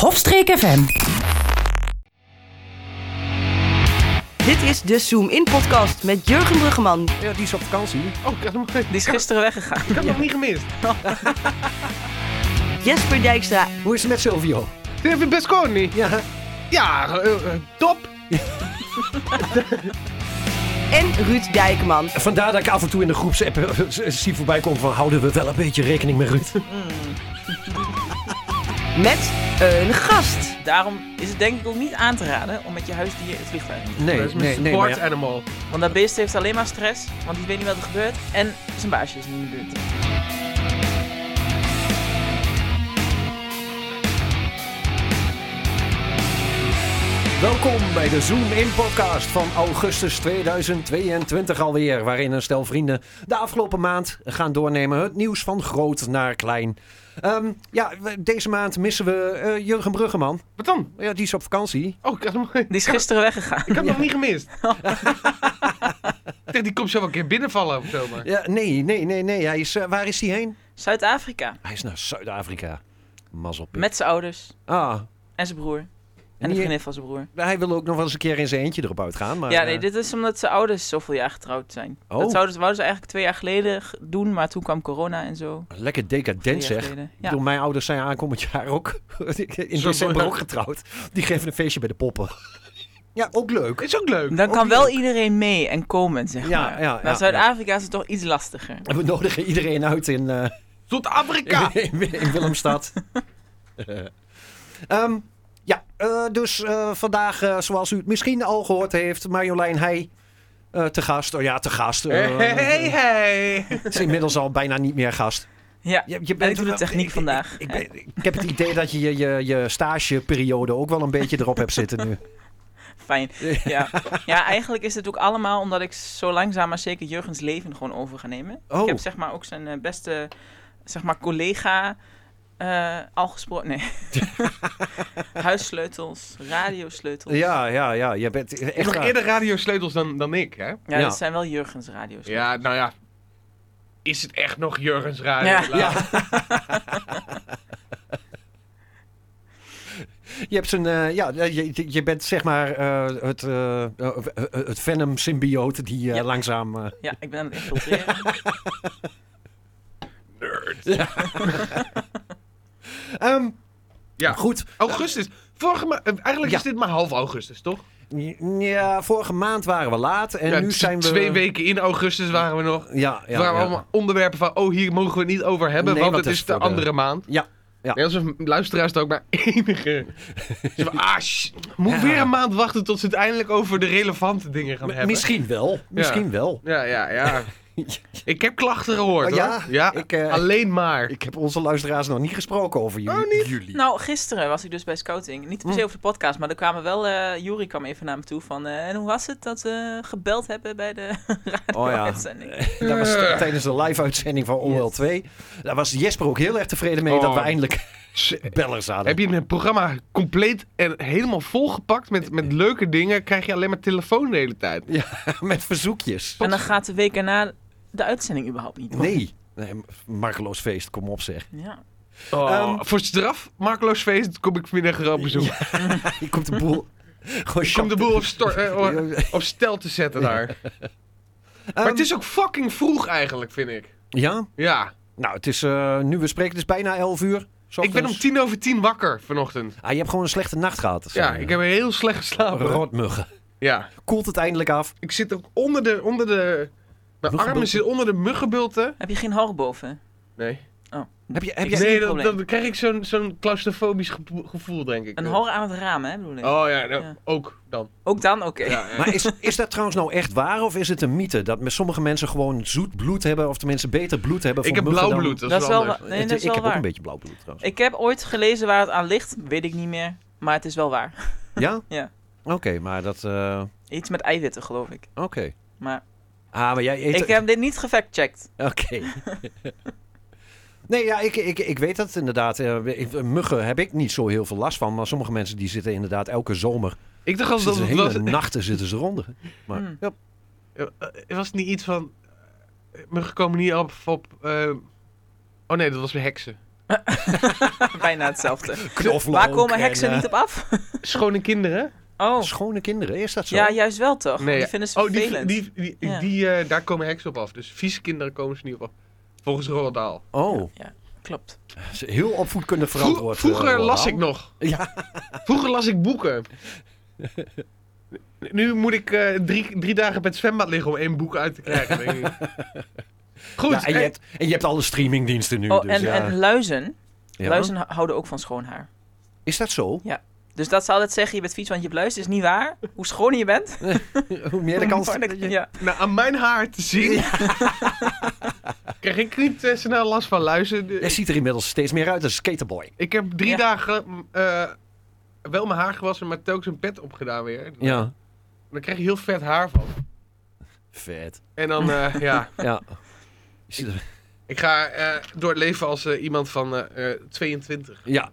Hofstreek FM. Dit is de Zoom In Podcast met Jurgen Bruggeman. Ja, die is op vakantie. Oh, ik had hem, Die is gisteren weggegaan. ik had hem nog niet gemist. Jesper Dijkstra Hoe is het met Silvio? Dit heb ik best gewoon niet. Ja, Ja, eh, eh, top. en Ruud Dijkman. vandaar dat ik af en toe in de groepsapp eh, zie voorbij komen van houden we wel een beetje rekening met Ruud. Met een gast. Daarom is het denk ik ook niet aan te raden om met je huisdier het vliegtuig in te dat is mijn maar support ja. animal. gaan. Want dat beest heeft alleen maar stress, want die weet niet wat er gebeurt. En zijn baasje is niet in de buurt. Welkom bij de Zoom In podcast van augustus 2022 alweer, waarin een stel vrienden de afgelopen maand gaan doornemen het nieuws van groot naar klein. Ehm, ja, we- deze maand missen we eh, Jurgen Bruggeman. Wat dan? Ja, die is op vakantie. Oh, ik had hem, ik Die is gisteren weggegaan. had hem nog niet gemist. Oh. Ik dacht, die komt zo wel een keer binnenvallen of zo. Maar. Ja, nee, nee, nee, nee. Hij is, eh, waar is hij heen? Zuid-Afrika. Hij is naar Zuid-Afrika. Mazzelpik. Met zijn ouders Ah, en zijn broer. En de Nee. vriendin van zijn broer. hij wil ook nog wel eens een keer in zijn eentje erop uitgaan. Maar, ja, eh, nee, dit is omdat zijn ouders zoveel jaar getrouwd zijn. Oh. Dat zouden, ze- wouden ze eigenlijk twee jaar geleden g- doen, maar toen kwam corona en zo. Lekker Twee decadent jaar zeg. geleden. Ik Ja. bedoel, mijn ouders zijn aankomend jaar ook. In Zo december mooi. ook getrouwd. Die geven een feestje bij de poppen. Ja, ook leuk. Is ook leuk. Dan kan ook wel leuk. iedereen mee en komen, zeg Oh, Ja, maar. ja, maar ja, Zuid-Afrika is het toch iets lastiger. En we nodigen iedereen uit in, eh, Tot Afrika. in, in Willemstad. Ehm, ja, eh, dus eh, vandaag, eh, zoals u het misschien al gehoord heeft, Marjolein Heij eh, te gast. Oh ja, te gast. Eh, Hey, hey, hey. Ze is inmiddels al bijna niet meer gast. Ja, Je, je en ik doe de techniek ik- vandaag. Ik, ben- ik heb het idee dat je je, je je stageperiode ook wel een beetje erop hebt zitten nu. Fijn. Ja. ja, eigenlijk is het ook allemaal omdat ik zo langzaam maar zeker Jurgens leven gewoon over ga nemen. Oh. Ik heb zeg maar ook zijn eh, beste zeg maar, collega eh, al gesproken. Nee. Huissleutels, radiosleutels. Ja, ja, ja. Je bent e- Je hebt echt nog raar. eerder radiosleutels dan, dan ik, hè? Ja, Ja. dat zijn wel Jurgens radiosleutels. Ja, nou ja. Is het echt nog Jurgens radio? Ja. Laat- Je, hebt zijn, eh, ja, je, je- je bent zeg maar eh, het, eh, eh, eh, het Venom-symbioot die eh, Ja. langzaam... eh, Ja, ik ben aan het infiltreren. Nerd. ehm, Ja. Goed. Augustus. Vorige ma- eh, eigenlijk Ja. is dit maar half augustus, toch? Ja, vorige maand waren we laat en Ja, nu t- zijn we... Twee weken in augustus waren we nog. Ja, ja, Het waren ja. allemaal onderwerpen van, oh, hier mogen we het niet over hebben, Nee, want want het het is is de voor de- andere maand. Ja, ja. Nee, als een luisteraars er ook maar enige. Zo van, ah, sh- moet ik Ja. weer een maand wachten tot ze het eindelijk over de relevante dingen gaan M- hebben. Misschien wel. Misschien wel. Ja, ja, ja. ik heb klachten gehoord, Oh, ja? hoor. Ja, Ik, eh, alleen maar. Ik heb onze luisteraars nog niet gesproken over Oh, jullie. jullie. nou, gisteren was ik dus bij scouting. Niet Hm. per se over de podcast, maar er kwamen wel... eh Juri kwam even naar me toe van... eh, en hoe was het dat we gebeld hebben bij de Oh ja. uitzending? Dat was Eh. tijdens de live-uitzending van OL 2. Daar was Jesper ook heel erg tevreden mee dat Oh. we eindelijk Tss, bellers hadden. Heb je een programma compleet en helemaal volgepakt met, met leuke dingen, krijg je alleen maar telefoon de hele tijd. Met verzoekjes. En dan gaat de week erna de uitzending überhaupt niet door. Nee. nee. Markeloos feest, kom op zeg. Ja. Oh. Ehm, voor straf, Markloos feest, kom ik vanmiddag gewoon bezoeken. Je komt de boel... Gewoon om de shocked. boel op, stor- eh, op stel te zetten daar. maar Ehm, het is ook fucking vroeg eigenlijk, vind ik. Ja? Ja. Nou, het is eh, nu we spreken, het is bijna 11 uur. 's Ik ben om ochtends. tien over tien wakker vanochtend. Ah, je hebt gewoon een slechte nacht gehad. dat Ja, zei je. ik heb heel slecht geslapen. Rotmuggen. Ja. Koelt het eindelijk af. Ik zit ook onder de... Onder de mijn armen Muggenbulten? zitten onder de muggenbulten. Heb je geen hoog boven? Nee. Heb je, heb Ik je... zie nee, het dan, probleem. dan krijg ik zo'n zo'n claustrofobisch gepo- gevoel, denk ik. Een hor aan het raam, hè, bedoel ik. Oh ja, nou, Ja. ook dan. Ook dan? Oké. Ja, ja. Maar is, is dat trouwens nou echt waar of is het een mythe? Dat met sommige mensen gewoon zoet bloed hebben of tenminste beter bloed hebben voor ik heb muggen blauw dan- bloed, dat, Dat is is wel wel anders. wa- nee, Het- dat is ik wel heb ook waar. een beetje blauw bloed trouwens. Ik heb ooit gelezen waar het aan ligt. Weet ik niet meer. Maar het is wel waar. Ja? Ja. Oké, maar dat... eh, Iets met eiwitten, geloof ik. Oké. Maar Ah, maar jij eet... ik eh, heb dit niet gefactcheckt. Oké. nee, ja, ik, ik, ik weet dat inderdaad. Eh, ik- Muggen heb ik niet zo heel veel last van. Maar sommige mensen die zitten inderdaad elke zomer... Ik dacht als dat zitten ze het hele was... nachten zitten ze eronder. Maar Hmm. ja, Eh, eh, was het niet iets van. eh, Muggen komen niet op. op eh, Oh nee, dat was bij heksen. Bijna hetzelfde. Knoflook Waar komen en, heksen eh, niet op af? Schone kinderen. Oh, Schone kinderen, is dat zo? ja, juist wel toch? Nee, die vinden ze oh, die, vervelend. die, die, die, Ja. eh, daar komen heksen op af. Dus vieze kinderen komen ze niet op af. Volgens Roald Dahl. Oh, Klopt. is heel opvoedkundig Vro- verantwoord. eh, vroeger Roald las Dahl. ik nog. Ja. Vroeger las ik boeken. Nu moet ik eh, drie, drie dagen bij het zwembad liggen om één boek uit te krijgen. denk ik. Goed. Ja, en, je eh, hebt, en je hebt alle streamingdiensten nu. Oh, dus, en, ja. en luizen. Ja. Luizen h- houden ook van schoon haar. Is dat zo? Dus dat ze altijd zeggen, je bent vies, want je hebt luizen, is niet waar. Hoe schoner je bent. Hoe meer de kans... dat je- Ja. Nou, aan mijn haar te zien. Krijg ik niet eh, snel last van luizen. De- Jij ziet er inmiddels steeds meer uit als skaterboy. Ik heb drie Ja. dagen eh, wel mijn haar gewassen, maar telkens een pet opgedaan weer. Ja. Dan krijg je heel vet haar van. Vet. En dan, eh, ja. Ja. Je ziet er- Ik ga eh, door het leven als eh, iemand van eh, eh, 22. Ja.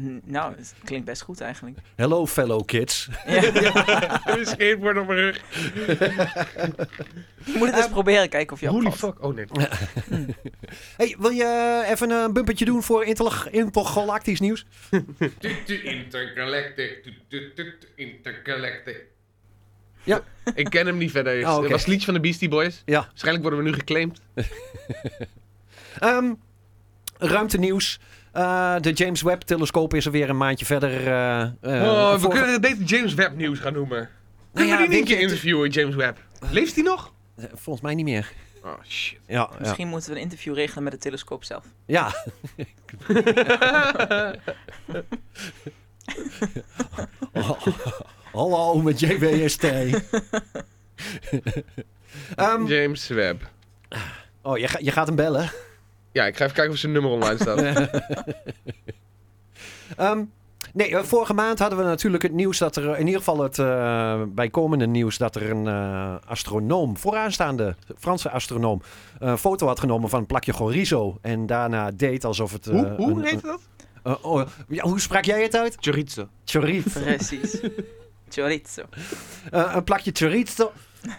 N- Nou, het klinkt best goed eigenlijk. Hello fellow kids. Ja. Met een skateboard op mijn rug. Je moet het Ehm, eens proberen, kijken of je Holy opvalt. fuck. Oh nee. Hey, wil je eh, even een bumpertje doen voor interla- intergalactisch nieuws? Intergalactic. Intergalactic. Ik ken hem niet verder. dus Oh, oké. Dat was het liedje van de Beastie Boys. Ja. Waarschijnlijk worden we nu geclaimd. Ehm ruimtenieuws. Eh, de James Webb-telescoop is er weer een maandje verder. eh, eh, oh, we voor- kunnen het beter James Webb nieuws gaan noemen. Kunnen ja, we die niet een weet je, keer het- interviewen, James Webb? Leeft hij nog? Eh, Volgens mij niet meer. Oh shit. Ja, ja. Misschien moeten we een interview regelen met de telescoop zelf. ja. Oh, Hallo, met JWST. Ehm, James Webb. oh, je, ga- je gaat hem bellen. Ja, ik ga even kijken of zijn nummer online staat. Ehm, nee, eh, vorige maand hadden we natuurlijk het nieuws dat er, in ieder geval het eh, bijkomende nieuws, dat er een eh, astronoom, vooraanstaande Franse astronoom, een foto had genomen van een plakje chorizo. En daarna deed alsof het. eh, hoe hoe een- heet dat? een- eh, oh, ja, hoe sprak jij het uit? Chorizo. Chorizo. Precies. Chorizo. Eh, een plakje chorizo.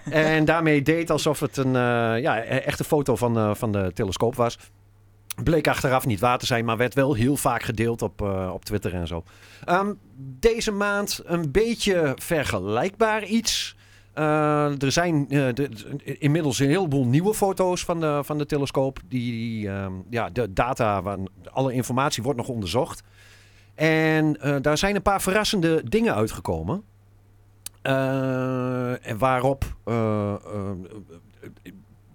en daarmee deed alsof het een eh, ja, e- echte foto van, eh, van de telescoop was. Bleek achteraf niet waar te zijn, maar werd wel heel vaak gedeeld op, eh, op Twitter en zo. Ehm, deze maand een beetje vergelijkbaar iets. Eh, er zijn eh, de- de- inmiddels een heleboel nieuwe foto's van de, van de telescoop. Die, ehm, ja, de data, van- alle informatie wordt nog onderzocht. En eh, daar zijn een paar verrassende dingen uitgekomen. Eh, en waarop eh, eh,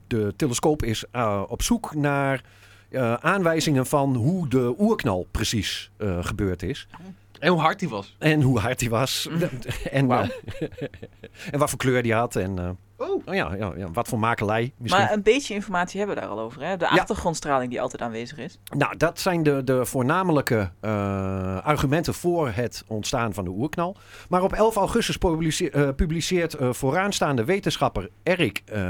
de telescoop is eh, op zoek naar eh, aanwijzingen van hoe de oerknal precies eh, gebeurd is. En hoe hard hij was. En hoe hard die was. en, Mm. Wauw. eh, en wat voor kleur die had. En eh, Oh. oh ja, ja, ja, wat voor makelij misschien. Maar een beetje informatie hebben we daar al over. Hè? De achtergrondstraling die altijd aanwezig is. Nou, dat zijn de, de voornamelijke eh, argumenten voor het ontstaan van de oerknal. Maar op 11 augustus publice- eh, publiceert eh, vooraanstaande wetenschapper Erik eh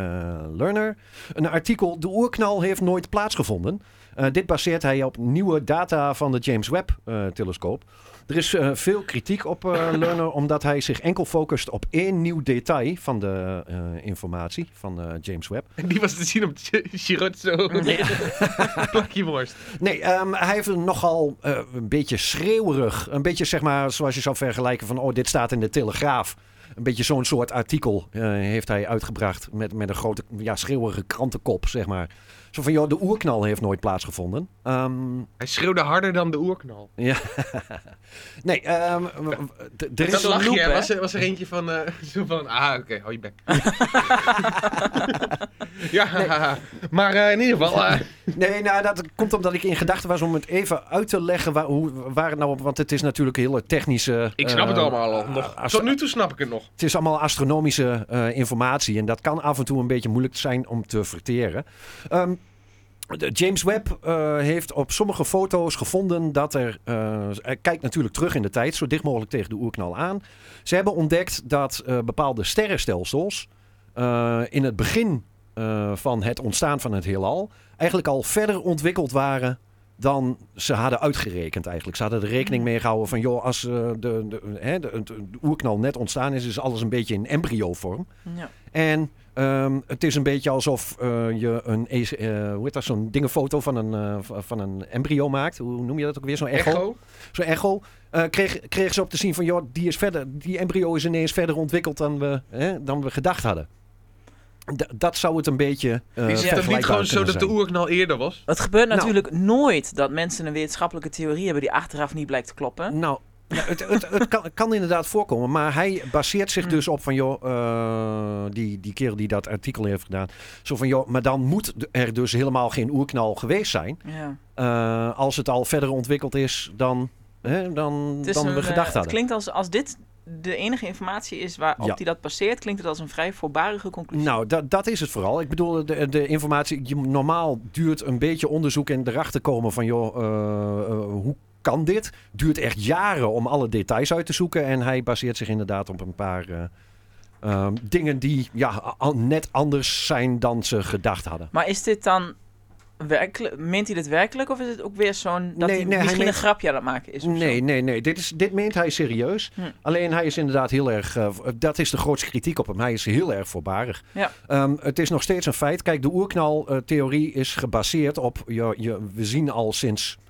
Lerner een artikel. De oerknal heeft nooit plaatsgevonden. Eh, dit baseert hij op nieuwe data van de James Webb-telescoop. er is eh, veel kritiek op eh, Lerner, omdat hij zich enkel focust op één nieuw detail van de eh, informatie van eh, James Webb. En die was te zien op Chorizo. Plakje worst. Nee, ehm, hij heeft een nogal eh, een beetje schreeuwerig. Een beetje zeg maar zoals je zou vergelijken van... oh, dit staat in de Telegraaf. Een beetje zo'n soort artikel eh, heeft hij uitgebracht... met, met een grote ja, schreeuwerige krantenkop, zeg maar. Zo van, joh, de oerknal heeft nooit plaatsgevonden. Ehm, Hij schreeuwde harder dan de oerknal. ja. nee, ehm, w- w- d- er Dat is... een lachje, loop, hè? hè? was, er, was er eentje van, eh, zo van, ah, oké, hou je bek. ja, maar eh, in ieder geval, eh, Nee, nou, dat komt omdat ik in gedachten was om het even uit te leggen... Waar, hoe, waar het nou op... want het is natuurlijk een hele technische... ik snap het eh, allemaal al nog. als- Tot nu toe snap ik het nog. Het is allemaal astronomische eh, informatie en dat kan af en toe een beetje moeilijk zijn om te verteren. Ehm, de James Webb eh, heeft op sommige foto's gevonden dat er. eh, hij kijkt natuurlijk terug in de tijd, zo dicht mogelijk tegen de oerknal aan. Ze hebben ontdekt dat eh, bepaalde sterrenstelsels. eh, in het begin eh, van het ontstaan van het heelal. eigenlijk al verder ontwikkeld waren. dan ze hadden uitgerekend eigenlijk. Ze hadden er Mm. rekening mee gehouden van... joh, als eh, de, de, hè, de, het oerknal net ontstaan is... is alles een beetje in embryo-vorm. Ja. En ehm, het is een beetje alsof eh, je een... EC eh, hoe heet dat? Zo'n dingenfoto van een, eh, v- van een embryo maakt. Hoe noem je dat ook weer? Zo'n echo? Echo? Zo'n echo. eh, kreeg, kreeg ze op te zien van... joh, die, is verder, die embryo is ineens verder ontwikkeld dan we, hè, dan we gedacht hadden. D- dat zou het een beetje eh Is het dan niet vergelijkbaar gewoon zo kunnen dat de zijn. oerknal eerder was? Het gebeurt Nou. natuurlijk nooit dat mensen een wetenschappelijke theorie hebben die achteraf niet blijkt te kloppen. Nou, ja, het, het, het kan, het kan inderdaad voorkomen. Maar hij baseert zich Hmm. dus op van, joh, eh, die, die kerel die dat artikel heeft gedaan. Zo van, joh, maar dan moet er dus helemaal geen oerknal geweest zijn. Ja. Eh, als het al verder ontwikkeld is dan, hè, dan, Het is dan een, we eh, gedacht Het hadden. klinkt als, als dit de enige informatie is waarop Ja. die dat passeert, klinkt het als een vrij voorbarige conclusie. Nou, dat, dat is het vooral. Ik bedoel, de, de informatie. je- Normaal duurt een beetje onderzoek en erachter komen van, joh, eh, eh, hoe kan dit? Duurt echt jaren om alle details uit te zoeken. En hij baseert zich inderdaad op een paar eh, ehm, dingen die ja, a- net anders zijn dan ze gedacht hadden. Maar is dit dan werkelijk, meent hij dit werkelijk of is het ook weer zo'n dat Nee, hij nee, hij misschien meent- een grapje aan het maken is? of zo? Nee, nee, nee. Dit, is, dit meent hij serieus. Hm. Alleen hij is inderdaad heel erg. eh, v- dat is de grootste kritiek op hem. Hij is heel erg voorbarig. Ja. Ehm, het is nog steeds een feit. Kijk, de oerknaltheorie is gebaseerd op. Je, je, we zien al sinds.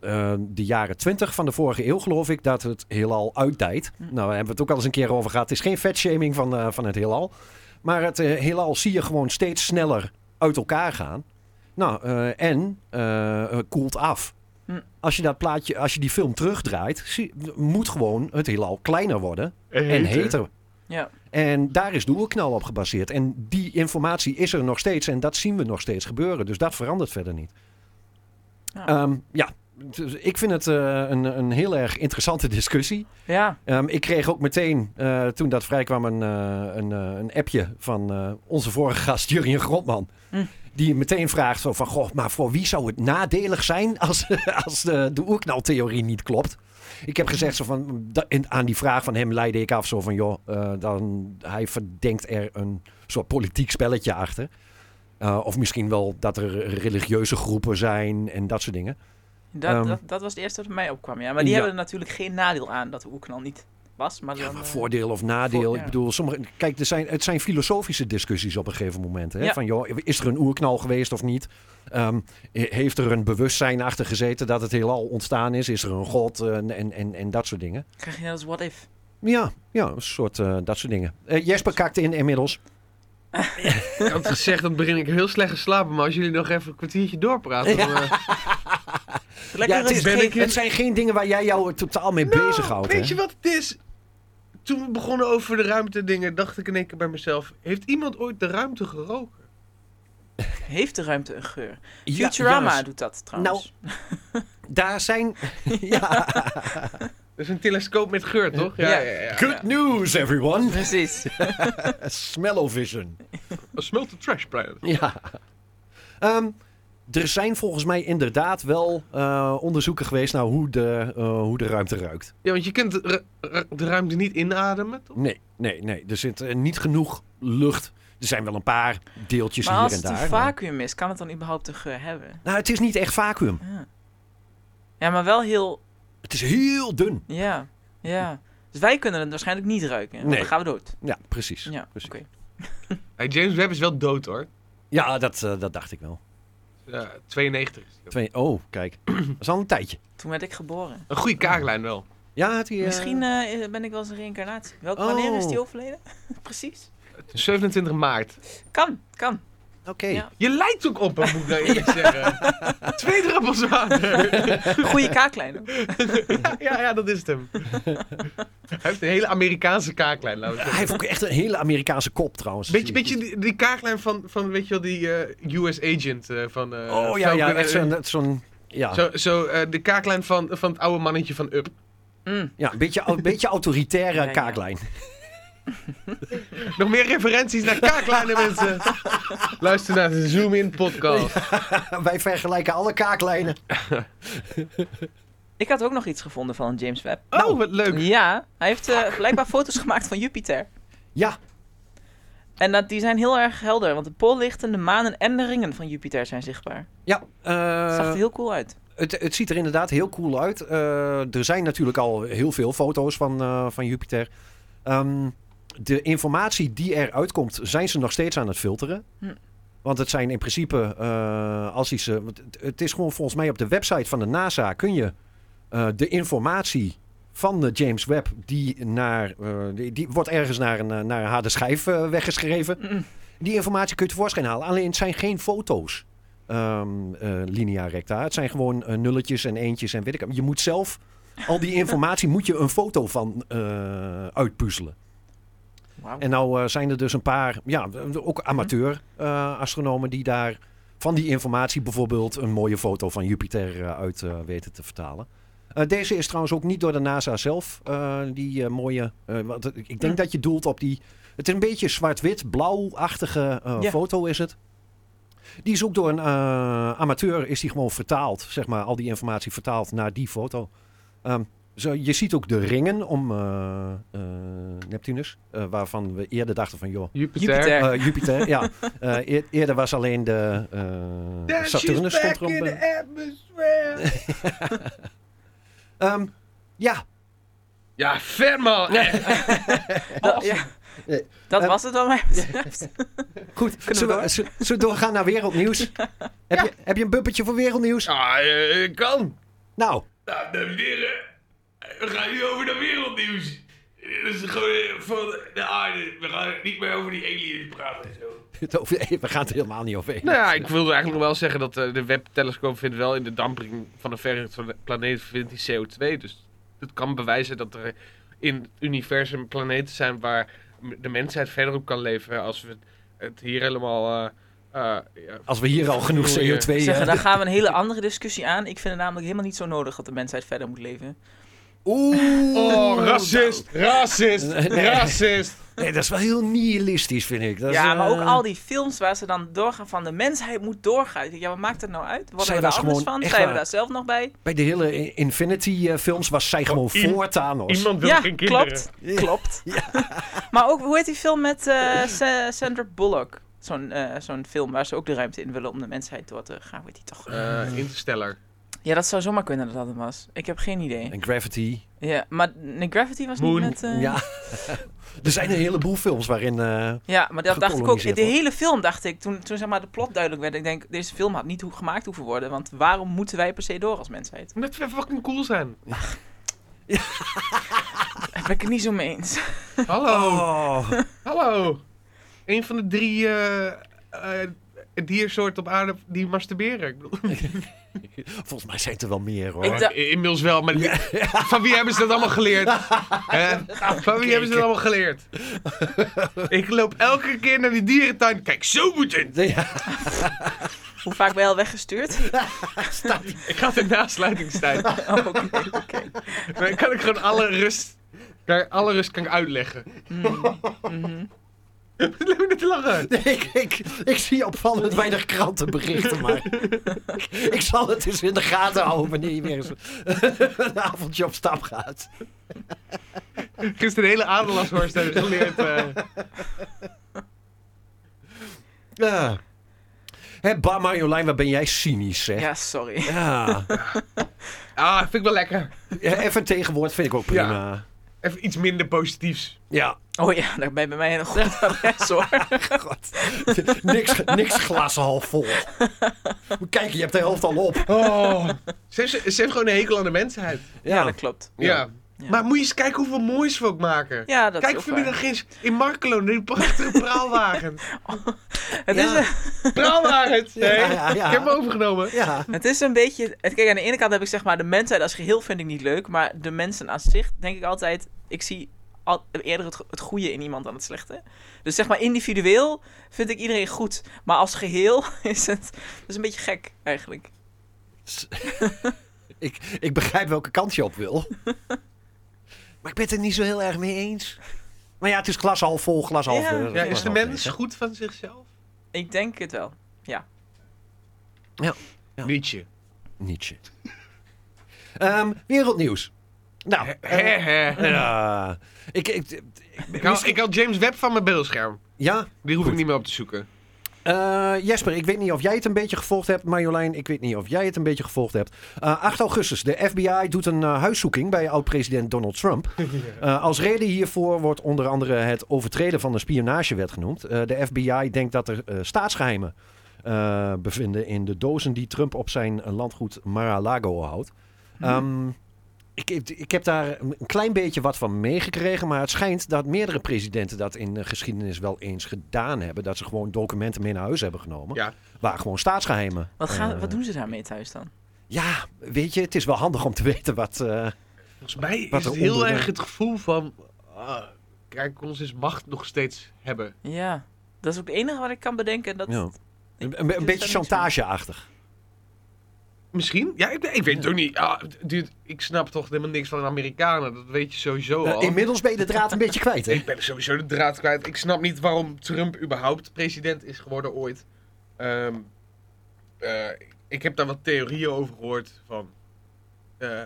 eh, de jaren 20 van de vorige eeuw geloof ik dat het heelal uitdijt. Hm. Nou, daar hebben we het ook al eens een keer over gehad. Het is geen vetshaming van, eh, van het heelal. Maar het eh, heelal zie je gewoon steeds sneller uit elkaar gaan. Nou, eh, en eh, het koelt af. Hm. Als je, dat plaatje, als je die film terugdraait, zie- moet gewoon het heelal kleiner worden en heter. Ja. En daar is de oerknal op gebaseerd. En die informatie is er nog steeds en dat zien we nog steeds gebeuren. Dus dat verandert verder niet. Ja. Ehm, ja. Dus ik vind het eh, een, een heel erg interessante discussie. Ja. Ehm, ik kreeg ook meteen, eh, toen dat vrijkwam, een, eh, een, eh, een appje van eh, onze vorige gast, Jurien Grotman. Hm. Die meteen vraagt zo van, goh, maar voor wie zou het nadelig zijn als, als de, de oerknaltheorie niet klopt? Ik heb gezegd zo van, da- en aan die vraag van hem leidde ik af zo van, joh, eh, dan, hij verdenkt er een soort politiek spelletje achter. Eh, of misschien wel dat er religieuze groepen zijn en dat soort dingen. Dat, Ehm. dat, dat was het eerste wat mij opkwam. Ja. Maar die Ja. hebben er natuurlijk geen nadeel aan dat de oerknal niet was. Maar Ja, dan, maar eh, voordeel of nadeel. voor- ja. Ik bedoel, sommige, kijk, er zijn, het zijn filosofische discussies op een gegeven moment. Hè? Ja. Van, joh, is er een oerknal geweest of niet? Ehm, he- heeft er een bewustzijn achter gezeten dat het heelal ontstaan is? Is er een god eh, en, en, en, en dat soort dingen? krijg je net als what if. Ja, ja een soort eh, dat soort dingen. Eh, Jesper kakte in inmiddels. Ik had gezegd, dan begin ik heel slecht geslapen. Maar als jullie nog even een kwartiertje doorpraten... dan, eh, Lekker Ja, het, is rustig. geen- het zijn geen dingen waar jij jou totaal mee Nou, bezighoudt. Weet hè? je wat het is? Toen we begonnen over de ruimtedingen, dacht ik in één keer bij mezelf: heeft iemand ooit de ruimte geroken? Heeft de ruimte een geur? Ja, Futurama juist. doet dat trouwens. Daar zijn... ja. Dat is een telescoop met geur, toch? Ja. Good news, everyone. Precies. Smellovision. A smelt the trash planet. Ja. Ehm, er zijn volgens mij inderdaad wel eh, onderzoeken geweest naar hoe de, eh, hoe de ruimte ruikt. Ja, want je kunt de, ru- ru- de ruimte niet inademen, toch? Nee, nee, nee. Er zit eh, niet genoeg lucht. Er zijn wel een paar deeltjes Maar hier als en het daar. een maar- vacuüm is, kan het dan überhaupt een geur hebben? Nou, het is niet echt vacuüm. Ja, ja maar wel heel... Het is heel dun. Ja, ja. Dus wij kunnen het waarschijnlijk niet ruiken. want Nee. Dan gaan we dood. Ja, precies. Ja, Ja, oké. Precies. Hey, James Webb is wel dood hoor. dat, eh, dat dacht ik wel. Ja, 92 is hij. Twee, oh, kijk. dat is al een tijdje. Toen werd ik geboren. Een goede kaaklijn wel. Ja, had hij, eh, Misschien eh, is- ben ik wel eens een reïncarnatie. Welk, Oh. Wanneer is die overleden? Precies. 27 maart. Kan, kan. Oké. eh, Ja. Je lijkt ook op hem, moet ik nou eerlijk zeggen. Twee druppels water. Goede kaaklijn. ook. ja, ja, dat is het hem. Hij heeft een hele Amerikaanse kaaklijn, laten we zeggen. Hij heeft ook echt een hele Amerikaanse kop trouwens. Eh, Beetje, beetje die, die kaaklijn van, van, weet je wel, die eh, US agent eh, van... eh, Oh ja, ja. Falcon, Echt eh, zo'n... zo'n- ja. Zo, zo eh, de kaaklijn van, van het oude mannetje van Up. Mm. ja, een beetje, een beetje autoritaire Ja, ja. kaaklijn. Nog meer referenties naar kaaklijnen, mensen. Luister naar de Zoom In podcast. Wij vergelijken alle kaaklijnen. Ik had ook nog iets gevonden van James Webb. Oh, wat leuk. Nou, Ja, hij heeft eh, blijkbaar foto's gemaakt van Jupiter. Ja, En dat, die zijn heel erg helder, want de poollichten, de manen en de ringen van Jupiter zijn zichtbaar. ja. eh, Het zag er heel cool uit. het, het ziet er inderdaad heel cool uit. Eh, er zijn natuurlijk al heel veel foto's van, eh, van Jupiter. Ehm, de informatie die eruit komt, zijn ze nog steeds aan het filteren. Hm. Want het zijn in principe, eh, als hij ze. want het- Het is gewoon volgens mij op de website van de NASA kun je eh, de informatie van de James Webb, die, naar, eh, die, die wordt ergens naar een, eh, naar een harde schijf eh, weggeschreven. Mm. Die informatie kun je tevoorschijn halen. Alleen het zijn geen foto's. ehm, eh, linea recta. Het zijn gewoon eh, nulletjes en eentjes en weet ik wat. Je moet zelf al die informatie moet je een foto van eh, uitpuzzelen. Wauw. En nou eh, zijn er dus een paar, ja, ook amateur eh, astronomen die daar van die informatie bijvoorbeeld een mooie foto van Jupiter eh, uit eh, weten te vertalen. Eh, deze is trouwens ook niet door de NASA zelf, eh, die eh, mooie, eh, want ik denk Hm. dat je doelt op die, het is een beetje zwart-wit, blauw-achtige eh, Ja. foto is het. Die is ook door een eh, amateur, is die gewoon vertaald, zeg maar, al die informatie vertaald naar die foto. Ehm, zo, je ziet ook de ringen om eh, eh, Neptunus, eh, waarvan we eerder dachten van, joh, Jupiter. Jupiter. eh, Jupiter, ja. Eh, eer- eerder was alleen de eh, That Saturnus she's stond back erop. in e- eh. the atmosphere. Ehm, ja, Ja, ver man. Eh, Echt. Dat, ja. Nee. dat Eh, was het wat mij betreft. goed. we Zullen we, door? zullen we doorgaan naar wereldnieuws? heb, je, heb je een bumpetje voor wereldnieuws? Ja, eh, kan. Nou, Nou, dames en heren, we gaan nu over naar wereldnieuws. Dit is gewoon eh, van de aarde. We gaan niet meer over die aliens praten en zo. het over- we gaan het er helemaal niet over heen. nou ja, ik wilde eigenlijk nog wel zeggen dat eh, de Webb-telescoop vindt wel in de dampering van een verre tla- planeet vindt die CO2. Dus dat kan bewijzen dat er in het universum planeten zijn waar m- de mensheid verder op kan leven. Als we het hier helemaal... eh, eh, ja, Als we hier al genoeg Oei, eh, CO2... eh, Zeggen, daar gaan we een hele andere discussie aan. Ik vind het namelijk helemaal niet zo nodig dat de mensheid verder moet leven. Oeh. Oh, racist, nou. racist, Nee. racist. Nee, dat is wel heel nihilistisch, vind ik. Dat is, ja, maar ook eh, al die films waar ze dan doorgaan van de mensheid moet doorgaan. Ik denk, Ja, wat maakt het nou uit? Worden Zij we daar was anders gewoon van? echt Zijn we waar. daar zelf nog bij? Bij de hele Infinity-films was zij gewoon i- voor Thanos. Iemand wil ja, geen kinderen. klopt. Klopt. maar ook, hoe heet die film met eh, Sa- Sandra Bullock? Zo'n eh, zo'n film waar ze ook de ruimte in willen om de mensheid door te gaan. Weet die toch? eh, Interstellar. Ja, dat zou zomaar kunnen dat dat hem was. Ik heb geen idee. En Gravity. Ja, maar Nick Gravity was Moon. niet met... eh, Ja. er zijn een heleboel films waarin... eh, Ja, maar dat dacht ik ook. Gekoloniseerd De wordt. hele film dacht ik, toen, toen zeg maar de plot duidelijk werd, ik denk, deze film had niet hoe gemaakt hoeven worden, want waarom moeten wij per se door als mensheid? Omdat we fucking cool zijn. Daar ben ik het niet zo mee eens. Hallo. oh. Hallo! Een van de drie eh, eh, diersoorten op aarde die masturberen. Ik bedoel, Volgens mij zijn het er wel meer hoor. Ik dacht- i- inmiddels wel, maar van wie hebben ze dat allemaal geleerd? Hè? van wie hebben ze dat allemaal geleerd? Ik loop elke keer naar die dierentuin. Kijk, zo moet je. het. Ja, Hoe vaak ben je al weggestuurd? Ik ga de nasluitingstijd. Oh, Oké, oké. Dan kan ik gewoon alle rust, kan, alle rust kan ik uitleggen. Mm, mhm. Wat loop je nou te lachen? Nee, ik, ik, ik zie opvallend weinig krantenberichten, maar ik zal het eens in de gaten houden wanneer je weer eens een avondje op stap gaat. Gisteren de hele adelashorst hebben geleerd. eh, Ja. Hé, Bar Marjolein, wat ben jij cynisch, zeg. Ja. Ja, sorry. ah, vind ik wel lekker. Ja, Even een tegenwoord vind ik ook prima. Even iets minder positiefs. Ja, Oh ja, daar ben je bij mij een goed adres hoor. god. Niks, niks glas half vol. Kijk, je hebt de helft al op. Oh. Ze, heeft, ze heeft gewoon een hekel aan de mensheid. Ja, Nou, dat klopt. Ja. Ja. Maar moet je eens kijken hoeveel moois we ook maken. Ja, dat Kijk is ook waar. vanmiddag eens in Markelo naar die prachtige praalwagen. Het, is Ja. een, praalwagens! Nee, Ja, ja, ja. ik heb hem overgenomen. Ja. het is een beetje... het- Kijk, aan de ene kant heb ik zeg maar de mensheid als geheel vind ik niet leuk, maar de mensen aan zich denk ik altijd... Ik zie al, eerder het, go- het goede in iemand dan het slechte. Dus zeg maar individueel vind ik iedereen goed, maar als geheel is het... Dat is een beetje gek eigenlijk. Ik, ik begrijp welke kant je op wil. maar ik ben het er niet zo heel erg mee eens. Maar ja, het is glas half vol, glas half... Ja. eh, Ja, glas Ja, is half de leeg, mens hè? goed van zichzelf? Ik denk het wel. Ja. Nietzsche. Nietzsche. Ehm, wereldnieuws. Nou, eh, ja. Ik, ik, ik- Ik haal, ik haal James Webb van mijn beeldscherm. ja, Die hoef Goed. ik niet meer op te zoeken. Eh, Jesper, ik weet niet of jij het een beetje gevolgd hebt. Marjolein, ik weet niet of jij het een beetje gevolgd hebt. Eh, 8 augustus, de FBI doet een eh, huiszoeking bij oud-president Donald Trump. Eh, als reden hiervoor wordt onder andere het overtreden van de spionagewet genoemd. Eh, de FBI denkt dat er eh, staatsgeheimen eh, bevinden in de dozen die Trump op zijn eh, landgoed Mar-a-Lago houdt. Ehm, ik, ik, ik heb daar een klein beetje wat van meegekregen, maar het schijnt dat meerdere presidenten dat in de geschiedenis wel eens gedaan hebben. Dat ze gewoon documenten mee naar huis hebben genomen. Ja. Waar gewoon staatsgeheimen. Wat, gaan, eh, wat doen ze daarmee thuis dan? Ja, weet je, het is wel handig om te weten wat. eh, Volgens mij Wat is er het heel onder de- erg het gevoel van... ah, kijk, ons is macht nog steeds hebben. Ja, dat is ook het enige wat ik kan bedenken. Dat... ja. Ja. Een- Een, een er beetje niks van. chantageachtig. Misschien? Ja, ik, ik weet het ook niet. Ah, dude, ik snap toch helemaal niks van de Amerikanen. Dat weet je sowieso al. Eh, inmiddels ben je de draad een beetje kwijt, hè? Ik ben sowieso de draad kwijt. Ik snap niet waarom Trump überhaupt president is geworden ooit. Ehm, eh, ik heb daar wat theorieën over gehoord van eh,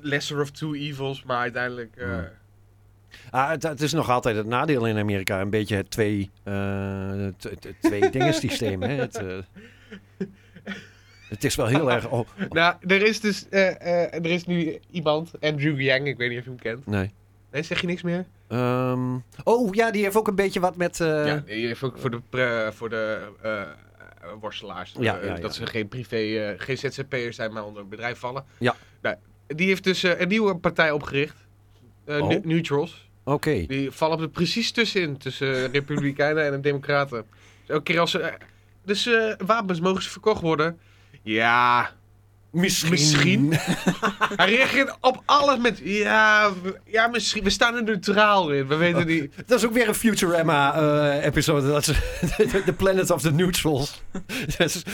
lesser of two evils, maar uiteindelijk eh, Hmm. Ah, het, het is nog altijd het nadeel in Amerika. Een beetje het twee, eh, t- t- twee dingen systeem. Hè? Het, eh, het is wel heel erg. Oh, Nou, er is dus eh, eh, er is nu iemand, Andrew Yang, ik weet niet of je hem kent. nee. Nee, zeg je niks meer? Ehm, oh ja, die heeft ook een beetje wat met. eh, ja, die heeft ook voor de, pre- voor de eh, eh, worstelaars. Ja, eh, ja, ja. Dat ze geen privé, eh, geen ZZP'ers zijn, maar onder een bedrijf vallen. Ja. Nou, die heeft dus eh, een nieuwe partij opgericht. Eh, Oh. ne- Neutrals. Oké. Die vallen er precies tussenin, tussen eh, Republikeinen en Democraten. Dus elke keer als ze. eh, dus eh, wapens mogen ze verkocht worden. Ja, Misschien. Misschien. hij reageert op alles met. Ja, we- ja misschien. We staan er neutraal in. We Oh. weten niet. Dat is ook weer een Futurama-episode. dat is de de Planet of the Neutrals. Dat is-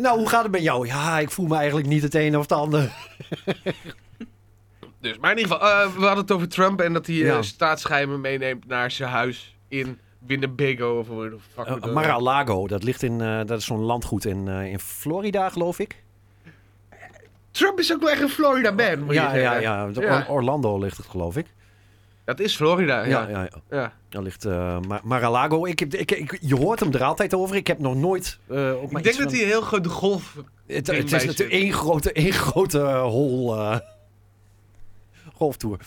nou, hoe gaat het met jou? Ja, ik voel me eigenlijk niet het een of het ander. Dus, maar in ieder geval, eh, we hadden het over Trump en dat hij eh, Ja. staatsgeheimen meeneemt naar zijn huis in Winnebago of hoe de fuck Eh, moet dat? Mar-a-Lago, dat ligt in. eh, dat is zo'n landgoed in, eh, in Florida, geloof ik. Trump is ook wel echt een Florida man, moet je Ja, ja, zeggen. ja. Or- Ja. Orlando ligt het, geloof ik. Dat is Florida, ja. Ja, ja, ja. Ja. Daar ligt eh, Ma- Mar-a-Lago. Ik, heb- ik, ik, je hoort hem er altijd over. Ik heb nog nooit. eh, ook maar Ik denk iets dat van- hij een heel groot de golf... Het, ding het bij is zit. natuurlijk één grote, één grote eh, hol. eh, golftour.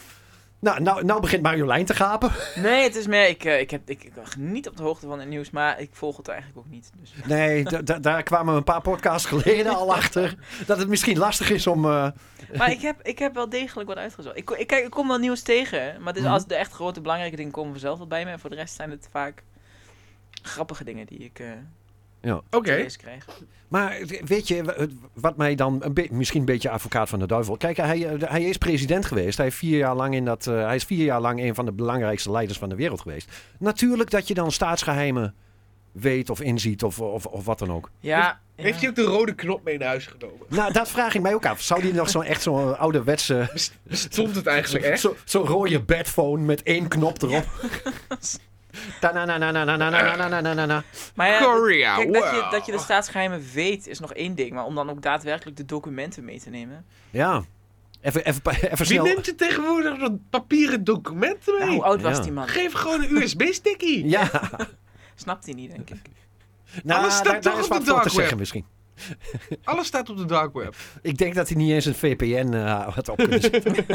Nou, nou, nou begint Marjolein te gapen. Nee, het is meer. Ik, eh, ik, heb, ik, ik ben niet op de hoogte van het nieuws, maar ik volg het eigenlijk ook niet. Dus. Nee, da- da- daar kwamen we een paar podcasts geleden al achter. Dat het misschien lastig is om. eh, Maar ik heb, ik heb wel degelijk wat uitgezocht. Ik, ko- ik, kijk, ik kom wel nieuws tegen, maar het is Mhm. als de echt grote belangrijke dingen komen vanzelf wel bij me. En voor de rest zijn het vaak grappige dingen die ik eh Oké. te lezen krijg. Maar weet je, wa- het- wat mij dan. Een be- misschien een beetje advocaat van de duivel. Kijk, hij, eh, hij is president geweest. Hij, heeft vier jaar lang in dat, eh, hij is vier jaar lang een van de belangrijkste leiders van de wereld geweest. Natuurlijk dat je dan staatsgeheimen weet of inziet of, of, of wat dan ook. Ja, Heeft hij ook de rode knop mee naar huis genomen? Nou, dat vraag ik mij ook af. Zou die nog zo'n echt zo'n ouderwetse. Stond het eigenlijk echt? Zo- Zo'n rode bedphone met één knop erop. na na na na na na na na na na na. maar ja, dat- Korea, Eh, Kijk, dat je, wow. dat je dus- de staatsgeheimen weet is nog één ding, maar om dan ook daadwerkelijk de documenten mee te nemen. Ja. Even, even, pa- even Wie snel. neemt je tegenwoordig dat papieren documenten Ja, mee? Nou, hoe oud Ja. was die oh, man? Geef gewoon een USB-stickie. Ja. Snapt hij niet, denk ik. Nou, Alles staat daar, daar toch is op wat de voor dark te web. zeggen misschien. Alles staat op de dark web. Ik denk dat hij niet eens een VPN eh, had op kunnen zetten.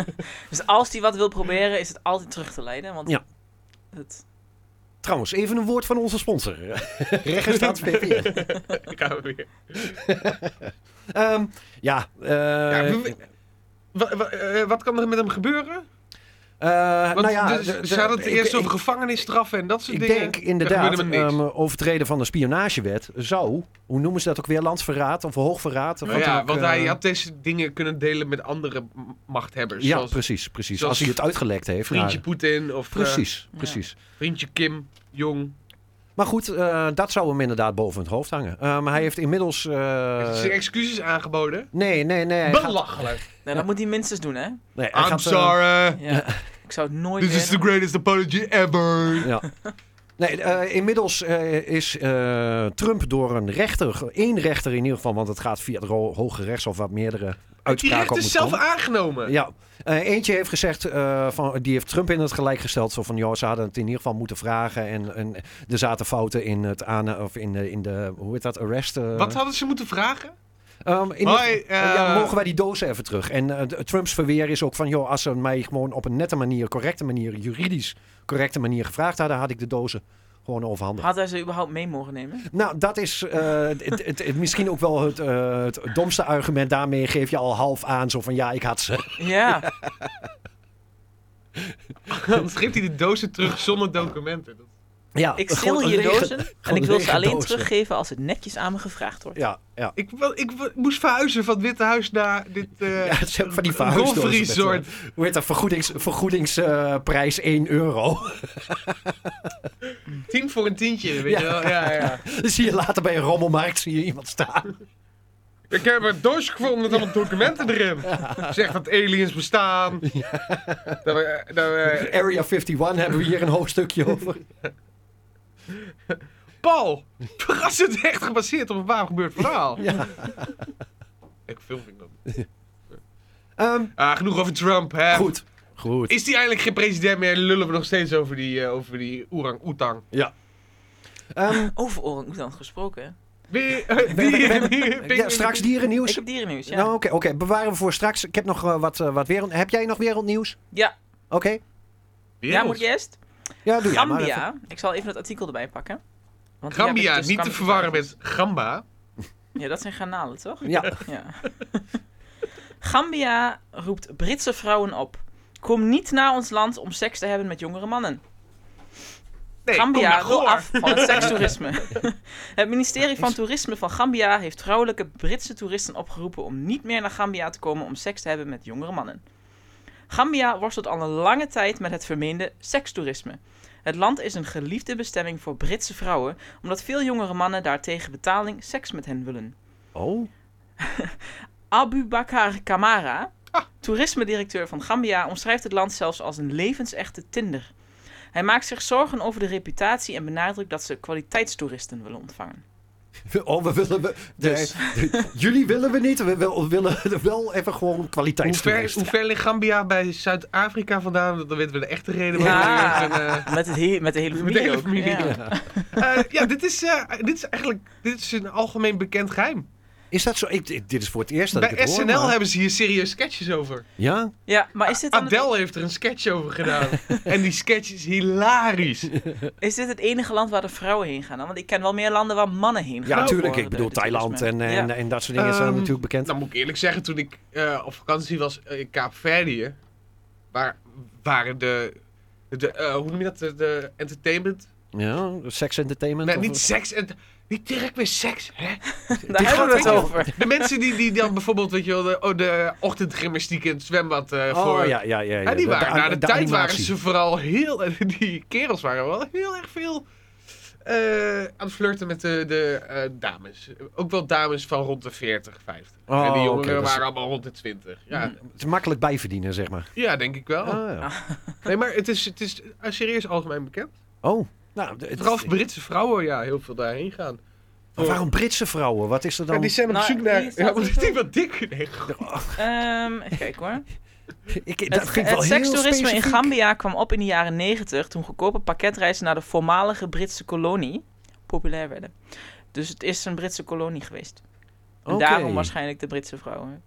Dus als hij wat wil proberen, is het altijd terug te leiden. Want Ja. het, Trouwens, even een woord van onze sponsor. Regenstaat VPN. Ik hou weer. Ehm, ja. eh, Ja, we- wa- wa- eh, wat kan er met hem gebeuren? eh, Want Ah, nou ja, dus, de- de- ze hadden het ik- eerst ik- over gevangenisstraffen en dat soort Ik dingen. denk Er inderdaad, gebeurde hem Nou niks. ehm, overtreden van de spionagewet zou, hoe noemen ze dat ook weer, landverraad of hoogverraad? Of Nou ja, dan ook, want eh, hij had deze dingen kunnen delen met andere m- machthebbers. Ja, zoals precies, precies. zoals Als hij het uitgelekt heeft. vriendje naar- Poetin of eh, precies, Ja. precies. vriendje Kim Jong. Maar goed, eh, dat zou hem inderdaad boven het hoofd hangen. Eh, maar hij heeft inmiddels... eh, Heeft hij zijn excuses aangeboden? nee, nee, nee. Hij gaat, Belachelijk. nou, dat moet hij minstens doen, hè? nee, hij I'm gaat, eh, sorry. Ja. Ik zou het nooit This is the meer... greatest apology ever. eh, Ja. Nee, eh, inmiddels eh, is eh, Trump door een rechter, ge- één rechter in ieder geval, want het gaat via het ro- Hoge Rechtshof wat meerdere Die uitspraken recht op is moeten zelf komen. aangenomen. Ja, Eh, eentje heeft gezegd, eh, van, die heeft Trump in het gelijk gesteld. Zo van, joh, ze hadden het in ieder geval moeten vragen. En, en er zaten fouten in het aan, of in de, in de, hoe heet dat, arrest. eh. Wat hadden ze moeten vragen? Ehm, in Hoi, ieder- eh, ja, eh, mogen wij die dozen even terug? En eh, de- Trumps verweer is ook van, joh, als ze mij gewoon op een nette manier, correcte manier, juridisch correcte manier gevraagd hadden, had ik de dozen gewoon overhandigd. Had hij ze überhaupt mee mogen nemen? Nou, dat is eh, het, het- het- misschien ook wel het, eh, het domste argument. Daarmee geef je al half aan, zo van, ja, ik had ze. Ja. Dan schreef hij de dozen terug zonder documenten. Dat- Ja, Ik stil stil hier dozen en gewoon ik wil ze lege alleen dozen. teruggeven als het netjes aan me gevraagd wordt. Ja, ja. Ik, wel- ik w- moest verhuizen van het Witte Huis naar dit eh Ja, het zijn van die verhuisdozen met, golfresort. eh, Hoe heet dat? Vergoedings, vergoedingsprijs 1 euro. Tien voor een tientje, weet je wel. Ja, ja. Dan zie je later bij een rommelmarkt zie je iemand staan. Ik heb een doosje gevonden met allemaal documenten erin. Zegt dat aliens bestaan. Dat we, dat we- Area 51 hebben we hier een hoofdstukje over. Paul, was het echt gebaseerd op een waar gebeurd verhaal? Ja. Ik film vind ik dat. Ehm, Ah, genoeg over Trump, hè. goed. Goed. Is die eindelijk geen president meer en lullen we nog steeds over die, eh, over die orang-oetang? Ehm, Over orang-oetan gesproken. Wie- eh, die- die- ja, straks dierennieuws. Ik heb dierennieuws, ja. Nou, oké, oké. bewaren we voor straks. Ik heb nog eh, wat, eh, wat wereld... Heb jij nog wereldnieuws? Ja, Oké. ja moet je eerst? Ja, doe jij maar even. Gambia. Ik zal even het artikel erbij pakken. Want die heb Gambia, ik dus- niet te kwam ik verwarren tegen. met gamba. Ja, dat zijn garnalen, toch? Ja, Ja. Gambia roept Britse vrouwen op. Kom niet naar ons land om seks te hebben met jongere mannen. Nee, kom Gambia naar wil Goor. af van het sekstoerisme. het ministerie van Toerisme van Gambia heeft vrouwelijke Britse toeristen opgeroepen om niet meer naar Gambia te komen om seks te hebben met jongere mannen. Gambia worstelt al een lange tijd met het vermeende sekstoerisme. Het land is een geliefde bestemming voor Britse vrouwen, omdat veel jongere mannen daar tegen betaling seks met hen willen. Oh. Abubakar Kamara, toerisme-directeur van Gambia, omschrijft het land zelfs als een levensechte Tinder. Hij maakt zich zorgen over de reputatie en benadrukt dat ze kwaliteitstoeristen willen ontvangen. Oh, we willen... We, Dus. Nee, nee, jullie willen we niet. We wil- willen wel even gewoon Hoe ver, kwaliteitstoeristen. hoe ver ligt Gambia bij Zuid-Afrika vandaan? Dan weten we de echte reden waarom. Ja. het is. En, eh, Met, het he- met de hele Met familie. de hele ook, familie, ja. Eh, ja, dit is, eh, dit is eigenlijk dit is een algemeen bekend geheim. Is dat zo? Ik, ik- dit is voor het eerst dat ik Bij het hoor, SNL maar- hebben ze hier serieus sketches over. Ja? Ja, maar is dit, dan het, Adele heeft er een sketch over gedaan. en die sketch is hilarisch. is dit het enige land waar de vrouwen heen gaan? dan? Want ik ken wel meer landen waar mannen heen gaan. Ja, natuurlijk. voor Ik bedoel, de- de Thailand en, eh, toerisme. en, dus Ja. en dat soort dingen zijn Oh. Ehm, natuurlijk bekend. Nou moet ik eerlijk zeggen, toen ik eh, op vakantie was in Kaapverdië, waar waren de, de eh, hoe noem je dat, de, de entertainment, ja, sex entertainment? nee, of- niet seks, en, niet direct weer seks, hè? Daar hebben we het over. De mensen die, die dan bijvoorbeeld, weet je wel, de, oh, de ochtendgymnastiek in het zwembad eh, voor... Oh, ja, ja, ja. ja. Ja, die waren, de- na Nou, de, de tijd waren animatie. ze vooral heel. Die kerels waren wel heel erg veel. eh, aan het flirten met de, de eh, dames. Ook wel dames van rond de 40, 50. Oh, en die oké, jongeren dat is- waren allemaal rond de 20. Ja, Het is makkelijk bijverdienen, zeg maar. ja denk ik wel. Ah, ja. Nee, maar het is, het is eh, serieus algemeen bekend. Oh. Nou, de- het- Vooral Britse vrouwen, ja, heel veel daarheen gaan. Maar waarom Britse vrouwen? Wat is er Ja, dan? die zijn op Nou, zoek naar. hier staat Ja, omdat het die ook. wat dik. Nee, goh. Ehm, even kijken hoor. Ik, dat Het, vind ik wel het heel sekstoerisme in specifiek. Gambia kwam op in de jaren 90 toen goedkope pakketreizen naar de voormalige Britse kolonie populair werden. Dus het is een Britse kolonie geweest. En Oké. daarom waarschijnlijk de Britse vrouwen.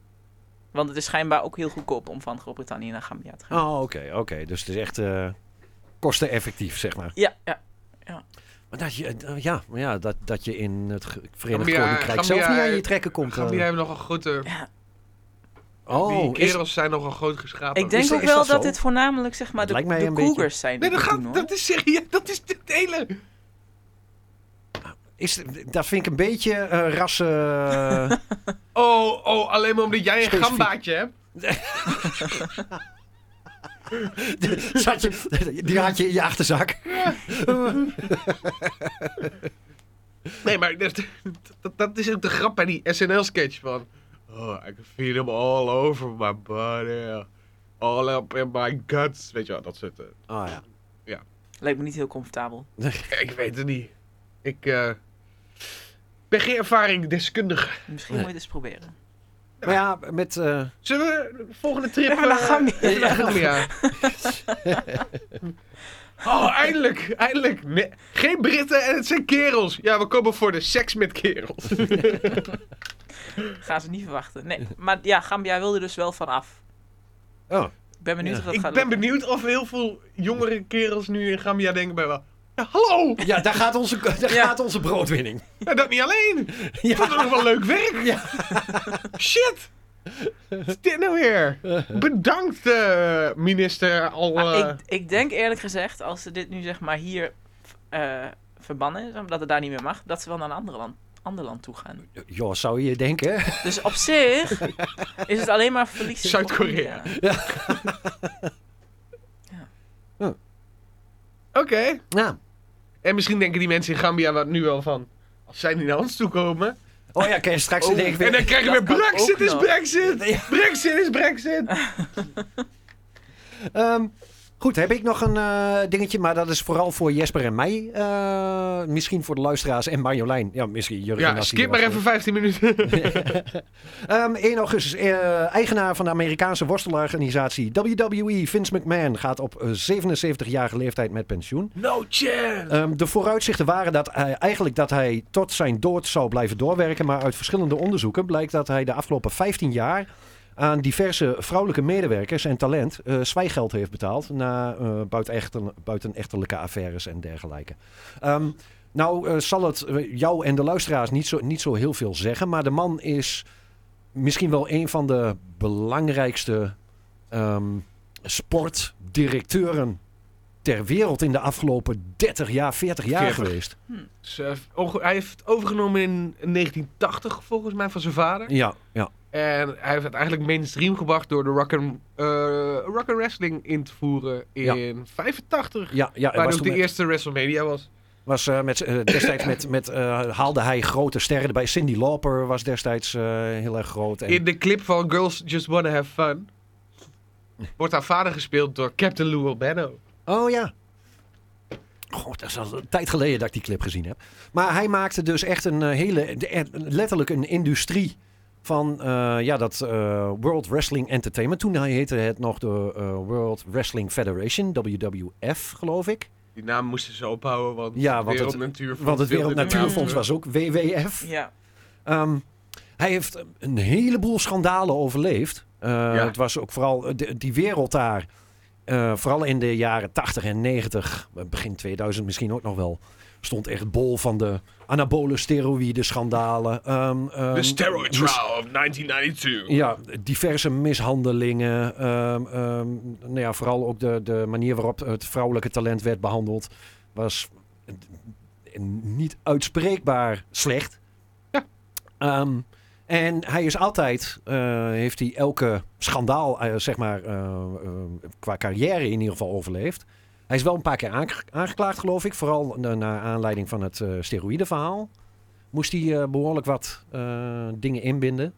Want het is schijnbaar ook heel goedkoop om van Groot-Brittannië naar Gambia te gaan. Oh, oké, oké. Dus het is echt eh kosteneffectief, zeg maar. Ja, ja. Maar dat je, eh, ja, maar ja dat, dat je in het ge- Verenigd Gambia- Koninkrijk zelf Gambia- niet aan je trekken komt. eh. Gaan die hebben nog een grote. die oh, is, kerels zijn nogal groot geschrapen. Ik denk is ook dat wel dat, zo? dit voornamelijk zeg Dat maar de, lijkt mij de een beetje- cougars zijn. Nee, die dat, dit doen, hoor. gaat, dat is serieus. Dat is dit hele. is, dat vind ik een beetje eh rassen... eh, Oh, oh, alleen maar omdat jij een Specifiek. gambaatje hebt. zat je, die had je in je achterzak. Nee, maar dat, dat, dat is ook de grap bij die SNL-sketch van... Oh, I can feel them all over my body. All up in my guts. Weet je wel, dat soort... eh, Oh ja. Lijkt me niet heel comfortabel. ik weet het niet. Ik eh, ben geen ervaring deskundige. Misschien moet je het eens proberen. Maar ja, met... eh, Zullen we de volgende trip... Even naar eh, Gambia. even naar Gambia. oh, eindelijk. Eindelijk. Nee, geen Britten en het zijn kerels. Ja, we komen voor de seks met kerels. Gaan ze niet verwachten. Nee, maar ja, Gambia wilde dus wel vanaf. oh, Ik ben benieuwd Ja. of dat Ik gaat ben lukken. benieuwd of heel veel jongere kerels nu in Gambia denken bij wel... Ja, hallo! ja, daar gaat onze, daar Ja. gaat onze broodwinning. Ja, dat niet alleen. Ik vond Ja. het nog wel leuk werk. Shit. Wat is dit nou weer? Bedankt, eh, minister. Al, Maar eh, Ah, ik, ik denk eerlijk gezegd, als ze dit nu zeg maar hier eh, verbannen, is, omdat het daar niet meer mag, dat ze wel naar een ander land, ander land toe gaan. Joh, zou je denken? Dus op zich is het alleen maar verlies. voor Zuid-Korea. India. Oké. Nou, En misschien denken die mensen in Gambia wat nu wel van... Als zij niet naar ons toe komen... oh ja, kan je straks in één keer en weer- dan krijg je dat weer kan ook Brexit is nog. Brexit. Brexit is Brexit. Ehm, goed, heb ik nog een eh, dingetje, maar dat is vooral voor Jesper en mij. Eh, misschien voor de luisteraars en Marjolein. Ja, misschien Jurgen. Ja, als die skip er maar was. even 15 minuten. Ehm, 1 augustus, eh, eigenaar van de Amerikaanse worstelorganisatie WWE, Vince McMahon, gaat op eh, 77-jarige leeftijd met pensioen. No chance. Ehm, de vooruitzichten waren dat hij, eigenlijk dat hij tot zijn dood zou blijven doorwerken, maar uit verschillende onderzoeken blijkt dat hij de afgelopen 15 jaar aan diverse vrouwelijke medewerkers en talent eh zwijgeld heeft betaald na eh buitenechten- buitenechtelijke affaires en dergelijke. Ehm, nou eh, zal het eh, jou en de luisteraars niet zo, niet zo heel veel zeggen, maar de man is misschien wel een van de belangrijkste ehm, sportdirecteuren ter wereld in de afgelopen 30 jaar, 40 jaar 40. geweest. Dus, eh, oge- hij heeft het overgenomen in 1980 volgens mij van zijn vader. Ja, ja. En hij heeft het eigenlijk mainstream gebracht door de rock and, eh, rock and wrestling in te voeren Ja. in 85. ja, ja hij waar was, ook toen de met- eerste WrestleMania was. was eh, met, eh, destijds met, met eh, haalde hij grote sterren erbij. Cindy Lauper was destijds eh, heel erg groot. En, In de clip van Girls Just Wanna Have Fun wordt haar vader gespeeld door Captain Lou Albano. Oh ja. God, dat is al een tijd geleden dat ik die clip gezien heb. Maar hij maakte dus echt een eh, hele, de- eh, letterlijk een industrie van eh, ja, dat eh, World Wrestling Entertainment. Toen hij heette het nog de eh, World Wrestling Federation, WWF geloof ik. Die naam moesten ze ophouden, want, Ja, het want het- Wereld Natuurfonds Want het wilde Wereld die naam Natuurfonds terug. was ook WWF. Ja, Ehm, hij heeft een heleboel schandalen overleefd. Eh, Ja. Het was ook vooral eh, de- die wereld daar. eh, vooral in de jaren 80 en 90, eh, begin 2000 misschien ook nog wel. Stond echt bol van de anabole steroïden schandalen. ehm, ehm, De Steroid mis- Trial of 1992. Ja, diverse mishandelingen. ehm, ehm, nou ja, vooral ook de, de manier waarop het vrouwelijke talent werd behandeld. Was eh, niet uitspreekbaar slecht. Ehm, en hij is altijd, eh, heeft hij elke schandaal, eh, zeg maar, eh, eh, qua carrière in ieder geval overleefd. Hij is wel een paar keer aange- aangeklaagd, geloof ik. Vooral na- naar aanleiding van het eh steroïdeverhaal. Moest hij eh, behoorlijk wat eh, dingen inbinden.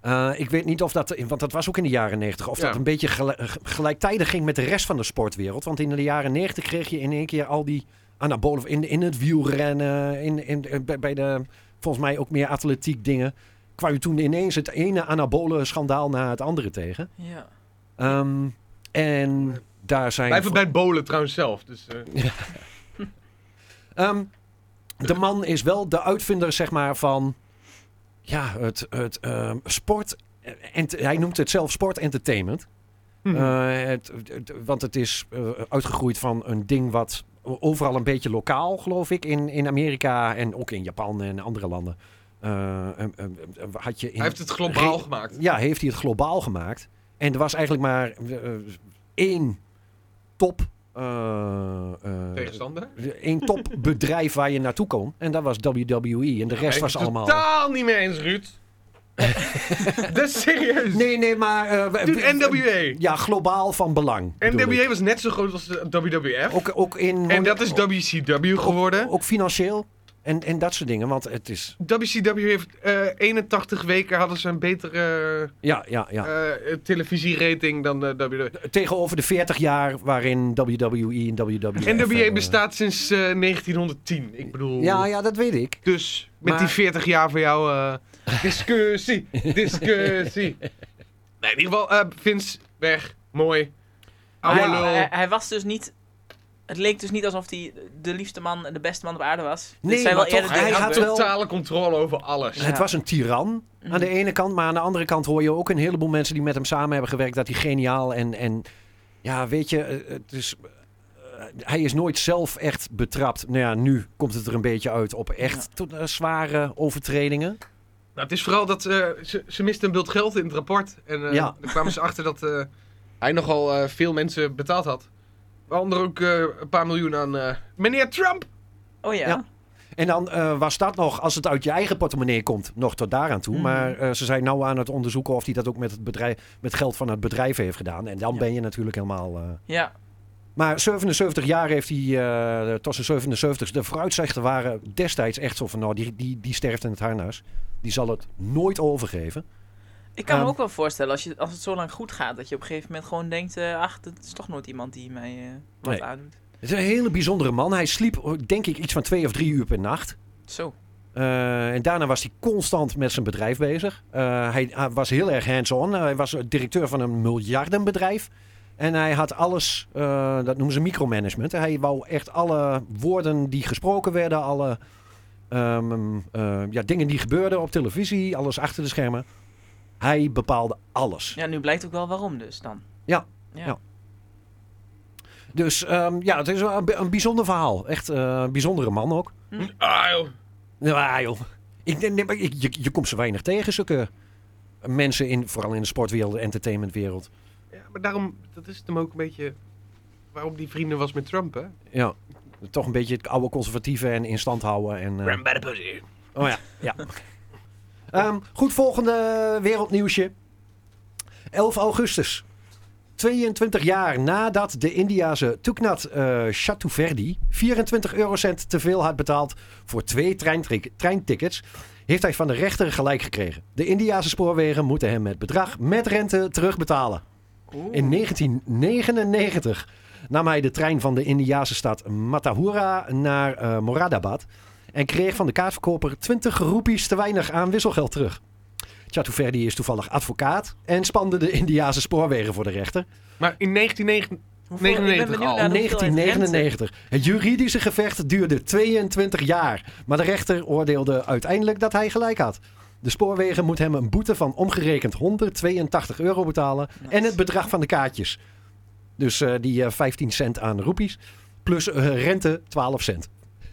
Eh, ik weet niet of dat, want dat was ook in de jaren 90, of Ja. dat een beetje gel- eh, gelijktijdig ging met de rest van de sportwereld. Want in de jaren 90 kreeg je in één keer al die anabolen in, in het wielrennen, in, in, bij- bij de volgens mij ook meer atletiek dingen. kwam je toen ineens het ene anabole schandaal na het andere tegen. ja. Ehm, en daar zijn. Blijven bij het bolen trouwens zelf. Dus, eh, Ehm, de man is wel de uitvinder, zeg maar, van. Ja, het, het ehm, sport. En hij noemt het zelf sportentertainment. Mhm. Eh, het, het- want het is eh, uitgegroeid van een ding wat overal een beetje lokaal, geloof ik, in, in Amerika en ook in Japan en andere landen. Eh, em, em, em, had je in hij heeft het globaal Re- gemaakt. ja, heeft hij het globaal gemaakt. En er was eigenlijk maar eh, eh, één top. eh, eh, Tegenstander. één topbedrijf waar je naartoe kon. En dat was WWE. En de rest Ik was ben allemaal. totaal niet mee eens, Ruud. dat is serieus. Nee, nee, maar. eh, we- Dude, we- NWA. Ja, globaal van belang. bedoel NWA ik. was eh, net zo groot als de WWF. Ook, ook in. en dat is WCW geworden. Ook financieel. En, en dat soort dingen, want het is... WCW heeft eh, 81 weken hadden ze een betere Ja, ja, ja. eh, eh, televisierating dan eh, de WWE. Tegenover de 40 jaar waarin WWE en E WWE... NWA E bestaat sinds eh, 1910. Ik bedoel, Ja, ja, dat weet ik. dus met Maar- die 40 jaar van jou... eh, discussie, discussie. Nee, in ieder geval, eh Vince, weg. Mooi. Oude Ja. lul. Hij, hij was dus niet... Het leek dus niet alsof hij de liefste man en de beste man op aarde was. Nee, Dit zijn wel maar toch, eerder hij dingen had gebeurd. wel- totale controle over alles. Het was een tiran aan Mhm. de ene kant, maar aan de andere kant hoor je ook een heleboel mensen die met hem samen hebben gewerkt dat hij geniaal en, en ja, weet je, eh, het is, eh, hij is nooit zelf echt betrapt. Nou ja, nu komt het er een beetje uit op echt tot, eh, zware overtredingen. Nou, het is vooral dat eh, ze, ze miste een bult geld in het rapport. En eh Ja. daar kwamen ze achter dat eh, hij nogal eh, veel mensen betaald had. Waaronder ook eh, een paar miljoen aan eh, meneer Trump. Oh ja. e- Ja. En dan eh, was dat nog, als het uit je eigen portemonnee komt, nog tot daaraan toe. Mhm. Maar eh, ze zijn nou aan het onderzoeken of hij dat ook met, het bedrijf, met geld van het bedrijf heeft gedaan. En dan Ja. ben je natuurlijk helemaal... eh, Ja. Maar 77 jaar heeft hij, eh tot zijn 77 de vooruitzichten waren destijds echt zo van, nou, die, die, die sterft in het harnas. Die zal het nooit overgeven. Ik kan Ehm, me ook wel voorstellen, als, je, als het zo lang goed gaat, dat je op een gegeven moment gewoon denkt... eh, ach, dat is toch nooit iemand die mij eh, wat Nee. aandoet. Het is een hele bijzondere man. Hij sliep, denk ik, iets van twee of drie uur per nacht. Zo. Eh, en daarna was hij constant met zijn bedrijf bezig. Eh, hij, hij was heel erg hands-on. Eh, Hij was directeur van een miljardenbedrijf. En hij had alles, eh, dat noemen ze micromanagement. Hij wou echt alle woorden die gesproken werden, alle ehm, eh, ja, dingen die gebeurden op televisie, alles achter de schermen. Hij bepaalde alles. Ja, nu blijkt ook wel waarom dus dan. Ja. Ja. Ja. Dus ehm, ja, het is wel een, bi- een bijzonder verhaal. Echt eh, een bijzondere man ook. Ah, joh. Nou, joh. Ik, denk- nee, maar ik- je, je komt ze weinig tegen, zulke mensen, in, vooral in de sportwereld, de entertainmentwereld. Ja, maar daarom, dat is het hem ook een beetje waarom die vrienden was met Trump, hè? Ja. Toch een beetje het oude conservatieve en in stand houden. En, eh, bij de pussy. oh ja, ja. Ehm, goed, volgende wereldnieuwsje. 11 augustus. 22 jaar nadat de Indiase Tuknat eh Chaturvedi 24 eurocent te veel had betaald voor twee treintric- treintickets, heeft hij van de rechter gelijk gekregen. De Indiase spoorwegen moeten hem het bedrag met rente terugbetalen. In 1999 nam hij de trein van de Indiase stad Matahura naar eh, Moradabad en kreeg van de kaartverkoper 20 roepies te weinig aan wisselgeld terug. Chaturvedi is toevallig advocaat en spande de Indiase spoorwegen voor de rechter. Maar in 1999... Hoeveel- 99 ik ben benieuwd al. naar de hoeveelheid rente. 1999. Het juridische gevecht duurde 22 jaar. Maar de rechter oordeelde uiteindelijk dat hij gelijk had. De spoorwegen moet hem een boete van omgerekend 182 euro betalen. Nice. En het bedrag van de kaartjes. Dus eh, die eh, 15 cent aan roepies. Plus eh, rente 12 cent.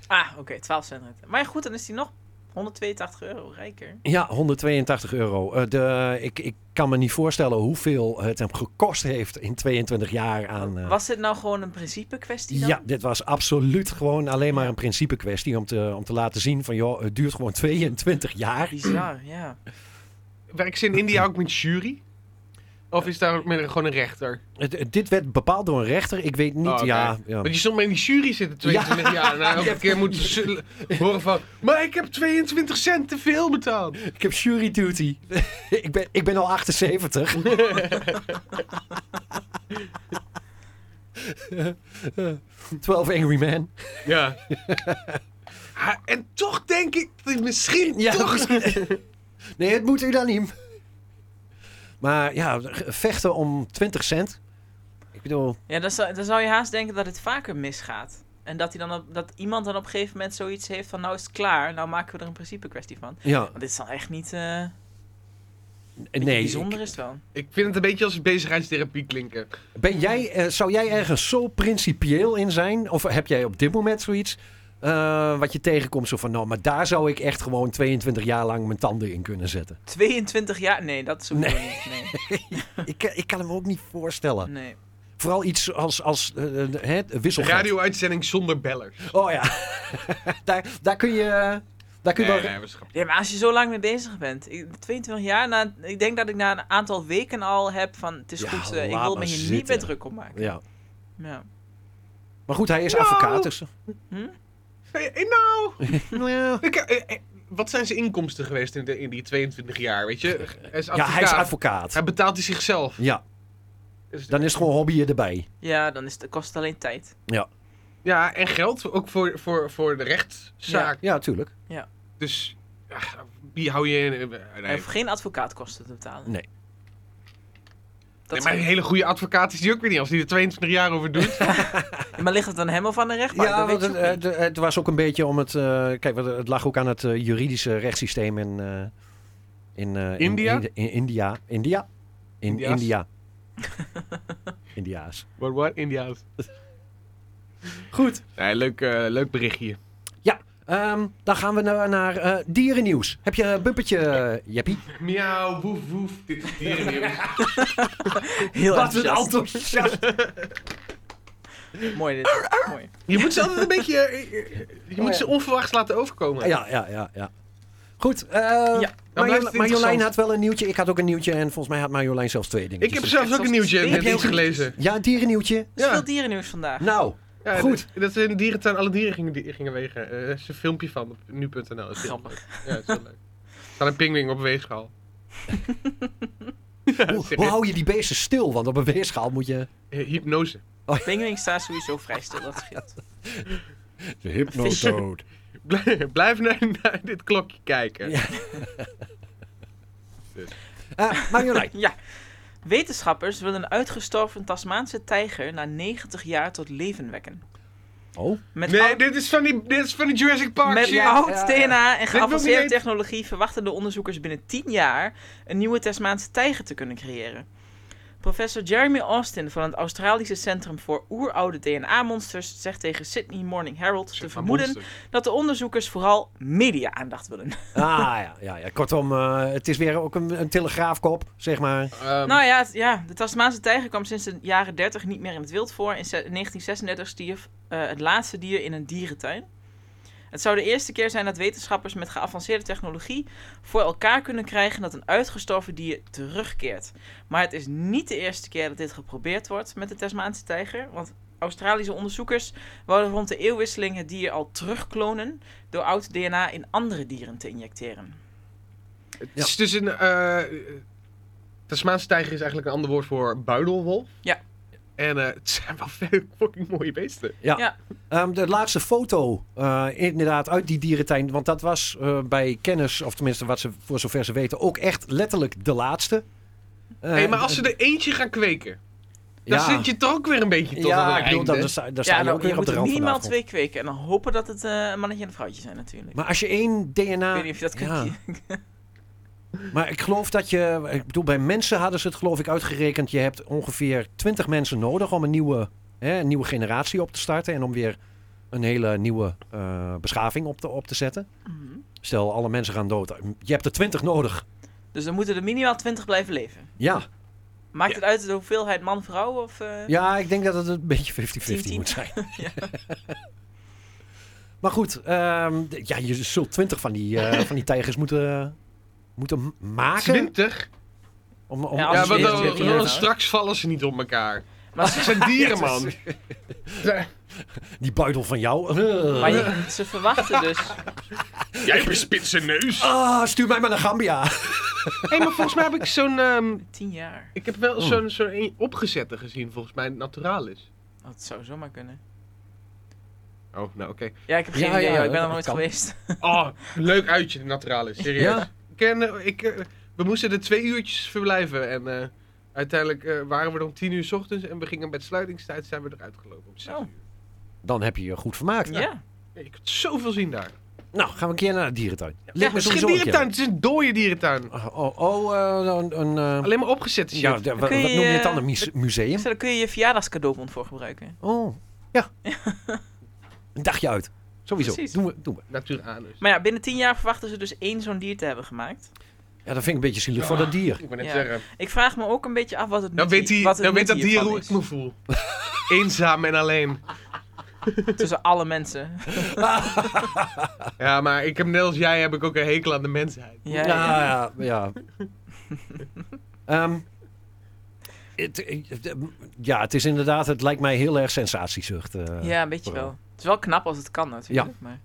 Ah, oké, 12 cent rente. Maar ja, goed, dan is hij nog 182 euro rijker. Ja, 182 euro. Eh, de, ik, ik kan me niet voorstellen hoeveel het hem gekost heeft in 22 jaar aan... eh, Was dit nou gewoon een principe kwestie dan? Ja, dit was absoluut gewoon alleen maar een principe kwestie om te, om te laten zien van joh, het duurt gewoon 22 jaar. Bizar, ja. Werkt ze in India ook met jury? Of is daar ook met een- gewoon een rechter? Het- het- dit werd bepaald door een rechter, ik weet niet. Oh, oké. ja, ja. Want je stond maar in die jury zitten 22 jaar. En elke keer moeten ze zullen- horen van... Maar ik heb 22 cent te veel betaald. Ik heb jury duty. ik, ben, ik ben al 78. Twelve Angry Men. Ja. Ha, Ah, en toch denk ik dat ik misschien Ja, toch... Nee, het moet u dan niet. Maar ja, vechten om 20 cent. Ik bedoel, Ja, dan zou, dan zou je haast denken dat het vaker misgaat. En dat, hij dan op, dat iemand dan op een gegeven moment zoiets heeft van... Nou is het klaar, nou maken we er een principe kwestie van. ja, Want dit zal echt niet... eh nee. bijzonder is het wel. Ik vind het een beetje als bezigheidstherapie klinken. Ben jij, eh, zou jij ergens zo principieel in zijn? Of heb jij op dit moment zoiets eh, wat je tegenkomt? Zo van, nou, maar daar zou ik echt gewoon 22 jaar lang mijn tanden in kunnen zetten. 22 jaar? Nee, dat is ook Nee. niet. Nee. Ik, ik kan hem ook niet voorstellen. nee. Vooral iets als, als eh, eh, hè, wisselgeld. Radio-uitzending zonder bellers. Oh ja, daar, daar kun je... eh, Daar kun je Nee, wel... nee, we schrappen. Ja, maar als je zo lang mee bezig bent. Ik, 22 jaar, na, ik denk dat ik na een aantal weken al heb van... Het is Ja, goed, eh, ik laat wil maar me hier niet zitten. meer druk op maken. Ja. Ja. Maar goed, hij is advocaat. Dus... Hm? Eh, eh, Nou, Nou, ik, eh, eh, wat zijn zijn inkomsten geweest in, de, in die 22 jaar, weet je? Hij is Ja, advocaat. hij is advocaat. Hij betaalt hij zichzelf. Ja, Dus- dan is het gewoon hobby erbij. Ja, dan is het, kost het alleen tijd. Ja, en geld ook voor, voor, voor de rechtszaak. Ja, tuurlijk. Dus ja, wie hou je in? eh, Hij Nee, hoeft geen advocaatkosten te betalen. Nee. Dat Nee, maar een hele goede advocaat is die ook weer niet als hij er 22 jaar over doet. Ja, maar ligt het aan hem of aan de rechtbank? Ja, Dat want weet het, je ook niet. het, het was ook een beetje om het. eh, kijk, want het lag ook aan het eh, juridische rechtssysteem in. eh, in eh, in- India? In, in India. India? In India's? India. India's. What, what? India's. Goed. Nee, leuk, eh, leuk berichtje. Ehm, dan gaan we nou naar eh, dierennieuws. Heb je een bumpertje, eh, Jeppie? Miauw, woef, woef. Dit is dierennieuws. Heel Wat een enthousiast. enthousiast. Mooi dit. Mooi. Je moet ze altijd een beetje... eh, eh, Je moet ze onverwachts laten overkomen. Ah ja, ja, ja, ja. Goed. eh, het Marjolein, Marjolein interessant. had wel een nieuwtje. Ik had ook een nieuwtje. En volgens mij had Marjolein zelfs twee dingen. Ik heb zelfs ook een nieuwtje Heb net jij iets ook- gelezen. Ja, dierennieuwtje. Dus Ja. veel dierennieuws vandaag. Nou, Ja, Goed. Dat, dat zijn dieren alle dieren gingen, die- gingen wegen. Eh, Er is een filmpje van op nu.nl. Is heel Grappig. leuk. Ja, is heel leuk. Er staat een pinguïn op een weegschaal. hoe, hoe hou je die beesten stil? Want op een weerschaal moet je... Eh, hypnose. Penguin staat sowieso vrij stil, dat scheelt. De hypnotoad. Blijf- Blijf naar, naar dit klokje kijken. Ja. Eh, Marjolein. Ja. Wetenschappers willen een uitgestorven Tasmaanse tijger na 90 jaar tot leven wekken. Oh. Met Nee, oud- dit is van die, dit is van die Jurassic Park Met shit. oud Ja, ja. DNA en wil ik geavanceerde niet technologie verwachten de onderzoekers binnen 10 jaar een nieuwe Tasmaanse tijger te kunnen creëren. Professor Jeremy Austin van het Australische Centrum voor Oeroude DNA-monsters zegt tegen Sydney Morning Herald te Maar vermoeden monster. dat de onderzoekers vooral media-aandacht willen. Ah, ja, ja, ja. Kortom, eh, het is weer ook een, een telegraafkop, zeg maar. Ehm, Nou ja, het- ja, de Tasmaanse tijger kwam sinds de jaren 30 niet meer in het wild voor. In se- 1936 stierf eh, het laatste dier in een dierentuin. Het zou de eerste keer zijn dat wetenschappers met geavanceerde technologie voor elkaar kunnen krijgen dat een uitgestorven dier terugkeert. Maar het is niet de eerste keer dat dit geprobeerd wordt met de Tasmaanse tijger. Want Australische onderzoekers wouden rond de eeuwwisseling het dier al terugklonen door oud DNA in andere dieren te injecteren. Het is dus een... eh Tasmaanse tijger is eigenlijk een ander woord voor buidelwolf. Ja. En eh, het zijn wel veel fucking mooie beesten. Ehm, de laatste foto, eh, inderdaad, uit die dierentuin. Want dat was eh, bij kennis, of tenminste wat ze voor zover ze weten, ook echt letterlijk de laatste. Eh, Hé, maar als ze er eentje gaan kweken, dan ja. zit je toch ook weer een beetje tot aan Ja, het ik bedoel, einde. dan, dan, sta- dan sta je nou, ook weer op moet de er rand van de minimaal afgrond. twee kweken en dan hopen dat het eh, een mannetje en een vrouwtje zijn natuurlijk. Maar als je één DNA... ik weet niet of je dat kunt. ja. kiezen. Maar ik geloof dat je... Ik bedoel, bij mensen hadden ze het geloof ik uitgerekend. Je hebt ongeveer 20 mensen nodig om een nieuwe, hè, een nieuwe generatie op te starten. En om weer een hele nieuwe eh, beschaving op te, op te zetten. Mhm. Stel, alle mensen gaan dood. Je hebt er 20 nodig. Dus dan moeten er minimaal 20 blijven leven. Ja, Maakt Ja. het uit de hoeveelheid man-vrouw of... eh, ja ik denk dat het een beetje 50-50 10-10. moet zijn. Maar goed, ehm, d- ja, je zult 20 van die, eh, van die tijgers moeten, moeten maken. 20? Om, om, Ja, om- Ja, Als want je dan, eerst- dan eerst- straks vallen ze niet op elkaar. Maar, Ze ze, zijn dieren, man. die buidel van jou. maar je- ze verwachten dus... Jij hebt een spitse neus. Ah, stuur mij maar naar Gambia. Hé, maar volgens mij heb ik zo'n... ehm, 10 jaar. ik heb wel Oh. zo'n zo'n een opgezette gezien, volgens mij, naturaal is. Dat zou zomaar kunnen. Oh, nou oké. Ja, ik heb Ja, geen idee. ja, hoor. ik ben dat er nooit kan. geweest. Oh, leuk uitje, de naturalis. Serieus. Ja. Ik ken, eh, ik, eh, we moesten er twee uurtjes verblijven. En eh, uiteindelijk eh, waren we er om tien uur 's ochtends. En we gingen met sluitingstijd zijn we eruit gelopen om zes Oh. uur. Dan heb je je goed vermaakt. Ja. Nee, ik heb zoveel zien daar. Nou, gaan we een keer naar de dierentuin. Ja, Lijkt me het is geen sowieso een keer. dierentuin. Het is een dode dierentuin. Oh, oh eh, een... een eh, Alleen maar opgezet shit. ja, de- wa- wat kun noem je, je het dan? eh, Een muse- museum? Dus daar kun je je verjaardagscadeaubon voor gebruiken. Oh, ja. Een dagje uit. Sowieso. Precies. Doen we, doen we. Naturanus. Maar ja, binnen 10 jaar verwachten ze dus één zo'n dier te hebben gemaakt. Ja, dat vind ik een beetje zielig voor dat dier. Ik wou net Ja. zeggen. Ik vraag me ook een beetje af wat het Dan nut- Nou, weet, hij, wat het dan weet nut dat dier hiervan hoe is. ik me voel. Eenzaam en alleen. Tussen alle mensen. Ja, maar ik heb net als jij heb ik ook een hekel aan de mensheid. Ja, ja. ja, ja. ja. Ehm, het, het- ja, het is inderdaad, het lijkt mij heel erg sensatiezucht. eh. Ja, een beetje wel. Het is wel knap als het kan natuurlijk. Maar...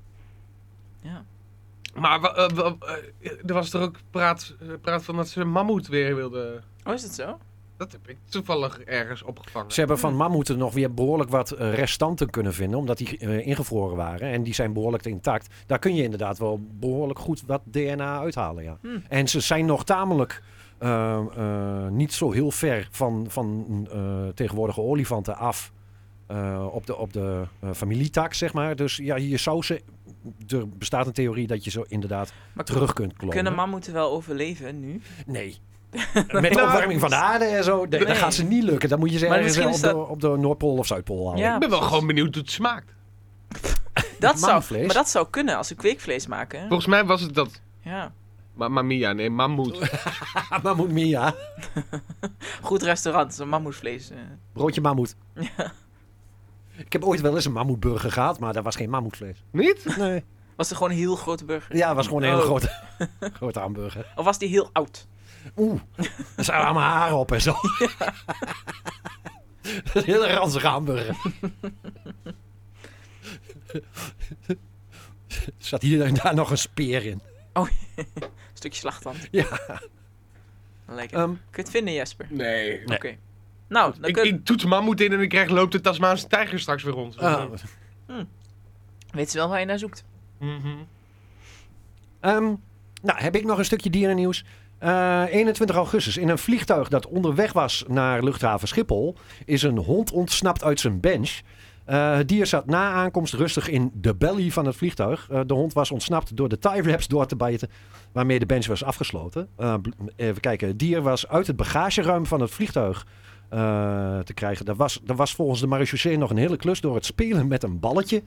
Maar wa- eh, wa- eh, er was er ook praat, eh, praat van dat ze een mammoet weer wilden. Oh, is het zo? Dat heb ik toevallig ergens opgevangen. Ze hebben van mammoeten nog weer behoorlijk wat eh, restanten kunnen vinden, omdat die eh, ingevroren waren. En die zijn behoorlijk intact. Daar kun je inderdaad wel behoorlijk goed wat DNA uithalen, ja. Hmm. En ze zijn nog tamelijk eh, eh, niet zo heel ver van, van eh, tegenwoordige olifanten af. eh, op de, op de eh, familietak, zeg maar. Dus ja, je zou ze... Er bestaat een theorie dat je ze inderdaad Maar terug Nou, kunt klonen. kunnen mammoeten wel overleven nu? Nee. Met de opwarming van de aarde en zo, nee, dat Nou, Nee. gaat ze niet lukken. Dan moet je ze Maar ergens wel misschien op, is de, op de Noordpool of Zuidpool halen. Ja, ik ben wel gewoon benieuwd hoe het smaakt. Dat zou, Mammoetvlees? maar dat zou kunnen als ze kweekvlees maken. hè? Volgens mij was het dat. Ja. Mamma mia, nee, mammoet. Ah, mammoet Mia. Goed restaurant, zo'n mammoetvlees. eh. Broodje mammoet. Ik heb ooit wel eens een mammoetburger gehad, maar dat was geen mammoetvlees. Niet? Nee. Was er gewoon een heel grote burger? Ja, het was gewoon een hele Oh. grote, grote hamburger. Of was die heel oud? Oeh, er zijn allemaal haren op en zo. Dat is een hele ranzige hamburger. Er zat hier en daar nog een speer in. Stukje slachttand. Ja. Lekker. Ehm, Kun je het vinden, Jesper? Nee. Nee. Oké. Nou, dan Ik, kun... ik toets mammoet in en ik krijg loopt de Tasmaanse tijger straks weer rond. eh, weet ze wel waar je naar zoekt. Mhm. Ehm, nou, heb ik nog een stukje dierennieuws. Eh 21 augustus, in een vliegtuig dat onderweg was naar luchthaven Schiphol, is een hond ontsnapt uit zijn bench. Eh, het dier zat na aankomst rustig in de belly van het vliegtuig. Eh, de hond was ontsnapt door de tie wraps door te bijten, waarmee de bench was afgesloten. Eh, bl- even kijken, het dier was uit het bagageruim van het vliegtuig eh, te krijgen. Dat was, dat was volgens de marechaussee nog een hele klus door het spelen met een balletje.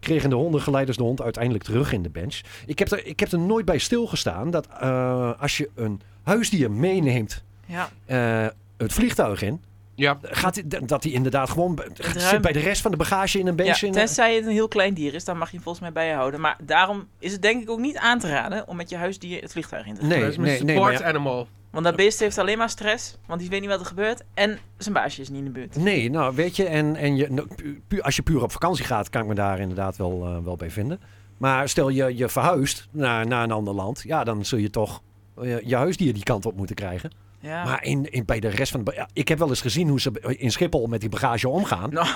Kregen de hondengeleiders de hond uiteindelijk terug in de bench. Ik heb, er, ik heb er nooit bij stilgestaan dat eh, als je een huisdier meeneemt Ja. eh, het vliegtuig in, Ja. gaat die- dat die inderdaad gewoon bij- gaat- ruim. zit bij de rest van de bagage in een ja. bench. in, eh. Tenzij het een heel klein dier is, dan mag je hem volgens mij bij je houden. Maar daarom is het denk ik ook niet aan te raden om met je huisdier het vliegtuig in te gaan. dat is nee, mijn nee, nee, support maar ja, animal. Want dat beest heeft alleen maar stress, want die weet niet wat er gebeurt. En zijn baasje is niet in de buurt. nee, nou weet je, en, en je, nou, pu- pu- als je puur op vakantie gaat, kan ik me daar inderdaad wel, eh, wel bij vinden. Maar stel je, je verhuist naar, naar een ander land, ja, dan zul je toch eh, je huisdier die kant op moeten krijgen. Ja. Maar in, in, bij de rest van de. ba- ja, ik heb wel eens gezien hoe ze in Schiphol met die bagage omgaan. Nou,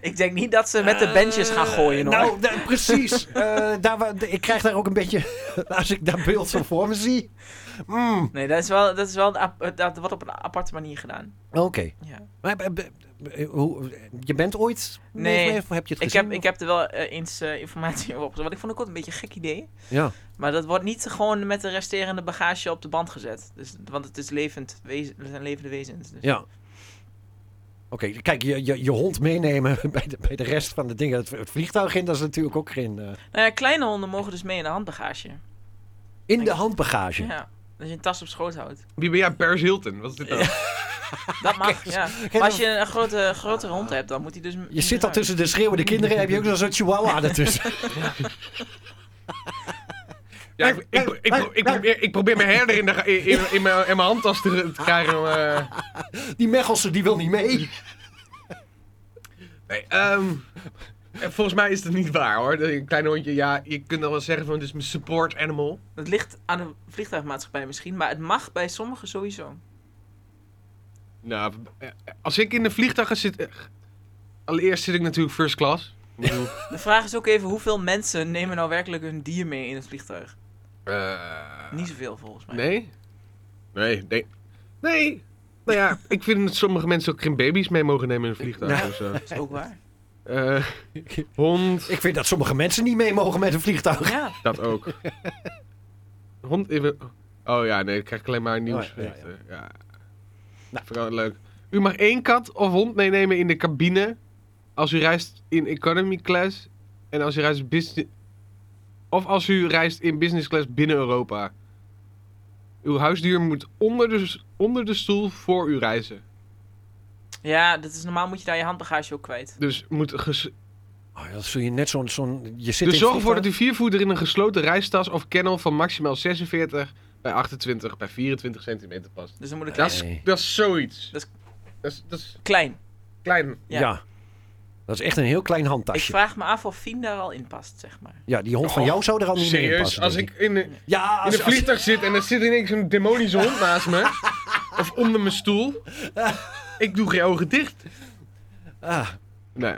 ik denk niet dat ze met de benches gaan gooien hoor. Nou, da- precies. Eh, daar, wa- ik krijg daar ook een beetje. Als ik dat beeld zo voor me zie. Mm, Nee, dat, is wel, dat, is wel een ap- eh, dat wordt op een aparte manier gedaan. Oké. Ja. Maar, eh, eh, eh, hoe- Je bent ooit. Nee. meegeweest Of heb je het Ik, gezien? heb, ik heb er wel eh, eens eh, informatie over opgezocht. Want ik vond het ook een beetje een gek idee. Ja. Maar dat wordt niet gewoon met de resterende bagage op de band gezet. Dus, want het is levend. Wezen, we zijn levende wezens. Dus. ja. Oké, kijk, je, je, je hond meenemen bij de, bij de rest van de dingen. Het, het vliegtuig in, dat is natuurlijk ook geen. eh, Nou ja, kleine honden mogen dus mee in de handbagage. in de handbagage. Ja. Dat je een tas op schoot houdt. Wie ben jij? Paris Hilton. Wat is dit nou? Dat mag, ja. Maar als je een grote, grotere hond hebt, dan moet hij dus... Je zit dan tussen de schreeuwende kinderen. Heb je ook nog zo'n chihuahua ertussen? Ja, ik, ik, ik, ik, ik probeer, ik probeer mijn herder in, de, in, in, in mijn, in mijn handtas te, te krijgen. om, eh, Die Mechelse die wil niet mee. Nee, ehm, eh, volgens mij is dat niet waar hoor. Dat Een klein hondje, ja, je kunt dan wel zeggen van het is mijn support animal. Dat ligt aan de vliegtuigmaatschappij misschien, maar het mag bij sommigen sowieso. Nou, eh, als ik in de vliegtuig ga zitten. eh, Allereerst zit ik natuurlijk first class. Ik bedoel, De vraag is ook even, hoeveel mensen nemen nou werkelijk hun dier mee in het vliegtuig? eh, Niet zoveel volgens mij. nee? Nee, nee. Nee! Nou ja, ik vind dat sommige mensen ook geen baby's mee mogen nemen in een vliegtuig. Nou. Dus, eh, Dat is ook waar. eh, hond, Ik vind dat sommige mensen niet mee mogen met een vliegtuig. Ja, dat ook. Hond, even. Oh ja, nee, ik krijg alleen maar nieuws. Oh, Eh, ja, ja, ja. Nou. Vooral leuk. U mag één kat of hond meenemen in de cabine als u reist in economy class en als u reist business of als u reist in business class binnen Europa. Uw huisdier moet onder de, onder de stoel voor u reizen. ja dat is, normaal moet je daar je handbagage ook kwijt. Dus, moet ges- Oh, dat zul je net zo'n... zo'n je zit dus in het zorg ervoor dat vliegtuig. uw viervoeter in een gesloten reistas of kennel van maximaal 46 bij 28 bij 24 centimeter past. Dus dan moet ik Dat is, Nee. dat is zoiets. Dat is- dat is, dat is klein. klein. Ja. Ja. Dat is echt een heel klein Ik handtasje. vraag me af of Fien daar al in past, zeg maar. Ja, die hond van jou zou er al niet meer in Oh, Serieus, passen. als denk ik in de, Ja, in als, een als- vliegtuig zit en er zit ineens een demonische hond naast me. Of onder mijn stoel. Ik doe geen ogen dicht. Nou ah, Nee.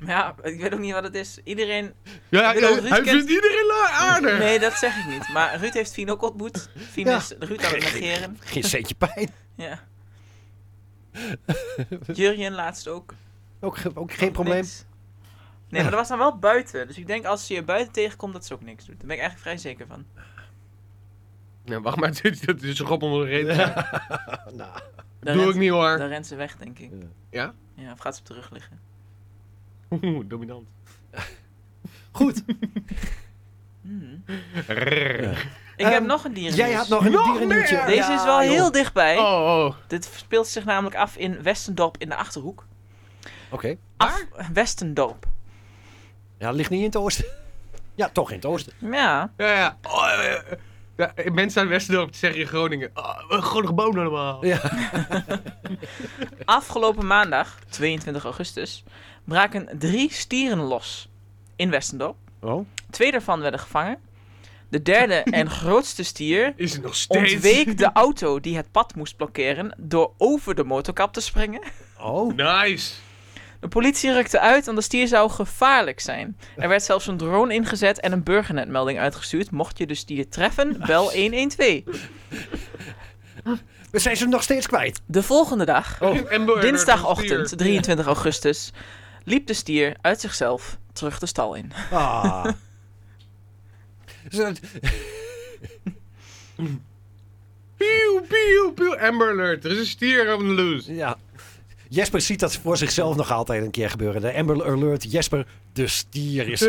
Maar ja, ik weet ook niet wat het is. Iedereen... Ja, Ik bedoel, hij Ruud hij kent- vindt iedereen la- aardig. Nee, dat zeg ik niet. Maar Ruud heeft Fien ook ontmoet. Fien Ja. is Ruud aan het negeren. geen centje pijn. Ja. Jurjen laatst ook. Ook, ge- ook geen probleem. Niks. Nee, maar dat was dan wel buiten. Dus ik denk als ze je buiten tegenkomt dat ze ook niks doet. Daar ben ik eigenlijk vrij zeker van. Ja, Nou, wacht maar, dit, dit is een grap onder de reden. Nou, Daar Doe rent- ik niet hoor. Dan rent ze weg, denk ik. Ja? Ja, of gaat ze op de rug liggen. Oeh, dominant. goed, Hmm. Rrrr. Ja. Ik Ehm, heb nog een dier. jij had nog een Nog dierennieuwtje. meer! Deze Ja, is wel joh. heel dichtbij. Oh, oh. Dit speelt zich namelijk af in Westendorp in de Achterhoek. Oké. Af, Westendorp. Ja, ligt niet in het oosten. Ja, toch in het oosten. Ja. Ja, ja. Oh, eh, eh. ja mensen uit Westendorp zeggen in Groningen. Oh, een groot gebouw normaal. Ja. Afgelopen maandag, 22 augustus, braken drie stieren los in Westendorp. Oh. Twee daarvan werden gevangen. De derde en grootste stier Is het nog steeds? ontweek de auto die het pad moest blokkeren door over de motorkap te springen. Oh. Nice. De politie rukte uit, want de stier zou gevaarlijk zijn. Er werd zelfs een drone ingezet en een burgernetmelding uitgestuurd. Mocht je de stier treffen, bel 112. We zijn ze nog steeds kwijt. De volgende dag, En Burger, Oh, dinsdagochtend een 23 augustus, liep de stier uit zichzelf terug de stal in. Ah. Is het- stier. Pieuw, pieuw, pieuw. Amber Alert. Er is een stier on the loose. ja. Jesper ziet dat voor zichzelf nog altijd een keer gebeuren. De Amber Alert, Jesper, de stier is...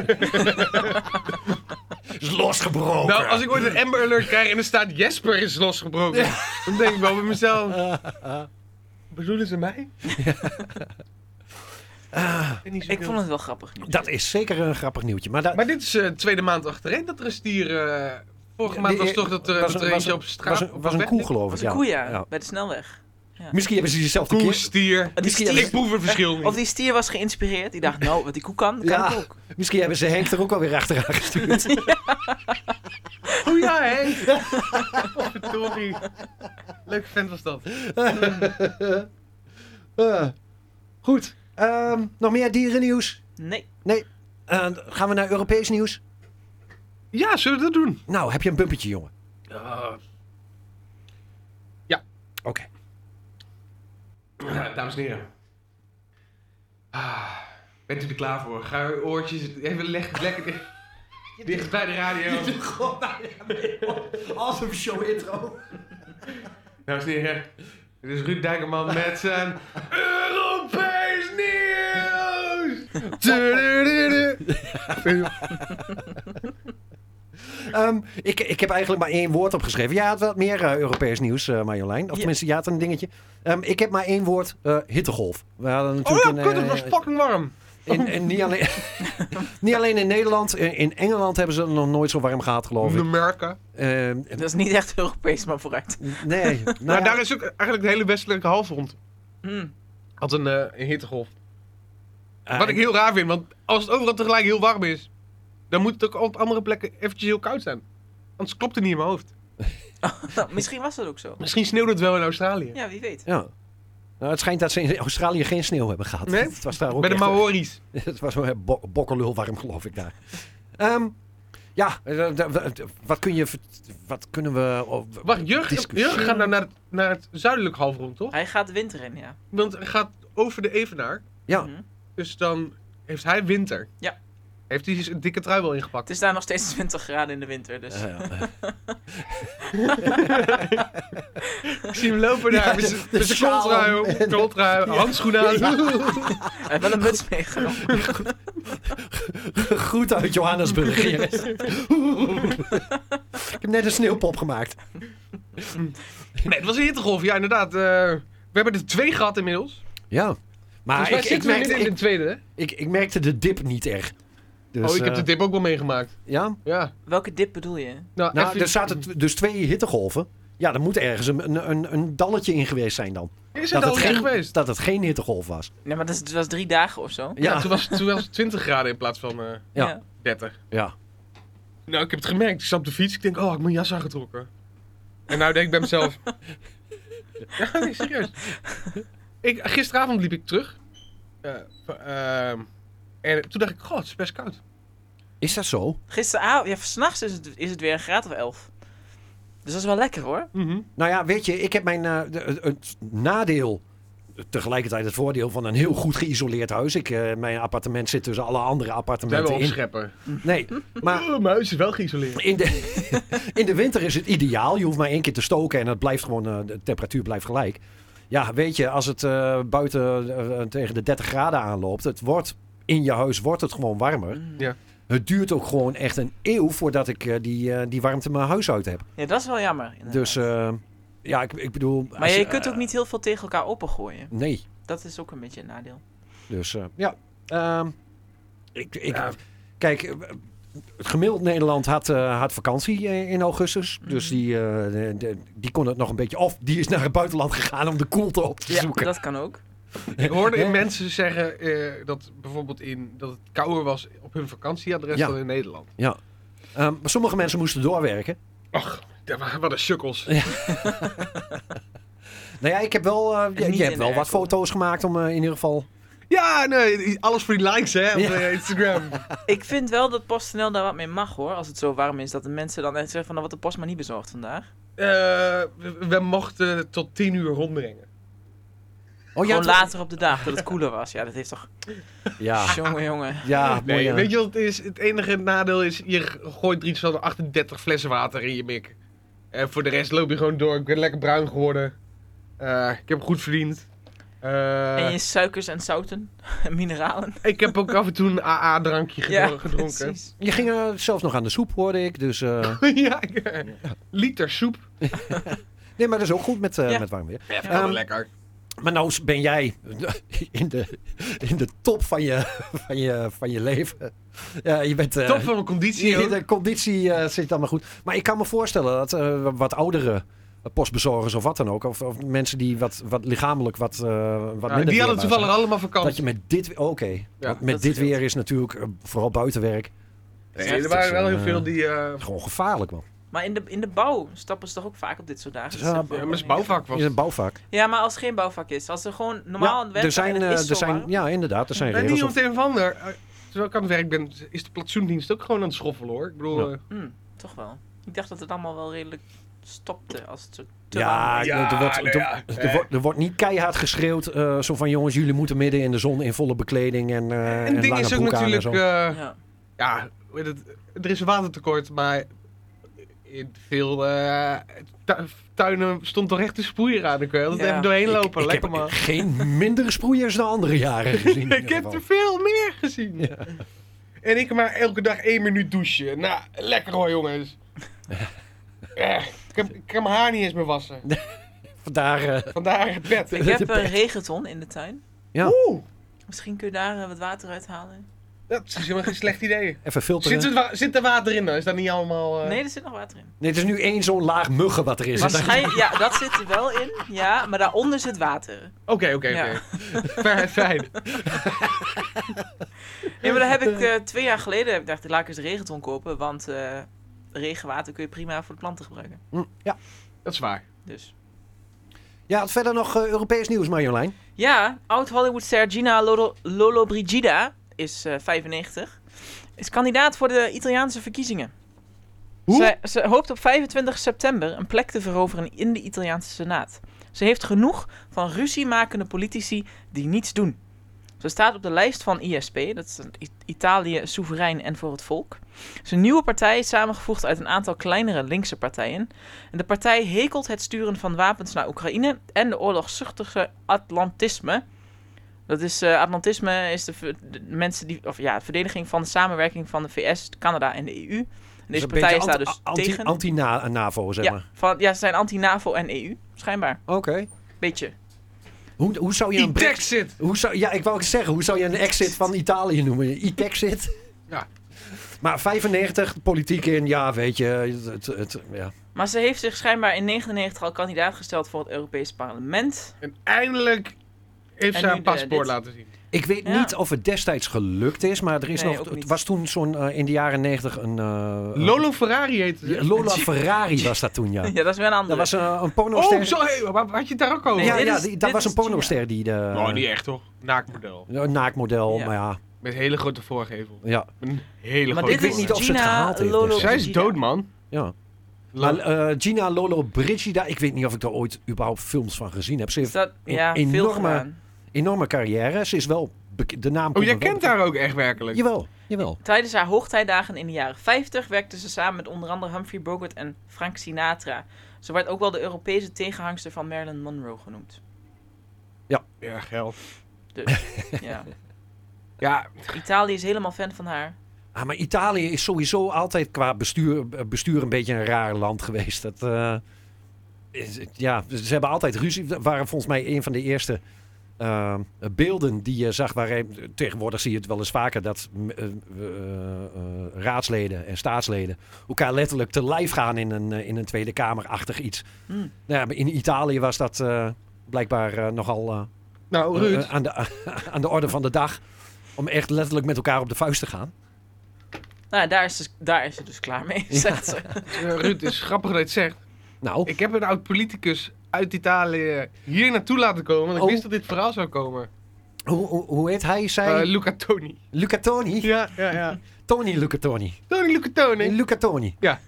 is losgebroken. Nou, als ik ooit een Amber Alert krijg en er staat Jesper is losgebroken, dan denk ik wel bij mezelf. Bedoelen ze mij? Ah. Ik ben niet zo Ik heel- vond het wel grappig. nieuws. Dat is zeker een grappig nieuwtje. Maar, dat Maar dit is de tweede maand achtereen dat er een stier... eh, vorige Ja, maand die- was toch dat er, was dat een- was eh, er eentje een- op was straat... een, op was een weg koe, liep. geloof ik. was een ja. koe, ja, Ja. bij de snelweg. Misschien hebben ze zichzelf de Koe, keer... stier. Die Ik stier, proef het verschil niet. of die stier was geïnspireerd. Die dacht, nou, wat die koe kan, dat kan Ja. ik ook. Misschien hebben ze Henk er ook alweer achteraan gestuurd. Oh ja, hè? Verdorie. Leuk vent was dat. Eh, goed. Ehm, nog meer dierennieuws? Nee. Eh, gaan we naar Europees nieuws? Ja, zullen we dat doen? Nou, heb je een bumpetje, jongen? Eh. Oké. Ja, dames en heren. Ah, bent u er klaar voor? Ga uw oortjes even leg, lekker dicht bij de radio. Awesome show intro. Dames en heren, dit is Ruud Dijkerman met zijn Europees nieuws. Tudududu. Ehm, ik, ik heb eigenlijk maar één woord opgeschreven. Ja, had wat meer eh, Europees nieuws, eh, Marjolein. Of tenminste, ja, had een dingetje. Ehm, ik heb maar één woord. eh, hittegolf. We hadden Oh natuurlijk ja, een, kut, het eh, was fucking warm. in- in- niet, alleen, niet alleen in Nederland. In, in Engeland hebben ze het nog nooit zo warm gehad, geloof De ik. merken. Ehm, Dat is niet echt Europees, maar vooruit. nee. Nou, Maar ja. daar is ook eigenlijk de hele westelijke halfrond. Hmm. Had een, eh, een hittegolf. Ah, Eh, Wat ik heel raar vind, want als het overal tegelijk heel warm is, dan moet het ook op andere plekken eventjes heel koud zijn. Anders klopt het niet in mijn hoofd. Nou, misschien was dat ook zo. Misschien sneeuwde het wel in Australië. Ja, wie weet. Ja. Nou, het schijnt dat ze in Australië geen sneeuw hebben gehad. Nee? Het was daar ook Bij de echt, eh, Maori's. Het was wel bo bokkelul warm, geloof ik daar. Ehm, ja, eh, d- d- d- wat kun je... vert- Wat kunnen we... oh, w- Wacht, Jurgen discussiëren? Jurgen gaat nou naar het, naar het zuidelijk halfrond, toch? Hij gaat de winter in, ja. Want hij gaat over de Evenaar. Ja, Mhm. Dus dan heeft hij winter. Ja. Heeft hij een dikke trui wel ingepakt. Het is daar nog steeds 20 graden in de winter, dus... eh, eh, Ik zie hem lopen Ja, daar de- met zijn- de met zijn sjaal kooltrui, om. op, kooltrui, handschoenen aan. Hij heeft wel een muts meegenomen. groet uit Johannesburg. hier. ik heb net een sneeuwpop gemaakt. Nee, het was een hittegolf. Ja, inderdaad. eh, we hebben er twee gehad inmiddels. Ja. Maar Ah, Volgens ik, mij ik, Dus zitten we merkte, midden in de ik, tweede, hè? ik, ik merkte de dip niet echt. Dus, oh, ik heb eh, de dip ook wel meegemaakt. Ja? Ja. Welke dip bedoel je? Nou, Nou, even- er zaten t- dus twee hittegolven. Ja, er moet ergens een, een, een, een dalletje in geweest zijn dan. Is dat het al het, licht geen, geweest? dat het geen hittegolf was. Nee, maar dat, is, dat was drie dagen of zo. Ja, Ja, toen, was, toen was het 20 graden in plaats van eh Ja. 30. ja. Nou, ik heb het gemerkt. Ik zat op de fiets. Ik denk, oh, ik heb mijn jas aangetrokken. En nou denk ik bij mezelf... ja, nee, serieus. Ik, gisteravond liep ik terug. Eh, van, ehm, en toen dacht ik, god, het is best koud. Is dat zo? Gisteravond, ja, s'nachts is het, is het weer een graad of elf. Dus dat is wel lekker hoor. Mhm. Nou ja, weet je, ik heb mijn. eh, de- het- het nadeel. Tegelijkertijd het voordeel van een heel goed geïsoleerd huis. Ik, eh, mijn appartement zit tussen alle andere Zijn we appartementen in. opscheppen. Nee, maar Oh, mijn huis is wel geïsoleerd. In de, in de winter is het ideaal. Je hoeft maar één keer te stoken en het blijft gewoon, eh, de temperatuur blijft gelijk. Ja, weet je, als het eh, buiten eh, tegen de 30 graden aanloopt, het wordt, in je huis wordt het gewoon warmer. Mm. Ja. Het duurt ook gewoon echt een eeuw voordat ik eh, die, eh, die warmte mijn huis uit heb. Ja, dat is wel jammer. inderdaad. Dus eh, ja, ik, ik bedoel... maar als je, kunt ook niet heel veel tegen elkaar opengooien. eh, nee, Dat is ook een beetje een nadeel. dus eh, ja. Ehm, ik, ik, Ja. Kijk, eh, het gemiddeld Nederland had, eh, had vakantie eh, in augustus. Dus die, eh, de- de- die kon het nog een beetje... Of die is naar het buitenland gegaan om de koelte op te Ja, zoeken. dat kan ook. Ik hoorde Ja. mensen zeggen eh, dat bijvoorbeeld in, dat het kouder was op hun vakantieadres Ja. dan in Nederland. Ehm, maar sommige mensen moesten doorwerken. Ach, daar waren- wat een sukkels. Nou ja, ik heb wel, eh, is je, niet je hebt in wel de wat airco. foto's gemaakt om eh, in ieder geval... Ja, nee, alles voor die likes hè, op Ja. eh, Instagram. Ik vind wel dat PostNL daar wat mee mag hoor. Als het zo warm is dat de mensen dan echt zeggen van... Nou, wat de post maar niet bezorgd vandaag. Eh, we, we mochten tot tien uur rondbrengen. Oh, Gewoon had- later op de dag, dat het koeler was. Ja, dat heeft toch... Ja, Jongen, jongen. ja Nee, mooi, eh. Weet je wat het is? Het enige nadeel is, je gooit er iets van 38 flessen water in je mik. En voor de rest loop je gewoon door. Ik ben lekker bruin geworden. Eh, ik heb goed verdiend. Eh, En je suikers en zouten en mineralen. Ik heb ook af en toe een AA-drankje Ja, gedronken. precies. je ging eh, zelfs nog aan de soep, hoorde ik. Dus, eh, ja, ik- liter soep. nee, maar dat is ook goed met, eh, Ja. met warm weer. Ja, Ehm, lekker. Maar nou ben jij in de, in de top van je, van je, van je leven. Ja, je bent, eh, Top van mijn conditie, Die, hoor. de conditie eh, zit allemaal goed. Maar ik kan me voorstellen dat eh, wat oudere postbezorgers of wat dan ook, of, of mensen die wat, wat lichamelijk wat, eh wat Ja, minder die hadden weerbaar toevallig zijn, allemaal Dat je vakantie. met dit, oké, want met dat dit scheelt. weer is natuurlijk eh, vooral buitenwerk Nee, Ja, er waren wel heel eh, veel die... eh gewoon gevaarlijk man. Maar in de, in de bouw stappen ze toch ook vaak op dit soort dagen? Ja, Dat is toch wel ja, maar het belangrijk. bouwvak was. Is een bouwvak. Ja, maar als er geen bouwvak is. Als er gewoon normaal Ja, een werk er zijn, en het eh, is zo er zijn, warm. ja, inderdaad, er zijn En regels. niet om of- het een of ander. eh, Terwijl ik aan het werk ben, is de platsoendienst ook gewoon aan het schoffelen hoor. Ik bedoel, eh, Hm, toch wel. Ik dacht dat het allemaal wel redelijk stopte als het zo te warm Ja, werd. Ja, er, wordt, nou ja, er, eh. er wordt, er wordt niet keihard geschreeuwd. eh, zo van jongens, jullie moeten midden in de zon in volle bekleding en, eh en, een ding lange is ook broek aan en natuurlijk. zo. eh, Ja. ja, hoe heet het, er is een watertekort, maar in veel eh, tu- tuinen stond toch echt de sproeier aan. Ik wil dat Ja. even doorheen Ik- lopen. ik eh, Lekker heb man. geen minder sproeiers dan andere jaren gezien. in Ik ieder heb geval. er veel meer gezien. En ik maar elke dag één minuut douchen. Nou, lekker hoor jongens. Eh, ik, heb, ik kan mijn haar niet eens meer wassen. Vandaar, eh, Vandaar het bed. Ik heb een regenton in de tuin. Oeh, Misschien kun je daar eh, wat water uithalen. dat is helemaal geen slecht idee. even Zit, filteren. het wa- zit er water in dan? Is dat niet allemaal... eh, Nee, er zit nog water in. Nee, het is nu één zo'n laag muggen wat er is. Waarschijnlijk, ja, dat zit er wel in. Ja, maar daaronder zit water. Oké, oké, Ja. oké. Fijn, Fijn. Nee, maar daar heb ik eh, twee jaar geleden heb ik dacht, laat ik eens de regenton kopen. Want eh, regenwater kun je prima voor de planten gebruiken. Hm, Ja. Dat is waar. Dus. ja, had verder nog eh, Europees nieuws, Marjolein. Ja, oud-Hollywoodster Gina Lolo- Lollobrigida is eh, 95. Is kandidaat voor de Italiaanse verkiezingen. Hoe? Zij- Ze, hoopt op 25 september een plek te veroveren in de Italiaanse Senaat. Ze heeft genoeg van ruziemakende politici die niets doen. Ze staat op de lijst van ISP, dat is een I- Italië soeverein en voor het volk. Zijn nieuwe partij is samengevoegd uit een aantal kleinere linkse partijen. En de partij hekelt het sturen van wapens naar Oekraïne en de oorlogzuchtige Atlantisme. Dat is, eh, Atlantisme is de, ver- de mensen die, of ja, de verdediging van de samenwerking van de VS, Canada en de EU. En Dus deze een beetje partij is daar anti- dus anti- tegen. Anti-NAVO, zeg ja, maar. van, ja, ze zijn anti-NAVO en EU, schijnbaar. Oké. Beetje. Hoe, hoe zou je een... Brexit? E-Brexit! Hoe zou, ja, ik wou ook zeggen, hoe zou je een exit van Italië noemen? E-Texit? Ja. Maar 95, de politiek in, ja, weet je. Het, het, het- ja. Maar ze heeft zich schijnbaar in 99 al kandidaat gesteld voor het Europees Parlement. En eindelijk heeft En ze nu haar de- paspoort dit. laten zien. Ik weet Ja. niet of het destijds gelukt is, maar er is Nee, nog. ook Het niet. was toen zo'n eh, in de jaren 90 een. eh, Lolo Ferrari heette Ja, ze. Lola Ferrari was dat toen, ja. Ja, dat is weer een Dat andere. was een, een pornoster. Oh, zo, hey, wa- wa- had je het daar ook over? Nee, ja, dit ja is- die, dat dit was is een pornoster die de. Nou, niet echt toch? Naakmodel. een naakmodel, Ja. maar ja. Met hele grote voorgevel. ja. Met Een hele Maar grote dit Ik weet is niet voorgevel. of ze het Gina gehaald heeft dus. Lolo. of- Zij is dood, man. ja. La- Maar eh, Gina Lolo Brigida, ik weet niet of ik daar ooit überhaupt films van gezien heb. Ze Is heeft dat, een ja, veel enorme- gedaan. een enorme carrière. Ze is wel. bek- De naam oh, komt jij me wel kent bekend. haar ook echt werkelijk. Jawel, jawel. Tijdens haar hoogtijdagen in de jaren 50 werkte ze samen met onder andere Humphrey Bogart en Frank Sinatra. Ze werd ook wel de Europese tegenhangster van Marilyn Monroe genoemd. Ja, geld. Ja. Ja, Italië is helemaal fan van haar. Ah, maar Italië is sowieso altijd qua bestuur, eh, bestuur een beetje een raar land geweest. Dat, eh, is- ja, ze hebben altijd ruzie. Dat waren volgens mij een van de eerste eh, beelden die je zag. Waarin, tegenwoordig zie je het wel eens vaker dat m- eh, eh, eh, raadsleden en staatsleden elkaar letterlijk te lijf gaan in een, eh, in een Tweede Kamerachtig iets. Hmm. Nou ja, maar in Italië was dat eh, blijkbaar eh, nogal eh, nou eh, Ruud. aan, de, aan de orde van de dag. Om echt letterlijk met elkaar op de vuist te gaan. Nou, ja, daar is, ze, daar is ze dus klaar mee, zegt ze. Eh, Ruud, het is grappig dat je het zegt. Nou, Ik heb een oud politicus uit Italië hier naartoe laten komen. Want ik Oh. wist dat dit verhaal zou komen. Hoe, hoe, hoe heet hij? Zij? Eh, Luca Toni. Luca Toni? Ja, ja, ja. Tony Luca Toni. Toni Luca Toni. Luca Toni. Ja.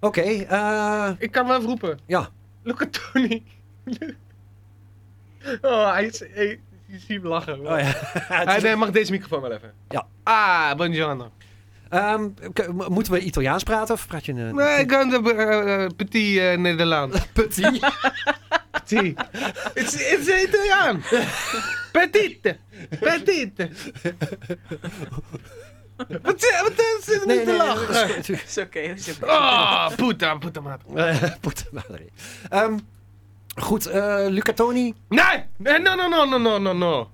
Oké, eh, Ik kan hem even roepen. ja. Luca Toni. oh, hij is... hij- je ziet hem lachen. Oh, ja. Het Hij is- nee, mag deze microfoon wel even. Ja. Ah, buongiorno. Ehm, k- m- moeten we Italiaans praten of praat je een Nee, ik kan de eh, eh, petit eh, Nederland. petit? Petit. Het is- Het is Italiaan. Petite. Petite. Wat is wat is er nee, niet te lachen? dat is- Is oké, is oké. Oh, puta, puta maat. Eh, poet, maar nee. Ehm, goed, eh, Luca Toni. Nee! Nee, no, no, no, no, no, no, no.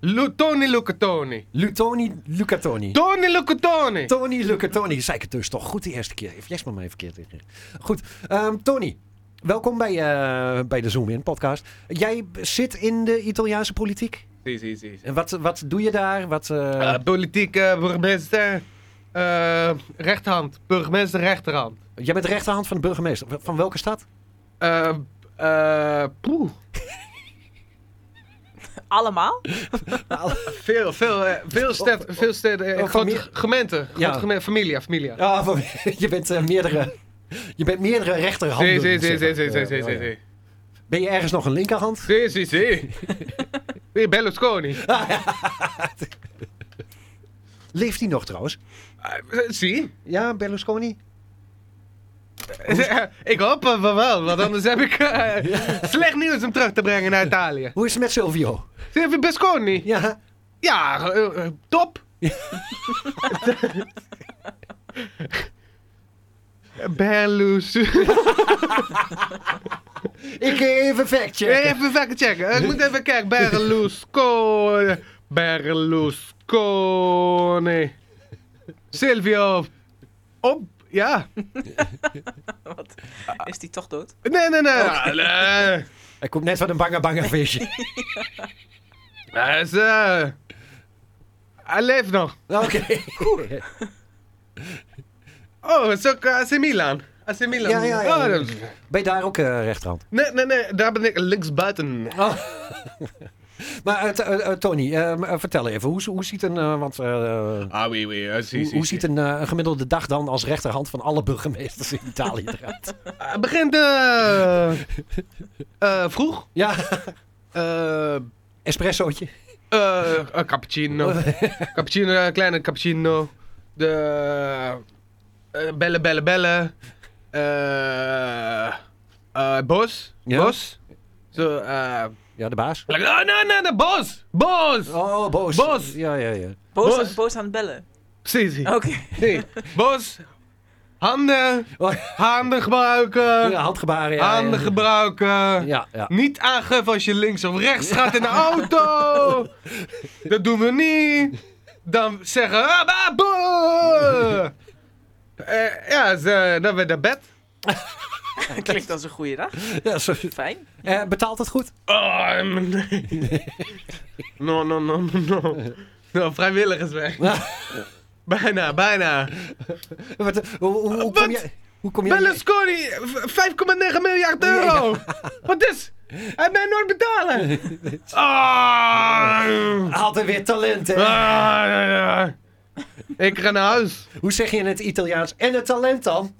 Lu Tony Lucatoni. Lutoni, Luca Toni. Tony Lucatoni. Tony Luca Toni. Zei ik het dus toch goed de eerste keer. Heeft Jesper mij verkeerd ingericht. Goed, ehm, Tony. Welkom bij, eh, bij de Zoom In podcast. Jij b- zit in de Italiaanse politiek? Zie, zie, zie. En wat, wat doe je daar? Wat, eh, Eh, Politiek eh, burgemeester. eh, rechterhand. Burgemeester rechterhand. jij bent rechterhand van de burgemeester. Wa- Van welke stad? Eh, eh, poeh. Allemaal? Veel, veel, eh, veel stad, veel steden, eh, oh, grote familie- g- gemeenten, grote Ja. geme- familia, familia. Ja, van- je, bent, eh, meerdere, je bent meerdere rechterhanden. Zee, zee, zeg zee, maar. zee, zee, zee, zee, Eh, zee, oh ja. zee. Ben je ergens nog een linkerhand? Zee, zee, zee. Weer Berlusconi. Leeft hij nog trouwens? Ah, eh, Zie. Ja, Berlusconi? Eh, eh, Ik hoop eh, van wel, want anders heb ik eh, slecht nieuws om terug te brengen naar Italië. Hoe is het met Silvio? Zie je Berlusconi? Ja, Ja, eh, eh, top. Berlusconi. ik even factchecken. Even vaker checken. Ik moet even kijken. Berlusconi. Berlusconi. Silvio. Op. Ja. Wat? Is die toch dood? Nee, nee, nee. Ah, nee. Hij komt net van een bange bange visje. Hij is, eh, Hij leeft nog. Oké. Oh, het is ook eh, AC Milan. AC Milan. Ja, ja, ja. Oh, dat- Ben je daar ook eh, rechterhand? Oh. nee, nee, nee. Daar ben ik linksbuiten. Maar eh, t- eh, eh, Tony, eh, m- eh, vertel even. Hoe, hoe ziet een... eh, want, eh, Ah, oui, oui. eh, zie, Hoe, zie, hoe zie. ziet een eh, een gemiddelde dag dan als rechterhand van alle burgemeesters in Italië eruit? Ah, Het begint eh, eh, vroeg. Ja, Eh, espressootje. Eh, eh, cappuccino. cappuccino, eh, kleine cappuccino. De. eh, bellen, bellen, bellen. Eh. eh, bos. Ja. Bos. Zo, eh. Ja, de baas. like, oh, nee, nee, nee, bos! Bos! Oh, boos. Boos. Ja, ja, ja. Boos, Boos. boos aan het bellen. Zie, zie. Oh. Oké. Nee, Bos. Handen. Oh, Handen gebruiken. ja, handgebaren. Ja, ja. Handen gebruiken. Ja, ja. Niet aangeven als je links of rechts gaat in de auto. Dat doen we niet. dan zeggen... "Ah, bah, boe!" Eh, ja, ze, dan weer naar bed. Klinkt als een goede dag. Ja, zo- Fijn. Eh, betaalt het goed? Oh, mm, nee. No, no, no, no, no. No, vrijwilligerswerk. bijna, bijna. Wat, eh, hoe, hoe, hoe kom Wat? jij... Hoe kom jij... Berlusconi, v- 5,9 miljard euro. Wat is? Hij mij nooit betalen. Ah, Altijd weer talent, hè? ah, ja, ja. Ik ga naar huis. Hoe zeg je in het Italiaans? En het talent dan?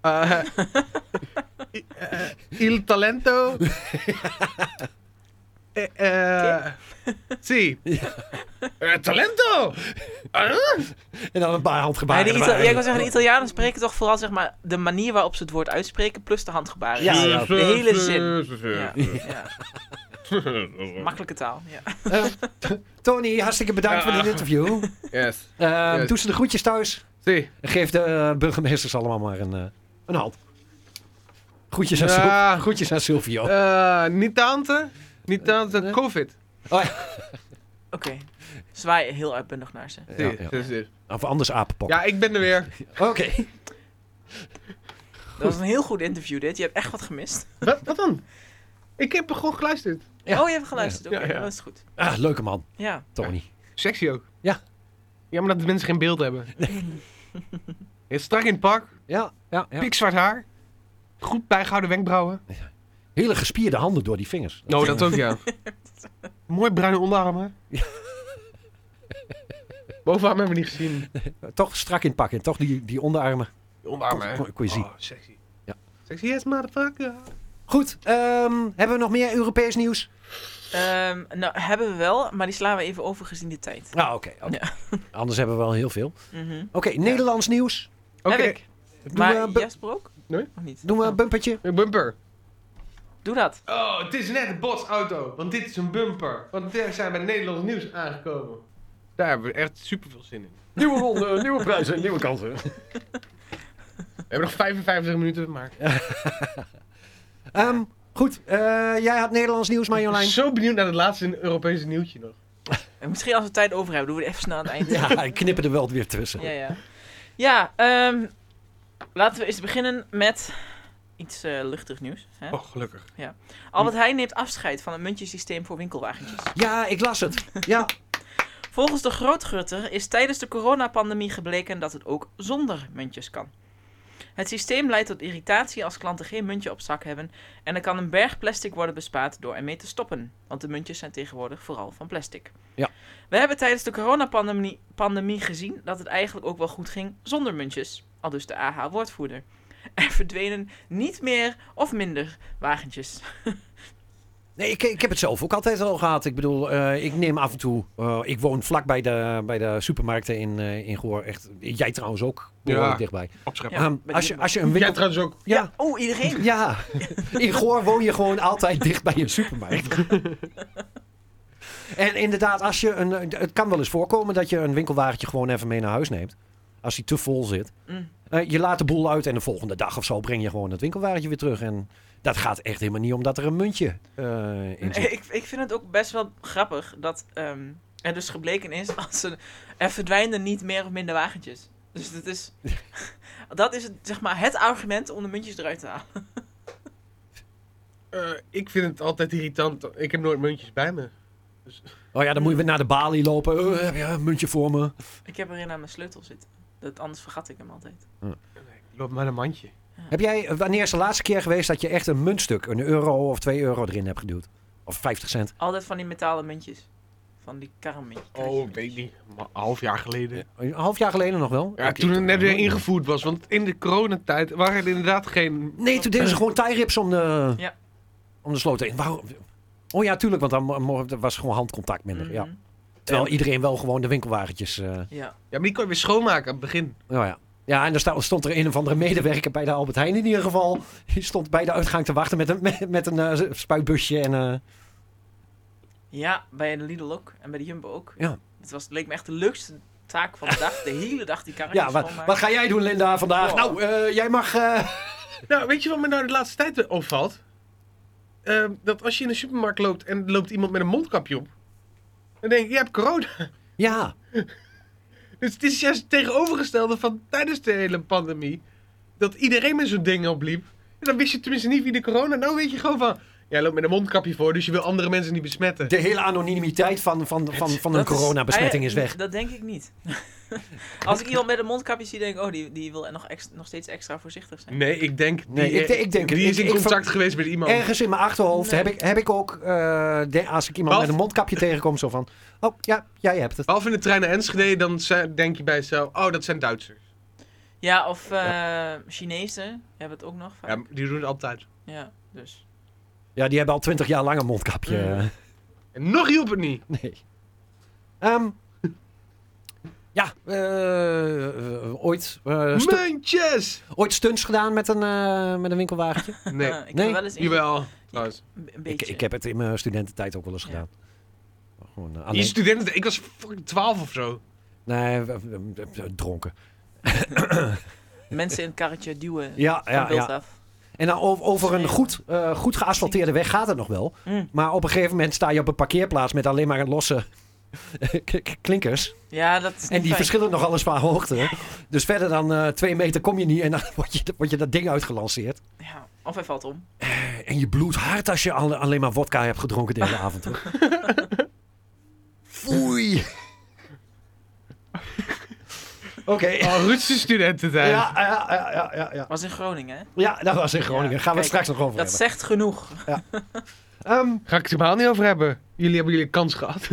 Eh, i- eh, il talento. Eh, eh, Sì. Eh, talento. Ah. En dan een paar Maar handgebaren de Ita- erbij. ja, ik wil zeggen, de Italianen spreken toch vooral zeg maar, de manier waarop ze het woord uitspreken plus de handgebaren. Ja, Dus ja. De hele zin. Ja, Ja. ja. Makkelijke taal. Ja. Eh, Tony, hartstikke bedankt voor dit interview. Yes. Eh, Yes. Doe ze de groetjes thuis. Sì. Geef de eh, burgemeesters allemaal maar een, eh, een hand. Groetjes aan, Sil- Ja. groetjes aan Silvio. Eh, niet tante. Niet tante. Covid. Oh, ja. Oké. Zwaai heel uitbundig naar ze. Sì, Ja, ja. sì, sì. Of anders apenpok. Ja, ik ben er weer. Oké. Dat was een heel goed interview dit. Je hebt echt wat gemist. Wat, wat dan? Ik heb er gewoon geluisterd. Ja. Oh, je hebt geluisterd. Oké, Ja, ja. dat is goed. Ah, leuke man, Ja. Tony. Sexy ook. Ja. Ja, maar dat de mensen geen beeld hebben. Heel strak in het pak. Ja, ja, ja. Pikzwart haar. Goed bijgehouden wenkbrauwen. Hele gespierde handen door die vingers. Nou, dat ook ja. Mooi bruine onderarmen. Bovenarm hebben we niet gezien. eh, Toch strak in het pak en toch die, die onderarmen. Onderarmen, hè? Kon- kon je zien. Oh, sexy. Ja. Sexy as motherfucker. Goed, ehm, hebben we nog meer Europees nieuws? Ehm, nou, hebben we wel, maar die slaan we even over gezien de tijd. Ah, oké. oké. Anders hebben we wel heel veel. Mhm. Oké, Nederlands nieuws. Oké. Heb ik. Doen we, Maar een bu- Jasper ook? Nee. Of niet? doen we een Oh. bumpertje? Een bumper. Doe dat. Oh, het is net een botsauto, want dit is een bumper. Want daar zijn bij Nederlands nieuws aangekomen. Daar hebben we echt super veel zin in. Nieuwe ronde, nieuwe prijzen, nieuwe kansen. We hebben nog 55 minuten, maar ik goed, eh, jij had Nederlands nieuws, ben Marjolein. zo benieuwd naar het laatste Europese nieuwtje nog. En misschien als we tijd over hebben, doen we het even snel aan het eind. Ja, ik knip er wel weer tussen. Ja, ja. Ja, ehm, laten we eens beginnen met iets eh, luchtig nieuws. Hè? Oh, gelukkig. Albert Heijn neemt afscheid van het muntjesysteem voor winkelwagentjes. Ja, ik las het. Ja, Volgens de grootgutter is tijdens de coronapandemie gebleken dat het ook zonder muntjes kan. Het systeem leidt tot irritatie als klanten geen muntje op zak hebben en er kan een berg plastic worden bespaard door ermee te stoppen, want de muntjes zijn tegenwoordig vooral van plastic. Ja. We hebben tijdens de coronapandemie pandemie gezien dat het eigenlijk ook wel goed ging zonder muntjes, al dus de AH-woordvoerder. Er verdwenen niet meer of minder wagentjes. nee, ik, ik heb het zelf ook altijd al gehad. Ik bedoel, eh, ik neem af en toe... eh, ik woon vlak bij de, bij de supermarkten in, eh in Goor. Echt, jij trouwens ook, behoorlijk Ja. dichtbij. Opscheppen. Ja, Ehm, bij als, je, Lidl. als je een Jij winkel... trouwens ook. Ja, Oh, iedereen! ja. In Goor woon je gewoon altijd dicht bij een supermarkt. en inderdaad, als je een, het kan wel eens voorkomen dat je een winkelwagentje gewoon even mee naar huis neemt. Als hij te vol zit. Mm. Eh, je laat de boel uit en de volgende dag of zo breng je gewoon het winkelwagentje weer terug. En dat gaat echt helemaal niet omdat er een muntje eh, in zit. Nee, ik, ik vind het ook best wel grappig dat ehm, er dus gebleken is als er, er verdwijnen niet meer of minder wagentjes. Dus dat is, dat is het, zeg maar het argument om de muntjes eruit te halen. Eh, ik vind het altijd irritant. Ik heb nooit muntjes bij me. Oh ja, dan moet je weer naar de balie lopen. Eh, heb je een muntje voor me? Ik heb erin aan mijn sleutel zitten. Dat, anders vergat ik hem altijd. Ik loop maar een mandje. Heb jij, eh, wanneer is de laatste keer geweest dat je echt een muntstuk, een euro of twee euro erin hebt geduwd? Of 50 cent? Altijd van die metalen muntjes. Van die karrenmuntjes. Oh, weet niet. Maar een half jaar geleden. Een half jaar geleden nog wel? Ja, Ik- toen ik- het net weer ingevoerd was. Want in de coronatijd waren er inderdaad geen... Nee, toen deden ze gewoon tie-rips om de, Ja. om de sloot heen. Waarom? Oh ja, tuurlijk, want dan mo- mo- er was gewoon handcontact minder. ja. Mhm. Terwijl iedereen wel gewoon de winkelwagentjes... eh, Ja. Ja, maar die kon je weer schoonmaken aan het begin. Nou ja. Ja, en dan sta- stond er een of andere medewerker bij de Albert Heijn in ieder geval. Die stond bij de uitgang te wachten met een, met, met een eh, spuitbusje. En, Oh, eh, ja, bij de Lidl ook. En bij de Jumbo ook. Ja. Het was, leek me echt de leukste taak van de dag. De hele dag die karretjes ja, wat, schoonmaken. wat ga jij doen, Linda, vandaag? Wow. Nou, eh, jij mag... eh, Nou, weet je wat me nou de laatste tijd opvalt? Ehm, dat als je in de supermarkt loopt en er loopt iemand met een mondkapje op... Dan denk ik, je hebt corona. Ja, Dus het is juist het tegenovergestelde van tijdens de hele pandemie. Dat iedereen met zo'n ding opliep. En dan wist je tenminste niet wie de corona. Nou weet je gewoon van. Jij loopt met een mondkapje voor, dus je wil andere mensen niet besmetten. de hele anonimiteit van, van, van, van een Dat is- coronabesmetting is Ah, ja, weg. Dat denk ik niet. Als ik iemand met een mondkapje zie, denk ik, oh, die, die wil er nog, ex- nog steeds extra voorzichtig zijn. Nee, ik denk. Nee, die, ik de- ik denk Die het. is Ik- in ik ver- contact geweest met iemand. Ergens in mijn achterhoofd heb, ik, heb ik ook, eh, de- als ik iemand Wat? met een mondkapje tegenkom, zo van, oh ja, jij hebt het. Behalve in de trein naar Enschede, dan ze- denk je bij jezelf: oh, dat zijn Duitsers. Ja, of eh, Chinezen hebben het ook nog. Vaak. Ja, Ja. maar die doen het altijd. dus. Ja, die hebben al twintig jaar lang een mondkapje. Mm. En nog hielp het niet. Nee. Mm. Ehm, ja, eh, eh, ooit, eh, stu- Muntjes! ooit stunts gedaan met een, eh, met een winkelwagentje. Nee, Ah, ik nee. heb wel eens inge- jawel. Trouwens. een ik, beetje. ik heb het in mijn studententijd ook wel eens Ja. gedaan. Gewoon, eh, Je alleen, studenten, ik was fucking 12 of zo. nee, w- w- w- dronken. Mensen in het karretje duwen. Ja, van ja, beeld ja. af. En dan o- over een goed, eh, goed geasfalteerde weg gaat het nog wel. Mm. Maar op een gegeven moment sta je op een parkeerplaats met alleen maar losse k- k- klinkers. Ja, dat is En die verschillen nog alles qua hoogte. Dus verder dan eh, twee meter kom je niet en dan word je, word je dat ding uitgelanceerd. Ja, of hij valt om. En je bloedt hard als je alle- alleen maar wodka hebt gedronken de hele avond. hoor. Foei. Oké. Oh, Ruudse studententijd. Ja, ja, ja, ja, ja, ja. Was in Groningen, hè? Ja, dat was in Groningen. Ja, Gaan we het kijk, straks nog over Dat zegt genoeg. hebben. Ehm, Ga ik het helemaal niet over hebben. Jullie hebben jullie kans gehad.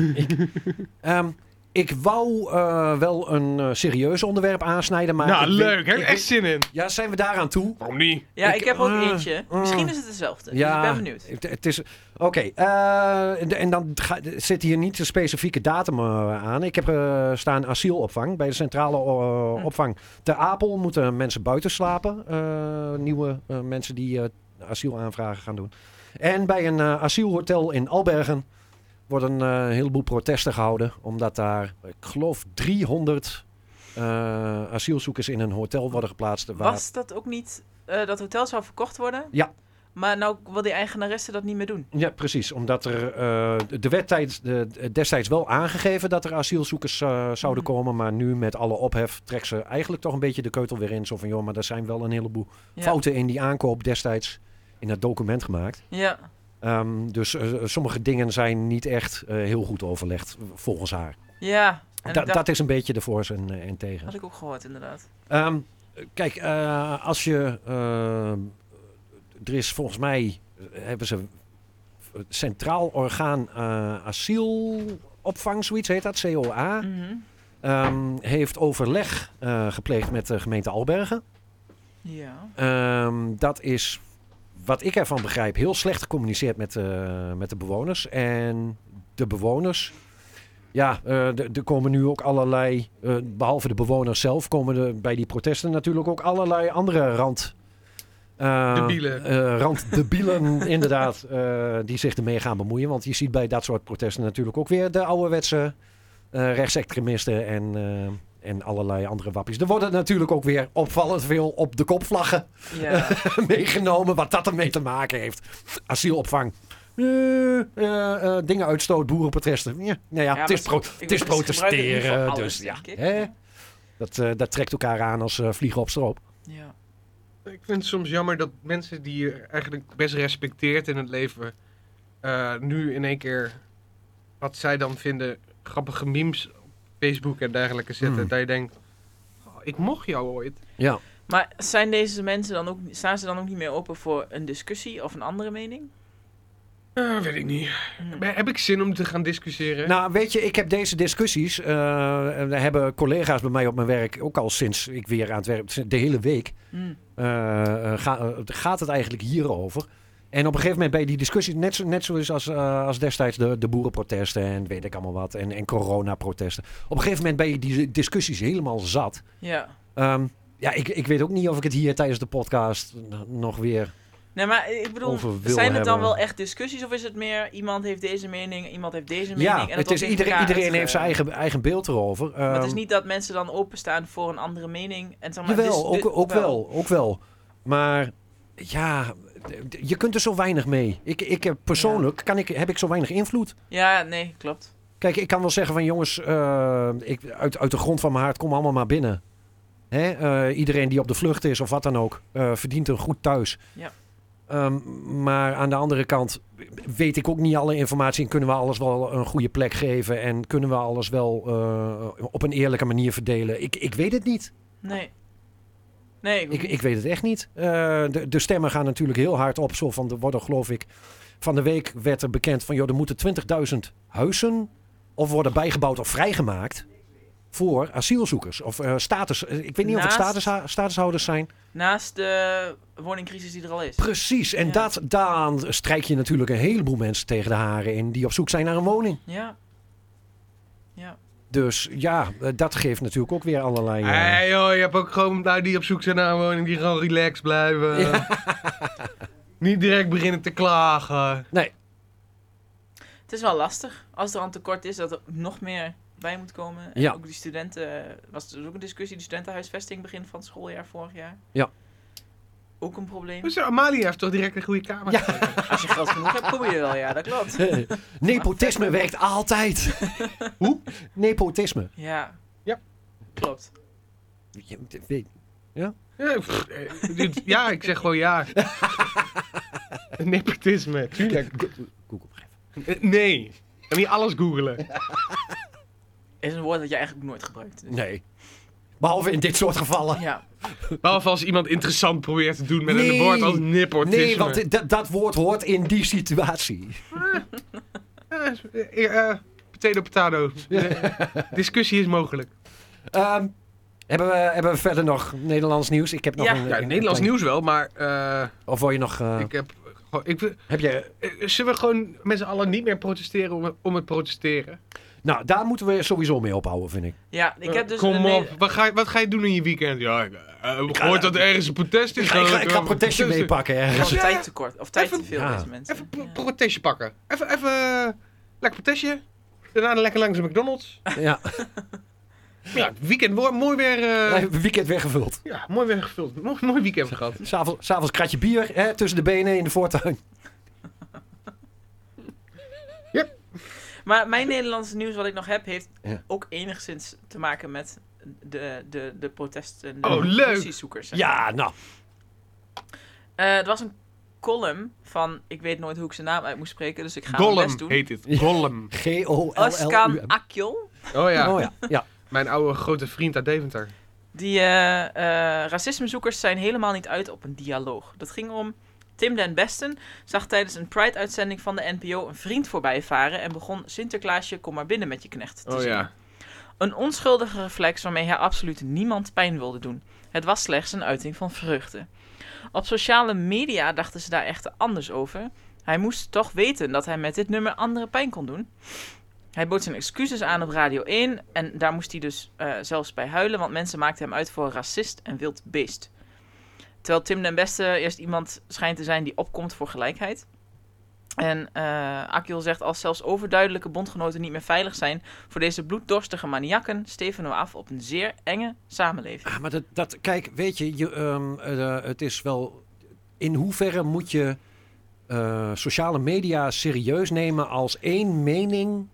Ehm, ik wou eh, wel een eh, serieus onderwerp aansnijden, maar... nou, ik weet- leuk. Heb ik ik weet- echt zin in. Ja, zijn we daaraan toe? Waarom niet? Ja, Ik- ik, heb ook ah, eentje. ah. Misschien is het dezelfde. Dus Ja, ik ben benieuwd. Het, het is... Oké, eh, en- en dan ga- zit hier niet een specifieke datum eh, aan. Ik heb eh, staan asielopvang. Bij de centrale eh, Hm. opvang ter Apel moeten mensen buiten slapen. eh, nieuwe eh, mensen die eh, asielaanvragen gaan doen. En bij een eh, asielhotel in Albergen worden eh, een heleboel protesten gehouden. Omdat daar, ik geloof, 300 eh, asielzoekers in een hotel worden geplaatst. Waar... Was dat ook niet eh, dat hotel zou verkocht worden? Ja. Maar nou wil die eigenaresse dat niet meer doen. Ja, precies. Omdat er, eh, de wet tijd- de- destijds wel aangegeven dat er asielzoekers eh, zouden Mhm. komen. Maar nu met alle ophef trekt ze eigenlijk toch een beetje de keutel weer in. Zo van, joh, maar er zijn wel een heleboel Ja. fouten in die aankoop destijds in dat document gemaakt. Ja. Ehm, dus eh, sommige dingen zijn niet echt eh, heel goed overlegd, volgens haar. Ja. En Da- ik dacht, Dat is een beetje de voor's en, eh, en had tegens. ik ook gehoord, inderdaad. Ehm, kijk, eh, als je. ehm, er is volgens mij. eh, hebben ze. het Centraal Orgaan eh, Asielopvang, zoiets heet dat, COA. Mhm. ehm, heeft overleg eh, gepleegd met de gemeente Albergen. Ja. Ehm, dat is, wat ik ervan begrijp, heel slecht gecommuniceerd met, eh, met de bewoners. En de bewoners. Ja, eh, d- er komen nu ook allerlei, eh, behalve de bewoners zelf, komen er bij die protesten natuurlijk ook allerlei andere rand. eh, Debielen. eh, randdebielen, inderdaad, eh, die zich ermee gaan bemoeien. Want je ziet bij dat soort protesten natuurlijk ook weer de ouderwetse eh rechtsextremisten en, eh, en allerlei andere wappies. Er worden natuurlijk ook weer opvallend veel op de kopvlaggen Ja. meegenomen wat dat ermee te maken heeft. Asielopvang. Eh, eh, eh, dingen uitstoot, boerenprotesten. Ja, nou ja, Ja, het maar is, pro- ze- ik het is bedoel, ze gebruiken in ieder protesteren. geval dus alles, ja, denk ik. hè? Dat, eh, dat trekt elkaar aan als eh, vliegen op stroop. Ja. Ik vind het soms jammer dat mensen die je eigenlijk best respecteert in het leven. eh, nu in één keer wat zij dan vinden grappige memes op Facebook en dergelijke zetten. Mm. Dat je denkt: oh, ik mocht jou ooit. Ja. Maar zijn deze mensen dan ook, staan ze dan ook niet meer open voor een discussie of een andere mening? Eh, weet ik niet. Hmm. Hm. Maar Heb ik zin om te gaan discussiëren? Nou, weet je, ik heb deze discussies. eh, en daar hebben collega's bij mij op mijn werk ook al sinds ik weer aan het werk de hele week. Hm. eh, eh, ga- eh, gaat het eigenlijk hierover? En op een gegeven moment bij die discussies, net, zo, net zoals als, eh, als destijds de, de boerenprotesten en weet ik allemaal wat, en, en coronaprotesten. Op een gegeven moment ben je die discussies helemaal zat. Ja. Ehm, ja, ik, ik weet ook niet of ik het hier tijdens de podcast n- nog weer. Nee, maar ik bedoel, Over wil zijn het dan hebben. wel echt discussies of is het meer iemand heeft deze mening, iemand heeft deze mening? Ja, en het wordt is, tegen iedereen, elkaar iedereen heeft uitge- zijn eigen, eigen beeld erover. Maar het is Ehm, niet dat mensen dan openstaan voor een andere mening. En zeg maar, Jawel, dus- dus- ook, ook wel. ook wel. Maar ja, d- d- je kunt er zo weinig mee. Ik, ik heb, persoonlijk kan ik, heb ik zo weinig invloed. Ja, nee, klopt. Kijk, ik kan wel zeggen van jongens, eh, ik, uit, uit de grond van mijn hart, kom allemaal maar binnen. Hè? eh, iedereen die op de vlucht is of wat dan ook, eh, verdient een goed thuis. Ja. Ehm, maar aan de andere kant weet ik ook niet alle informatie en kunnen we alles wel een goede plek geven en kunnen we alles wel eh, op een eerlijke manier verdelen. Ik, ik weet het niet. Nee. Nee, Ik, ik weet het echt niet. Eh, de, de stemmen gaan natuurlijk heel hard op. Zo van, er worden geloof ik... Van de week werd er bekend van... Joh, er moeten 20.000 huizen of worden bijgebouwd of vrijgemaakt... voor asielzoekers of eh, status... eh, Ik weet niet of het Naast- status, statushouders zijn. naast de woningcrisis die er al is. Precies. En Ja. dat, daaraan strijk je natuurlijk een heleboel mensen tegen de haren in... die op zoek zijn naar een woning. Ja. Ja. Dus ja, eh, dat geeft natuurlijk ook weer allerlei... eh, Hey, joh, je hebt ook gewoon daar die op zoek zijn naar een woning die gewoon relaxed blijven. Niet direct beginnen te klagen. Nee, Het is wel lastig als er een tekort is dat er nog meer bij moet komen. En Ja. ook die studenten, eh, was er dus ook een discussie, die studentenhuisvesting begin van het schooljaar vorig jaar. Ja. Ook een probleem. Dus Amalia heeft toch direct een goede kamer Ja. gekregen? Als je geld genoeg hebt, kom je er wel, ja, dat klopt. nepotisme werkt altijd. Hoe? Nepotisme. Ja. Ja. Klopt. Je moet- ik weet- Ja, pff, eh, dit- ja, ik zeg gewoon ja. Nepotisme, tuurlijk. Google. Eh, Nee, ik kan niet alles googelen. Is een woord dat je eigenlijk nooit gebruikt. dus- Nee. Behalve in dit soort gevallen. Ja. Behalve als iemand interessant probeert te doen met een Nee. woord als nepotisme. Nee, want dit- dat- dat woord hoort in die situatie. Eh, eh, potato, potato. Eh, Discussie is mogelijk. Ehm, hebben, we, hebben we verder nog Nederlands nieuws? Ik heb nog Ja. een, Ja, een- Nederlands een- nieuws wel, maar eh, Of wil je nog... eh, ik heb... gewoon- Ik, wil- heb je, eh, zullen we gewoon met z'n allen niet meer protesteren om, om het protesteren? nou, daar moeten we sowieso mee ophouden, vind ik. Ja, ik heb dus... een Kom ne- op, wat ga, je- wat ga je doen in je weekend? Ja, ik eh, ik hoor dat er ergens een protest is. Ik ga, ik ga, ik ga Eh, een protestje protesten. meepakken Gewoon ergens. Ja. tijdtekort. Of tijd te Even- veel Ja. deze mensen. Even pro- Ja. protestje pakken. Even, even eh, lekker protestje. Daarna lekker langs de McDonald's. Ja. Ja, het weekend wo- mooi weer, eh, Weekend weggevuld. ja, mooi weer gevuld. Mooi, mooi weekend gehad. S'avonds, s'avonds kratje bier hè, tussen de benen in de voortuin. Maar mijn Nederlandse nieuws wat ik nog heb, heeft Ja. ook enigszins te maken met de, de, de protesten. Oh, de leuk. Revolutiezoekers, zeg maar. Ja, nou. Eh, er was een column van, ik weet nooit hoe ik zijn naam uit moest spreken, dus ik ga mijn best Gollum doen. heet dit. Gollum. Özkan G-O-L-L-U-M. Akjol, Oh ja, Oh ja, ja. mijn oude grote vriend uit Deventer. die eh, eh, racismezoekers zijn helemaal niet uit op een dialoog. Dat ging om Tim den Besten zag tijdens een Pride-uitzending van de NPO een vriend voorbij varen en begon Sinterklaasje, kom maar binnen met je knecht Oh Oh te zingen. Een onschuldige reflex waarmee hij absoluut niemand pijn wilde doen. Het was slechts een uiting van vreugde. Op sociale media dachten ze daar echter anders over. Hij moest toch weten dat hij met dit nummer andere pijn kon doen. Hij bood zijn excuses aan op Radio 1 en daar moest hij dus eh, zelfs bij huilen, want mensen maakten hem uit voor een racist en wild beest. Terwijl Tim den Beste eerst iemand schijnt te zijn die opkomt voor gelijkheid. En eh Akil zegt, als zelfs overduidelijke bondgenoten niet meer veilig zijn, voor deze bloeddorstige maniakken stevenen we af op een zeer enge samenleving. Ah, maar dat, dat, kijk, weet je, je ehm, eh, het is wel. In hoeverre moet je eh, sociale media serieus nemen als één mening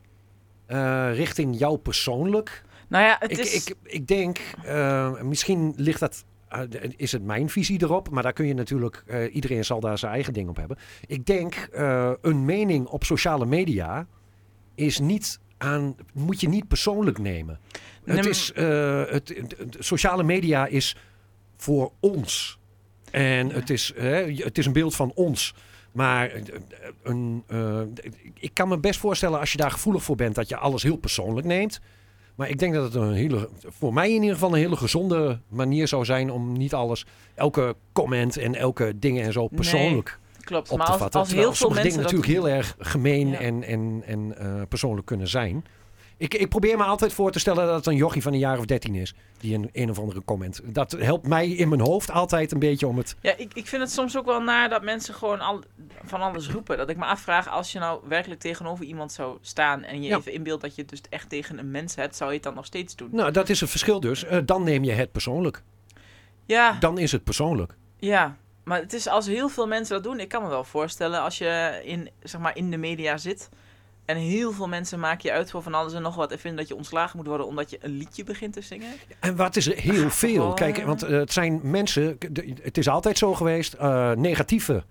eh, richting jou persoonlijk? Nou ja, het Ik, is... ik, ik denk, eh, misschien ligt dat. eh, is het mijn visie erop? Maar daar kun je natuurlijk. eh, iedereen zal daar zijn eigen ding op hebben. Ik denk, eh, een mening op sociale media is niet aan. Moet je niet persoonlijk nemen. Nee, Het maar- is, eh, het, het- het- sociale media is voor ons. En het, is, hè, je- het is een beeld van ons. Maar eh, een, eh, ik kan me best voorstellen als je daar gevoelig voor bent dat je alles heel persoonlijk neemt. Maar ik denk dat het een hele, voor mij in ieder geval een hele gezonde manier zou zijn om niet alles, elke comment en elke dingen en zo persoonlijk Klopt, op maar te als, vatten. als Terwijl heel veel sommige mensen dingen dat... natuurlijk heel erg gemeen Ja. en, en, en eh, persoonlijk kunnen zijn. Ik, ik probeer me altijd voor te stellen dat het een jochie van een jaar of dertien is. Die een, een of andere comment. Dat helpt mij in mijn hoofd altijd een beetje om het... Ja, ik, ik vind het soms ook wel naar dat mensen gewoon al, van alles roepen. Dat ik me afvraag, als je nou werkelijk tegenover iemand zou staan... en je Ja. even inbeeldt dat je het dus echt tegen een mens hebt... zou je het dan nog steeds doen? Nou, dat is het verschil dus. Eh, dan neem je het persoonlijk. Ja, Dan is het persoonlijk. ja. Maar het is als heel veel mensen dat doen... Ik kan me wel voorstellen, als je in, zeg maar, in de media zit... En heel veel mensen maken je uit voor van alles en nog wat en vinden dat je ontslagen moet worden omdat je een liedje begint te zingen. En wat is er heel veel? gewoon, Kijk, eh, want eh, het zijn mensen, k- de- het is altijd zo geweest, eh, negatieve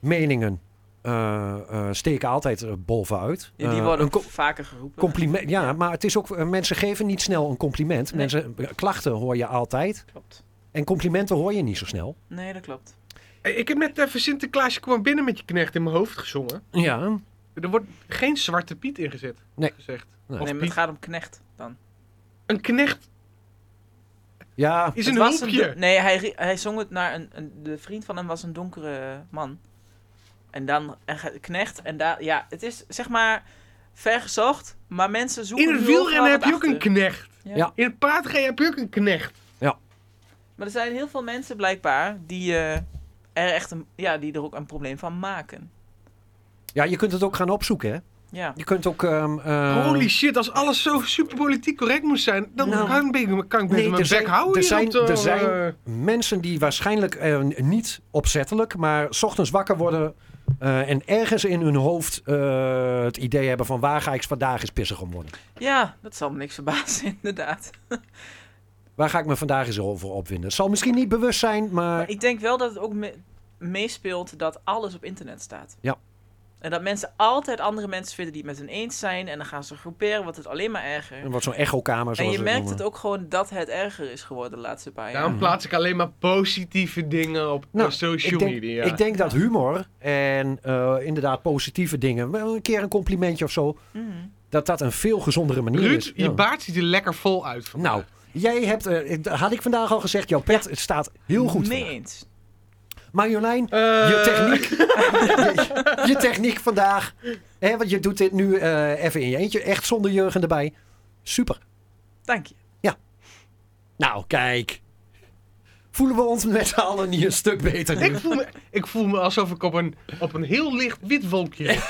meningen eh, eh, steken altijd eh, boven uit. Ja, die Eh, worden een co- vaker geroepen. compliment, ja, maar het is ook, eh, mensen geven niet snel een compliment. Nee. Mensen, eh, klachten hoor je altijd Klopt. en complimenten hoor je niet zo snel. Nee, dat klopt. Hey, Ik heb net even Sinterklaasje kwam binnen met je knecht in mijn hoofd gezongen. Ja, Er wordt geen zwarte Piet ingezet. Nee. Gezegd. Nee. Of nee, maar het Piet. gaat om knecht dan. Een knecht ja, is Het een was hulpje. do- nee, hij, rie- hij zong het naar een, een... De vriend van hem was een donkere man. En dan en ge- knecht. En daar... Ja, het is zeg maar vergezocht. Maar mensen zoeken In het nu overal wielrennen heb wat je ook een achter. knecht. Ja. Ja. In het paardrijden heb je ook een knecht. Maar er zijn heel veel mensen blijkbaar die... eh, er echt een, ja, die er ook een probleem van maken. ja, je kunt het ook gaan opzoeken. Hè? Ja. Je kunt ook. ehm, eh, Holy shit, als alles zo super politiek correct moest zijn, dan Nou. kan ik, me- kan Nee, ik beter er mijn zijn- bek houden. er hier zijn- op de- er zijn- eh, mensen die waarschijnlijk eh, niet opzettelijk, maar 's ochtends wakker worden eh, en ergens in hun hoofd eh, het idee hebben van waar ga ik vandaag eens pissig om worden? ja, dat zal me niks verbazen inderdaad. Waar ga ik me vandaag eens over opwinden? Het zal misschien niet bewust zijn, maar Maar ik denk wel dat het ook me- meespeelt dat alles op internet staat. Ja. En dat mensen altijd andere mensen vinden die het met hun eens zijn. En dan gaan ze groeperen, wordt het alleen maar erger. er wordt zo'n echokamer. en zoals je we het merkt het noemen. ook gewoon dat het erger is geworden de laatste paar jaar. Daarom plaats ik alleen maar positieve dingen op Nou, eh, social Ik denk, media. ik denk dat humor en eh, inderdaad positieve dingen, wel een keer een complimentje of zo, Mhm. dat dat een veel gezondere manier Ruud, is. je Ja. baard ziet er lekker vol uit. vandaag. Nou, jij hebt, eh, ik- had ik vandaag al gezegd, jouw pet het staat heel goed. Mee vandaag. eens. Maar Jolijn, Eh, Je techniek, je, je techniek vandaag. Hè, want je doet dit nu eh, even in je eentje. Echt zonder Jurgen erbij. Super. Dank je. Nou, kijk. Voelen we ons met z'n allen niet een stuk beter nu? Ik voel, me, ik voel me alsof ik op een, op een heel licht wit wolkje. zit.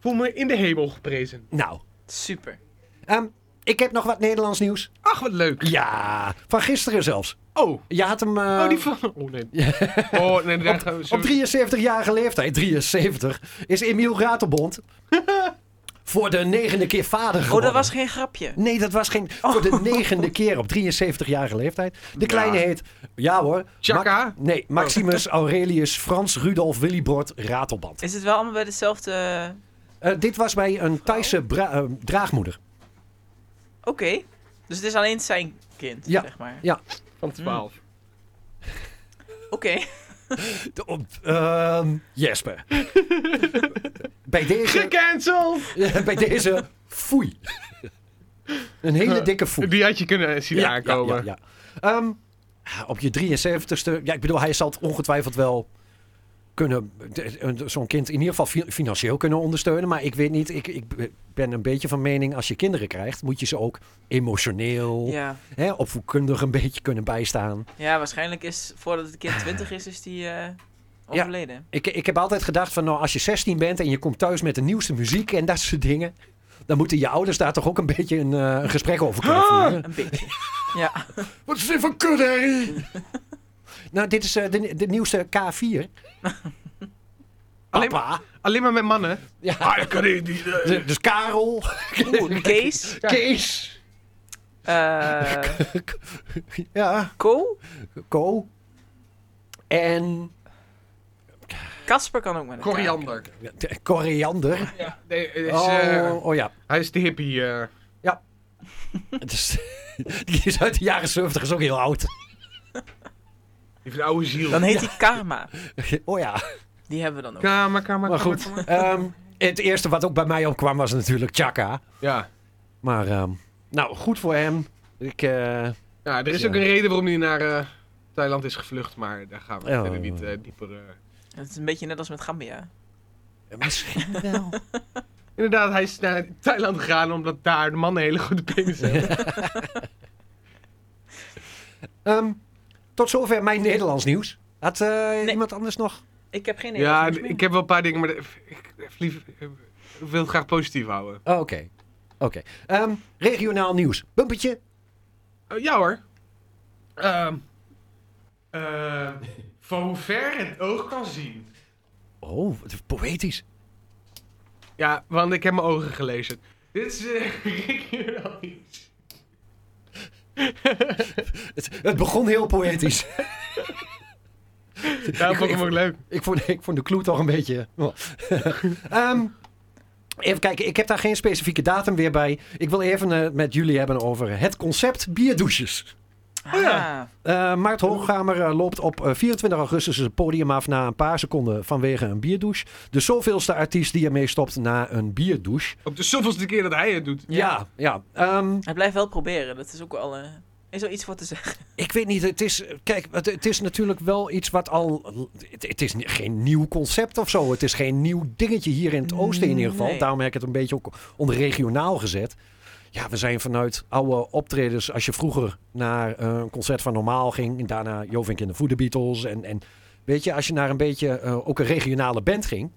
voel me in de hemel geprezen. Nou, Super. Oh, ehm, ik heb nog wat Nederlands nieuws. Ach, wat leuk. Ja, van gisteren zelfs. Oh, Je had hem... eh, oh die van. Oh nee. Oh nee, daar gaan we zo. Op 73-jarige leeftijd, 73, is Emiel Ratelbond voor de negende keer vader geworden. Oh, dat was geen grapje. Nee, dat was geen. Voor de negende keer op 73-jarige leeftijd. De kleine heet. Oh. Ja hoor. Ma- Chaka. nee, Maximus Aurelius Frans Rudolf Willibord Ratelband. Is het wel allemaal bij dezelfde... Eh, dit was bij een Thaise bra- eh, draagmoeder. Oké. Dus het is alleen zijn kind, Ja. zeg maar. Van 12. Oké. De- op- ehm, Jesper. bij, deze, Gecanceld! bij deze. Foei. een hele dikke foei. Die had je kunnen zien aankomen. Ja, ja, ja. Ehm, op je 73ste. Ja, ik bedoel, hij zal het ongetwijfeld wel kunnen. de- een- Zo'n kind in ieder geval fi- financieel kunnen ondersteunen. Maar ik weet niet. Ik, ik ben een beetje van mening. Als je kinderen krijgt, moet je ze ook emotioneel. Ja. Hè, opvoedkundig een beetje kunnen bijstaan. ja, waarschijnlijk is voordat het kind 20 is, is die eh, overleden. Ik, ik heb altijd gedacht van. Nou, als je 16 bent en je komt thuis met de nieuwste muziek en dat soort dingen. Dan moeten je ouders daar toch ook een beetje een, eh, een gesprek over kunnen Ah, voeren. Een beetje. ja. Wat is dit voor kudherrie? nou, dit is eh, de, de nieuwste K4. Alleen Papa. Alleen maar met mannen. Ja, Ah, dat kan ik niet. eh. de- dus Karel. Oeh, Kees. Kees. eh, Ja, Ko. Ko. En Casper kan ook maar. een taak. Koriander. de- koriander. Ja, nee, het is, eh, Oh, oh ja. hij is de hippie. eh. Het is- Die is uit de jaren 70, is ook heel oud. die heeft een oude ziel. Dan heet hij Karma. Oh ja. Die hebben we dan ook. Kamer, kamer, Maar kamer, goed. kamer. ehm, het eerste wat ook bij mij opkwam was natuurlijk Chaka. Ja. Maar ehm, nou, goed voor hem. Ik, eh, ja, er is Ja. ook een reden waarom hij naar eh, Thailand is gevlucht, maar daar gaan we Ja. verder niet eh, dieper... eh. Het is een beetje net als met Gambia. misschien wel. Inderdaad, hij is naar Thailand gegaan omdat daar de mannen hele goede penis hebben. Ehm, tot zover mijn Nederlands nieuws. Had eh, iemand anders nog? Ik heb geen dus idee. ja, wat het is. ik heb wel een paar dingen, maar de- ik, ik- lief- ik wil het graag positief houden. Oh, Oké. Oké. Ehm, regionaal nieuws. Bumpetje. Eh, ja hoor. Ehm, eh, van hoe ver het oog kan zien. Oh, wat poëtisch. Ja, want ik heb mijn ogen gelezen. Dit is eh, ik hier wel iets. Het, het begon heel poëtisch. Daarom vond ik hem ook leuk. ik, vond, ik vond de clue toch een beetje... oh. Ehm, even kijken, ik heb daar geen specifieke datum weer bij. Ik wil even eh, met jullie hebben over het concept bierdouches. Ah. oh ja. Eh Maart Hoogkamer eh, loopt op eh, 24 augustus het podium af na een paar seconden vanwege een bierdouche. De zoveelste artiest die ermee stopt na een bierdouche. Op de zoveelste keer dat hij het doet. Ja, ja. ehm, Hij blijft wel proberen. Dat is ook wel... eh, is wel iets voor te zeggen. ik weet niet, het is, kijk, het, het is natuurlijk wel iets wat al, het, het is ni- geen nieuw concept of zo. Het is geen nieuw dingetje hier in het oosten in ieder geval. Nee. Daarom heb ik het een beetje ook onder regionaal gezet. Ja, we zijn vanuit oude optredens. Als je vroeger naar eh, een concert van Normaal ging, en daarna Jovink in de Voede Beatles. En, en weet je, als je naar een beetje eh, ook een regionale band ging,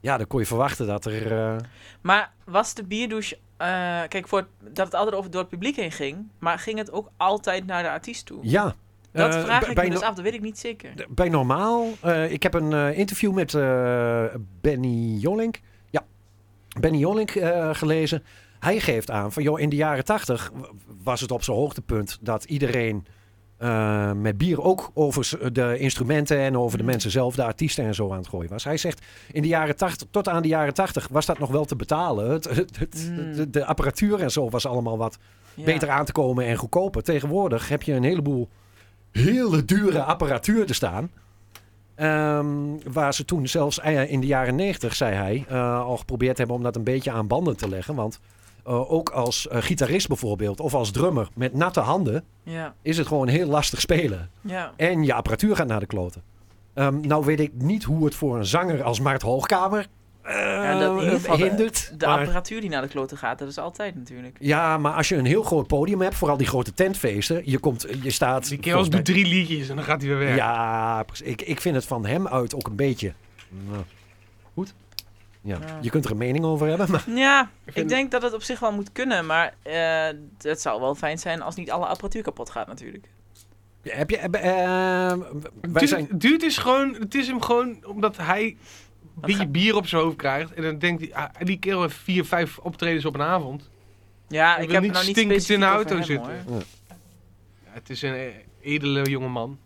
ja, dan kon je verwachten dat er. eh, Maar was de bierdouche... eh, kijk, voor het- dat het altijd over door het publiek heen ging. Maar ging het ook altijd naar de artiest toe? ja. Dat eh, vraag bij- ik bij me dus no- af. Dat weet ik niet zeker. Bij Normaal, eh, ik heb een eh, interview met eh, Benny Jolink. Ja, Benny Jolink eh, gelezen. Hij geeft aan van, joh, in de jaren tachtig was het op zijn hoogtepunt dat iedereen eh, met bier ook over z- de instrumenten en over de Mm. mensen zelf, de artiesten en zo aan het gooien was. Hij zegt, in de jaren tachtig, tot aan de jaren tachtig was dat nog wel te betalen. Het, het- het- Mm. de, de apparatuur en zo was allemaal wat Ja. beter aan te komen en goedkoper. Tegenwoordig heb je een heleboel hele dure apparatuur te staan. Ehm, waar ze toen zelfs eh, in de jaren 90 zei hij, eh, al geprobeerd hebben om dat een beetje aan banden te leggen. Want eh, ook als eh, gitarist bijvoorbeeld, of als drummer met natte handen, Ja. is het gewoon heel lastig spelen. Ja. En je apparatuur gaat naar de kloten. Ehm, nou weet ik niet hoe het voor een zanger als Maart Hoogkamer eh, Ja, dat in ieder geval de- hindert. De maar- apparatuur die naar de kloten gaat, dat is altijd natuurlijk. ja, maar als je een heel groot podium hebt, vooral die grote tentfeesten, je, komt, je staat. Die kerels doet drie liedjes en dan gaat hij weer weg. Ja, precies. Ik, ik vind het van hem uit ook een beetje. Nou, goed. Ja. Ja. Je kunt er een mening over hebben, maar Ja, ik, vind- denk dat het op zich wel moet kunnen, maar eh, het zou wel fijn zijn als niet alle apparatuur kapot gaat natuurlijk. heb je. heb- eh, wij Duurt, zijn. duurt is gewoon, het is hem gewoon omdat hij een beetje ga- bier op zijn hoofd krijgt. En dan denkt hij, ah, die kerel heeft vier, vijf optredens op een avond. Ja, Je ik wil heb niet het nou niet stinkend specifiek in de over auto hem, zitten. hoor. Ja, het is een eh, edele jongeman.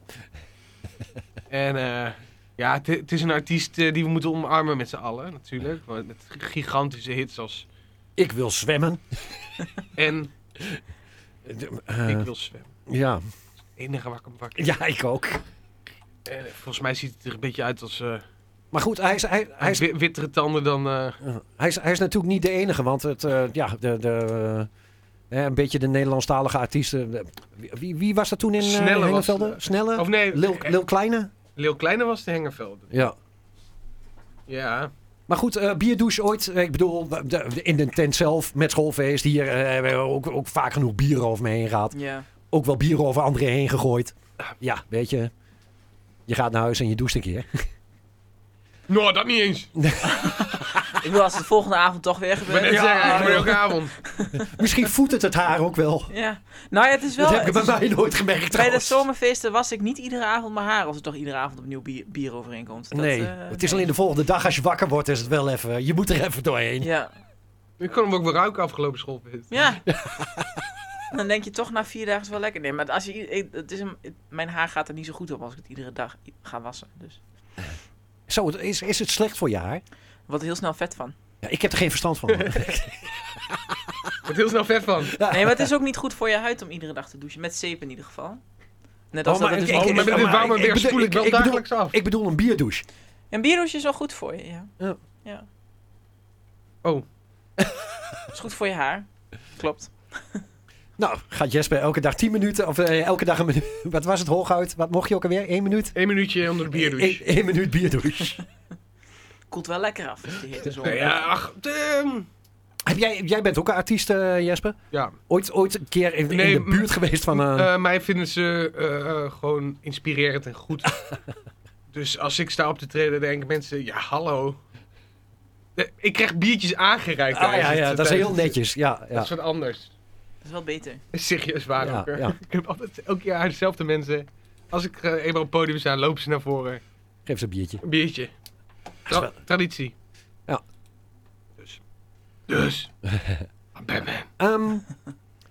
en eh, ja, het, het is een artiest eh, die we moeten omarmen met z'n allen natuurlijk. Want Met gigantische hits als Ik wil zwemmen. En De- eh, ik wil zwemmen. ja. Het enige waar ik hem wakker. ja, ik ook. En, eh, volgens mij ziet het er een beetje uit als eh Maar goed, hij is, hij, hij, is, wi- wittere tanden dan... eh, hij, is, hij is natuurlijk niet de enige, want het, eh, ja, de, de, eh, een beetje de Nederlandstalige artiesten. de- Wie, wie was dat toen in eh, Snelle was- Hengevelde? Snelle? of nee, Lil, eh, Lil Kleine? Leeuw Kleine was de Hengervelde. Ja. Ja. Maar goed, eh, bierdouche ooit. Eh, Ik bedoel, de- de- in de tent zelf met schoolfeest. Hier eh, hebben we ook, ook vaak genoeg bieren over me heen gehad. Ja. Ook wel bieren over anderen heen gegooid. Ja, weet je. Je gaat naar huis en je doucht een keer. Nou, dat niet eens. Ik wil als het volgende avond toch weer Ik ben gebeurt. net Ja, zeggen, ja. ik ben elke avond. Misschien voedt het het haar ook wel. Ja. Nou ja, het is wel... dat heb ik het bij is- mij nooit gemerkt bij de trouwens. zomerfeesten was ik niet iedere avond mijn haar, als er toch iedere avond opnieuw bier, bierovereenkomst. Dat, Nee, eh, het is alleen de volgende dag als je wakker wordt is het wel even... Je moet er even doorheen. Ja. Ik kon hem ook weer ruiken afgelopen schoolfeest. Ja. Dan denk je toch na vier dagen is wel lekker. Nee, maar als je, i- ik- het is een, het- mijn haar gaat er niet zo goed op als ik het iedere dag i- ga wassen. Dus. Zo, het is, is het slecht voor je haar? Ik word er heel snel vet van. Ja, ik heb er geen verstand van. Ik word heel snel vet van. Nee, maar het is ook niet goed voor je huid om iedere dag te douchen. Met zeep in ieder geval. Net Oh, als maar dat het ik- ik- dus Oh, ook- maar met dit maar warme ik- weer ik bedoel- spoel ik ik- wel ik bedoel- dagelijks af. ik bedoel een bierdouche. Een bierdouche is wel goed voor je, ja. Ja. Ja. Oh. is goed voor je haar. Klopt. Nou, gaat Jesper elke dag 10 minuten, of eh, elke dag een minuut. Wat was het hooguit? Wat mocht je ook alweer? 1 minuut? Eén minuutje onder de bierdouche. 1 minuut bierdouche. Koelt wel lekker af als die hete zon. Nee, ja, ach, ehm, Heb jij, jij bent ook een artiest, eh, Jesper? ja. Ooit, ooit een keer in, in Nee, de m- buurt geweest van... eh, Eh, mij vinden ze eh, eh, gewoon inspirerend en goed. dus als ik sta op te treden, denken mensen: ja, hallo. Eh, Ik krijg biertjes aangereikt. ah, ja, tijdens ja, het- eh, dat is tijdens heel het- netjes. Ja, Dat ja. is wat anders. Dat is wel beter. Serieus waar Ja, ook. hè. ja. Ik heb altijd elk jaar dezelfde mensen. Als ik eh, eenmaal op het podium sta, lopen ze naar voren. Geef ze een biertje. Een biertje. Tra- Dat is wel- traditie. Ja. Dus. Ah, Dus, I'm Batman. Ehm,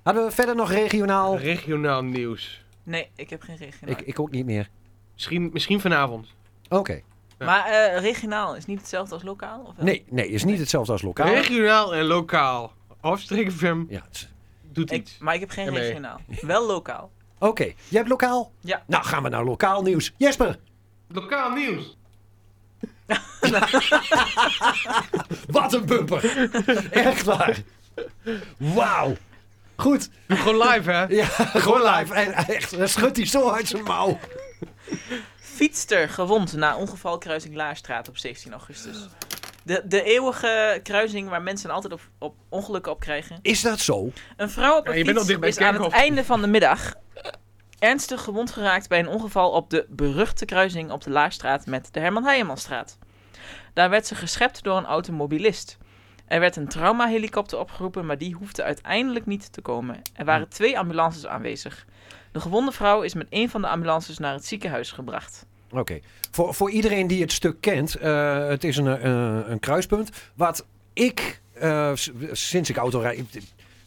hadden we verder nog regionaal? Regionaal nieuws. Nee, ik heb geen regionaal. Ik, ik ook niet meer. Misschien, misschien vanavond. Oké. ja. Maar eh, regionaal is niet hetzelfde als lokaal? Of wel? Nee, nee, is niet hetzelfde als lokaal. Regionaal en lokaal. Hoofdstreek FM Ja, het is- doet Ik- iets. maar ik heb geen Nee. regionaal. Wel lokaal. Oké, jij hebt lokaal? Ja. Nou, gaan we naar lokaal nieuws. Jesper, Lokaal nieuws. wat een bumper. Echt waar. Wauw. Goed. Gewoon live, hè? Ja, gewoon live. En echt, dan schudt hij zo uit zijn mouw. Fietster gewond na ongeval kruising Laarstraat op 17 augustus. De, de eeuwige kruising waar mensen altijd op, op ongelukken op krijgen. Is dat zo? Een vrouw op Ja, een je bent al dicht fiets bij is aan het Kerkhof. einde van de middag ernstig gewond geraakt bij een ongeval op de beruchte kruising op de Laarstraat met de Herman Heijemanstraat. Daar werd ze geschept door een automobilist. Er werd een traumahelikopter opgeroepen, maar die hoefde uiteindelijk niet te komen. Er Hm. waren twee ambulances aanwezig. De gewonde vrouw is met een van de ambulances naar het ziekenhuis gebracht. Oké. Voor, voor iedereen die het stuk kent, eh, het is een, eh, een kruispunt. Wat ik, eh, s- sinds ik auto rijd...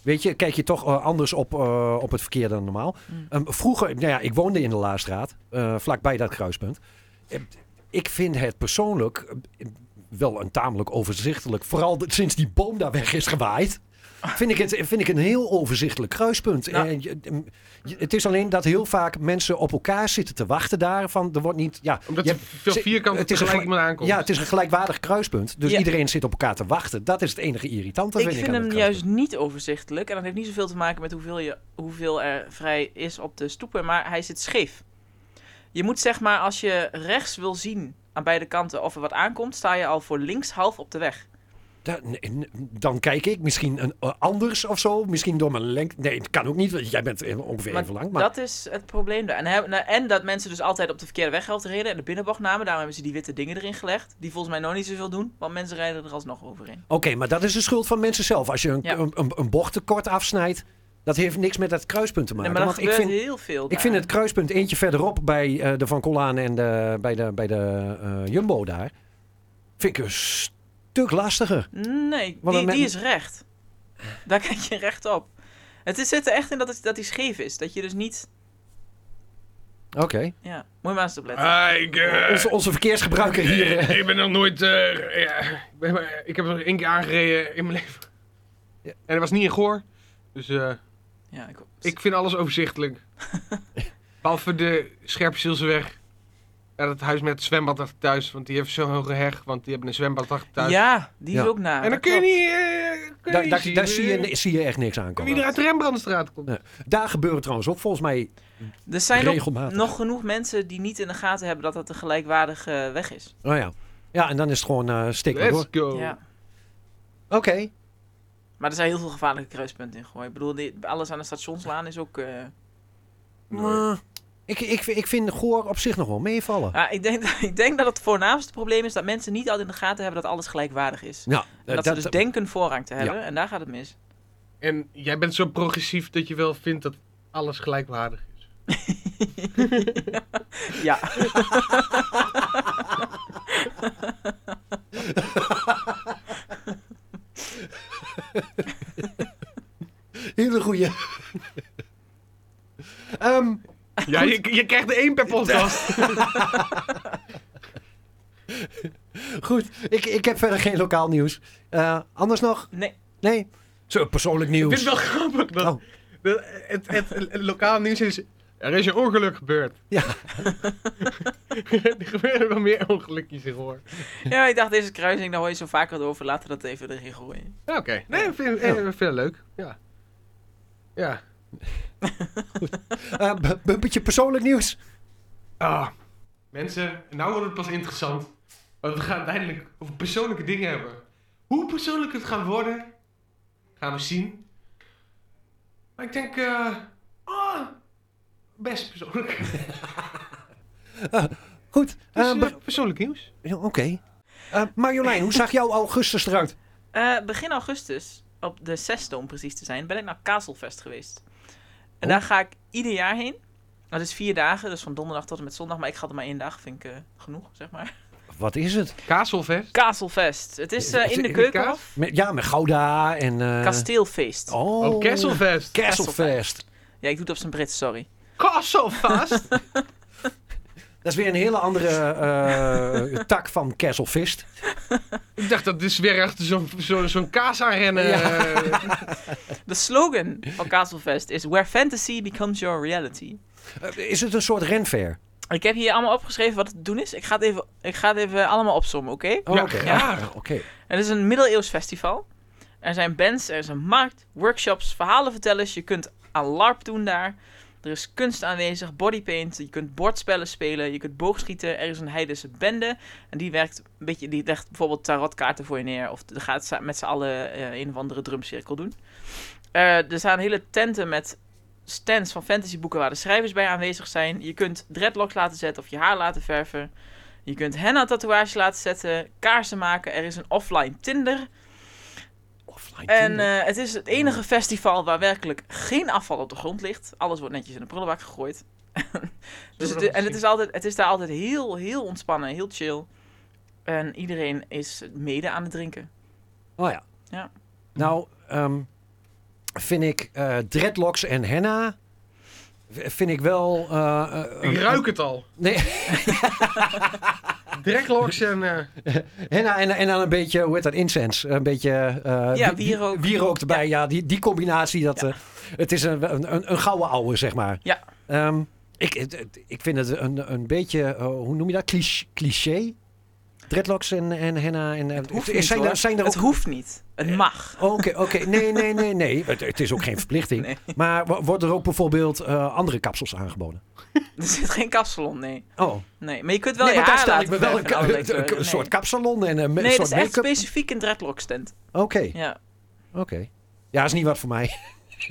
Weet je, kijk je toch eh, anders op, eh, op het verkeer dan normaal. Mm. Ehm, vroeger, nou ja, ik woonde in de Laastraat, eh, vlakbij dat kruispunt. Eh, ik vind het persoonlijk eh, wel een tamelijk overzichtelijk... Vooral de- sinds die boom daar weg is gewaaid... Vind ik, het, vind ik een heel overzichtelijk kruispunt. Nou. Eh, je- je- het is alleen dat heel vaak mensen op elkaar zitten te wachten daar. Van, er wordt niet, ja, Omdat je er veel ze- vierkanten het is een tegelijk gelijk- iemand aankomt. ja, het is een gelijkwaardig kruispunt. Dus Ja. iedereen zit op elkaar te wachten. Dat is het enige irritante. ik vind aan het hem kruispunt. juist niet overzichtelijk. En dat heeft niet zoveel te maken met hoeveel, je, hoeveel er vrij is op de stoepen. Maar hij zit scheef. Je moet zeg maar, als je rechts wil zien aan beide kanten of er wat aankomt, sta je al voor links half op de weg. Da- nee, nee, dan kijk ik misschien een, eh, anders of zo. Misschien door mijn lengte. Nee, het kan ook niet. want Jij bent eh, ongeveer Maar even lang. Maar Dat is het probleem daar. En, hij- nou, en dat mensen dus altijd op de verkeerde weghelft reden en de binnenbocht namen. Daarom hebben ze die witte dingen erin gelegd. Die volgens mij nog niet zoveel doen, want mensen rijden er alsnog overheen. Oké, maar dat is de schuld van mensen zelf. Als je een, Ja. een, een, een bocht tekort afsnijdt, dat heeft niks met dat kruispunt te Nee, maken. maar dat want ik gebeurt vind, heel veel. ik daar. vind het kruispunt eentje verderop bij eh, de Van Colaan en de, bij de, bij de eh, Jumbo daar. Vind ik een stuk lastiger. Nee, Want die, dan- die is recht. Daar kijk je recht op. Het is, zit er echt in dat, het, dat die scheef is. Dat je dus niet... Oké. Ja, moet je maar eens op letten. Ah, ik, eh, Onze, onze verkeersgebruiker hier. eh, ik ben nog nooit... eh, Ja, ik, ben maar- ik heb er één keer aangereden in mijn leven. Ja. En dat was niet in Goor. Dus eh, ja, ik, ik vind alles overzichtelijk. Behalve de Scherpzielseweg. En het huis met het zwembad achter thuis. Want die heeft zo'n hoge heg. Want die hebben een zwembad achter thuis. ja, die is Ja. ook na. en dan dat kun je klopt. niet... eh, kun je Daar, niet daar, zien, daar eh, zie, je, zie je echt niks Wie aankomen. er uit de Rembrandtstraat komt. Ja. Daar gebeuren trouwens ook volgens mij Er zijn ook regelmatig. nog genoeg mensen die niet in de gaten hebben dat dat een gelijkwaardige weg is. Oh ja. ja, en dan is het gewoon eh steek maar door. Let's go. Ja. Oké. Maar er zijn heel veel gevaarlijke kruispunten in gegooid. Ik bedoel, die- alles aan de stationslaan is ook... eh, Maar Nou, Ik, ik, ik vind Goor op zich nog wel meevallen. ja, ik, denk, ik denk dat het voornaamste probleem is dat mensen niet altijd in de gaten hebben dat alles gelijkwaardig is. Nou, En eh, dat, ze dus denken voorrang te hebben. En daar gaat het mis. En jij bent zo progressief dat je wel vindt dat alles gelijkwaardig is. Ja. hele goede. Ehm, Ja, je, je krijgt er één per podcast. goed, ik, ik heb verder geen lokaal nieuws. Eh, anders nog? Nee. Nee? Zo, persoonlijk Ik nieuws. vind het wel grappig dat, Oh. dat het, het, het lokaal nieuws is... Er is een ongeluk gebeurd. Ja. er gebeuren wel meer ongelukjes in hoor. Ja, ik dacht, deze kruising, daar hoor je zo vaak wat over. Laten we dat even erin gooien. Ja, Oké. Nee, ik vind, eh, ik vind het leuk. Ja. Ja. Eh, b- bumpertje persoonlijk nieuws. Ah. Mensen, nou wordt het pas interessant. Want we gaan uiteindelijk over persoonlijke dingen hebben. Hoe persoonlijk het gaat worden, gaan we zien. Maar ik denk, eh, ah, best persoonlijk. Goed. Dus, eh, eh, be- persoonlijk nieuws. ja, Oké. Eh, Marjolein, hoe zag jouw augustus eruit? Eh, begin augustus, op de zesde om precies te zijn, ben ik naar Kazelfest geweest. En Oh. daar ga ik ieder jaar heen. Dat is vier dagen, dus van donderdag tot en met zondag. Maar ik ga er maar één dag, vind ik eh, genoeg, zeg maar. wat is het? Kazelvest. Kazelfest. Het is eh, Is- in de is- keuken. kaas? Met, ja, met Gouda en... eh, Kasteelfeest. Oh, Oh, Kesselfest. Kesselfest. Ja, ik doe het op zijn Brits, sorry. Kesselfest. Dat is weer een hele andere eh, tak van Kesselfist. Ik dacht dat dit is weer echt zo'n zo, zo'n kaas aanrennen. eh, De slogan van Kazelfest is Where Fantasy Becomes Your Reality. Eh, is het een soort renfair? Ik heb hier allemaal opgeschreven wat het te doen is. Ik ga het even, ik ga het even allemaal opzommen, oké? Oh, Ja. oké. Ja. Ah, oké. Het is een middeleeuws festival. Er zijn bands, er is een markt, workshops, verhalenvertellers. Je kunt aan LARP doen daar. Er is kunst aanwezig, bodypaint. Je kunt bordspellen spelen, je kunt boogschieten. Er is een heidense bende. En die werkt een beetje, die legt bijvoorbeeld tarotkaarten voor je neer. Of die gaat sa- met z'n allen eh, een of andere drumcirkel doen. Eh, er staan hele tenten met stands van fantasyboeken waar de schrijvers bij aanwezig zijn. Je kunt dreadlocks laten zetten of je haar laten verven. Je kunt henna tatoeage laten zetten, kaarsen maken. Er is een offline Tinder. Offline En Tinder. eh, het is het enige festival waar werkelijk geen afval op de grond ligt. Alles wordt netjes in de prullenbak gegooid. dus nog het- eens en het zien. is, altijd, het is daar altijd heel, heel ontspannen, heel chill. En iedereen is mede aan het drinken. Oh ja. Ja. Nou, ehm, vind ik eh, dreadlocks en henna... v- Vind ik wel... eh, eh, ik een- ruik het al. Nee, Dreklocks en... eh, henna nou, en, en dan een beetje, hoe heet dat, incense. Een beetje... eh, wi- Ja, wi- wierook. Wierook erbij, ja. die, die combinatie, dat, eh, het is een, een, een, een gouden ouwe, zeg maar. Ja. Ehm, ik, het- ik vind het een, een beetje, eh, hoe noem je dat, Cliché- cliché? Dreadlocks en, en henna. En, Het hoeft eh, niet, zijn, hoor. er, zijn er ook Het hoeft niet. Het mag. Oké, oké. Nee, nee, nee, nee. Het, het is ook geen verplichting. Nee. Maar wo- worden er ook bijvoorbeeld eh, andere kapsels aangeboden? Er zit geen kapsalon, nee. Oh, Nee, maar je kunt wel nee, je want daar haar stel ik laten me wel een, verven en allerlei een- een kleuren. soort kapsalon en een me- Oh, Nee, nee dat soort is echt make-up. specifiek een dreadlock stand. Oké, Ja, oké. Ja, is niet wat voor mij.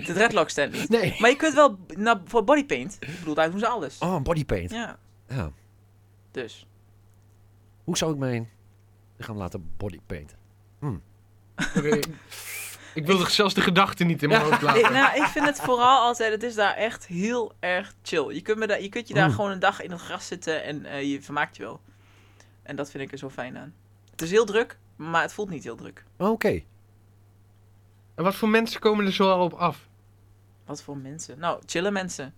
de dreadlock stand niet. Nee. Maar je kunt wel b- nou, voor bodypaint. Ik bedoel, daar doen ze alles. Oh, een bodypaint. Ja, Ja. dus. Hoe zou ik mijn lichaam laten bodypainten? ik wilde zelfs de gedachten niet in mijn hoofd laten. Ik, nou, ik vind het vooral altijd, het is daar echt heel erg chill. Je kunt, me daar, je, kunt je daar Mm. gewoon een dag in het gras zitten en eh, je vermaakt je wel. En dat vind ik er zo fijn aan. Het is heel druk, maar het voelt niet heel druk. Oh, Oké. En wat voor mensen komen er zoal op af? Wat voor mensen? Nou, chille mensen.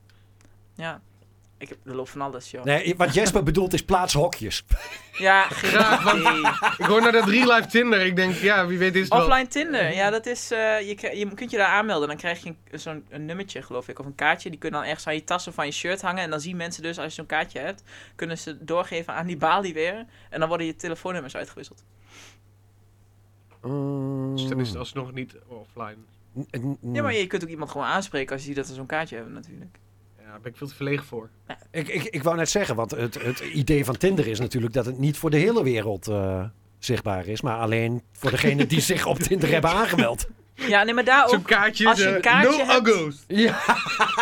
Ja. Ik heb de loop van alles, joh. Nee, wat Jesper bedoelt is plaatshokjes. Ja, graag. Graag, want- Ik hoor naar dat real life Tinder. Ik denk, ja, wie weet is het wel. Offline Tinder, ja, dat is. eh, je, kri- je kunt je daar aanmelden. Dan krijg je een- zo'n een nummertje, geloof ik, of een kaartje. Die kunnen dan ergens aan je tas of aan je shirt hangen. En dan zien mensen dus, als je zo'n kaartje hebt, kunnen ze doorgeven aan die balie weer. En dan worden je telefoonnummers uitgewisseld. Ehm, Dus dan is het alsnog niet offline. Ja, maar je kunt ook iemand gewoon aanspreken als je ziet dat ze zo'n kaartje hebben, natuurlijk. Ja, daar ben ik veel te verlegen voor. ik, ik, ik wou net zeggen, want het, het idee van Tinder is natuurlijk dat het niet voor de hele wereld eh, zichtbaar is, maar alleen voor degenen die zich op Tinder hebben aangemeld. Ja, nee, maar daar Zo'n ook. kaartje, Oh, als je eh, een kaartje no hebt- uggos. Ja.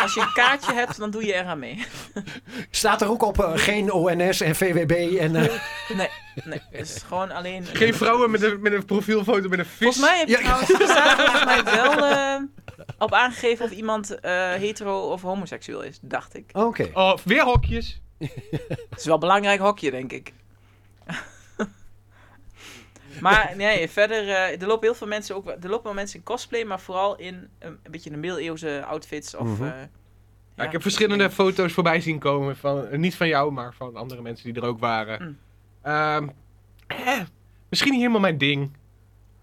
Als je een kaartje hebt, dan doe je eraan mee. Staat er ook op eh, geen ONS en VWB en... eh, Nee, het is gewoon alleen. Geen vrouwen met een, met een profielfoto met een vis. Volgens mij heb je Ja. trouwens, er staat volgens mij wel eh, op aangegeven of iemand eh, hetero of homoseksueel is, dacht ik. Oké. Oh, weer hokjes. Het is wel een belangrijk hokje, denk ik. maar nee, verder, eh, er lopen heel veel mensen ook, wel- er lopen wel mensen in cosplay, maar vooral in een, een beetje de middeleeuwse outfits of. Mhm. eh, Ja, ik heb verschillende foto's voorbij zien komen. Van, eh, niet van jou, maar van andere mensen die er ook waren. Mm. Ehm, eh, misschien niet helemaal mijn ding.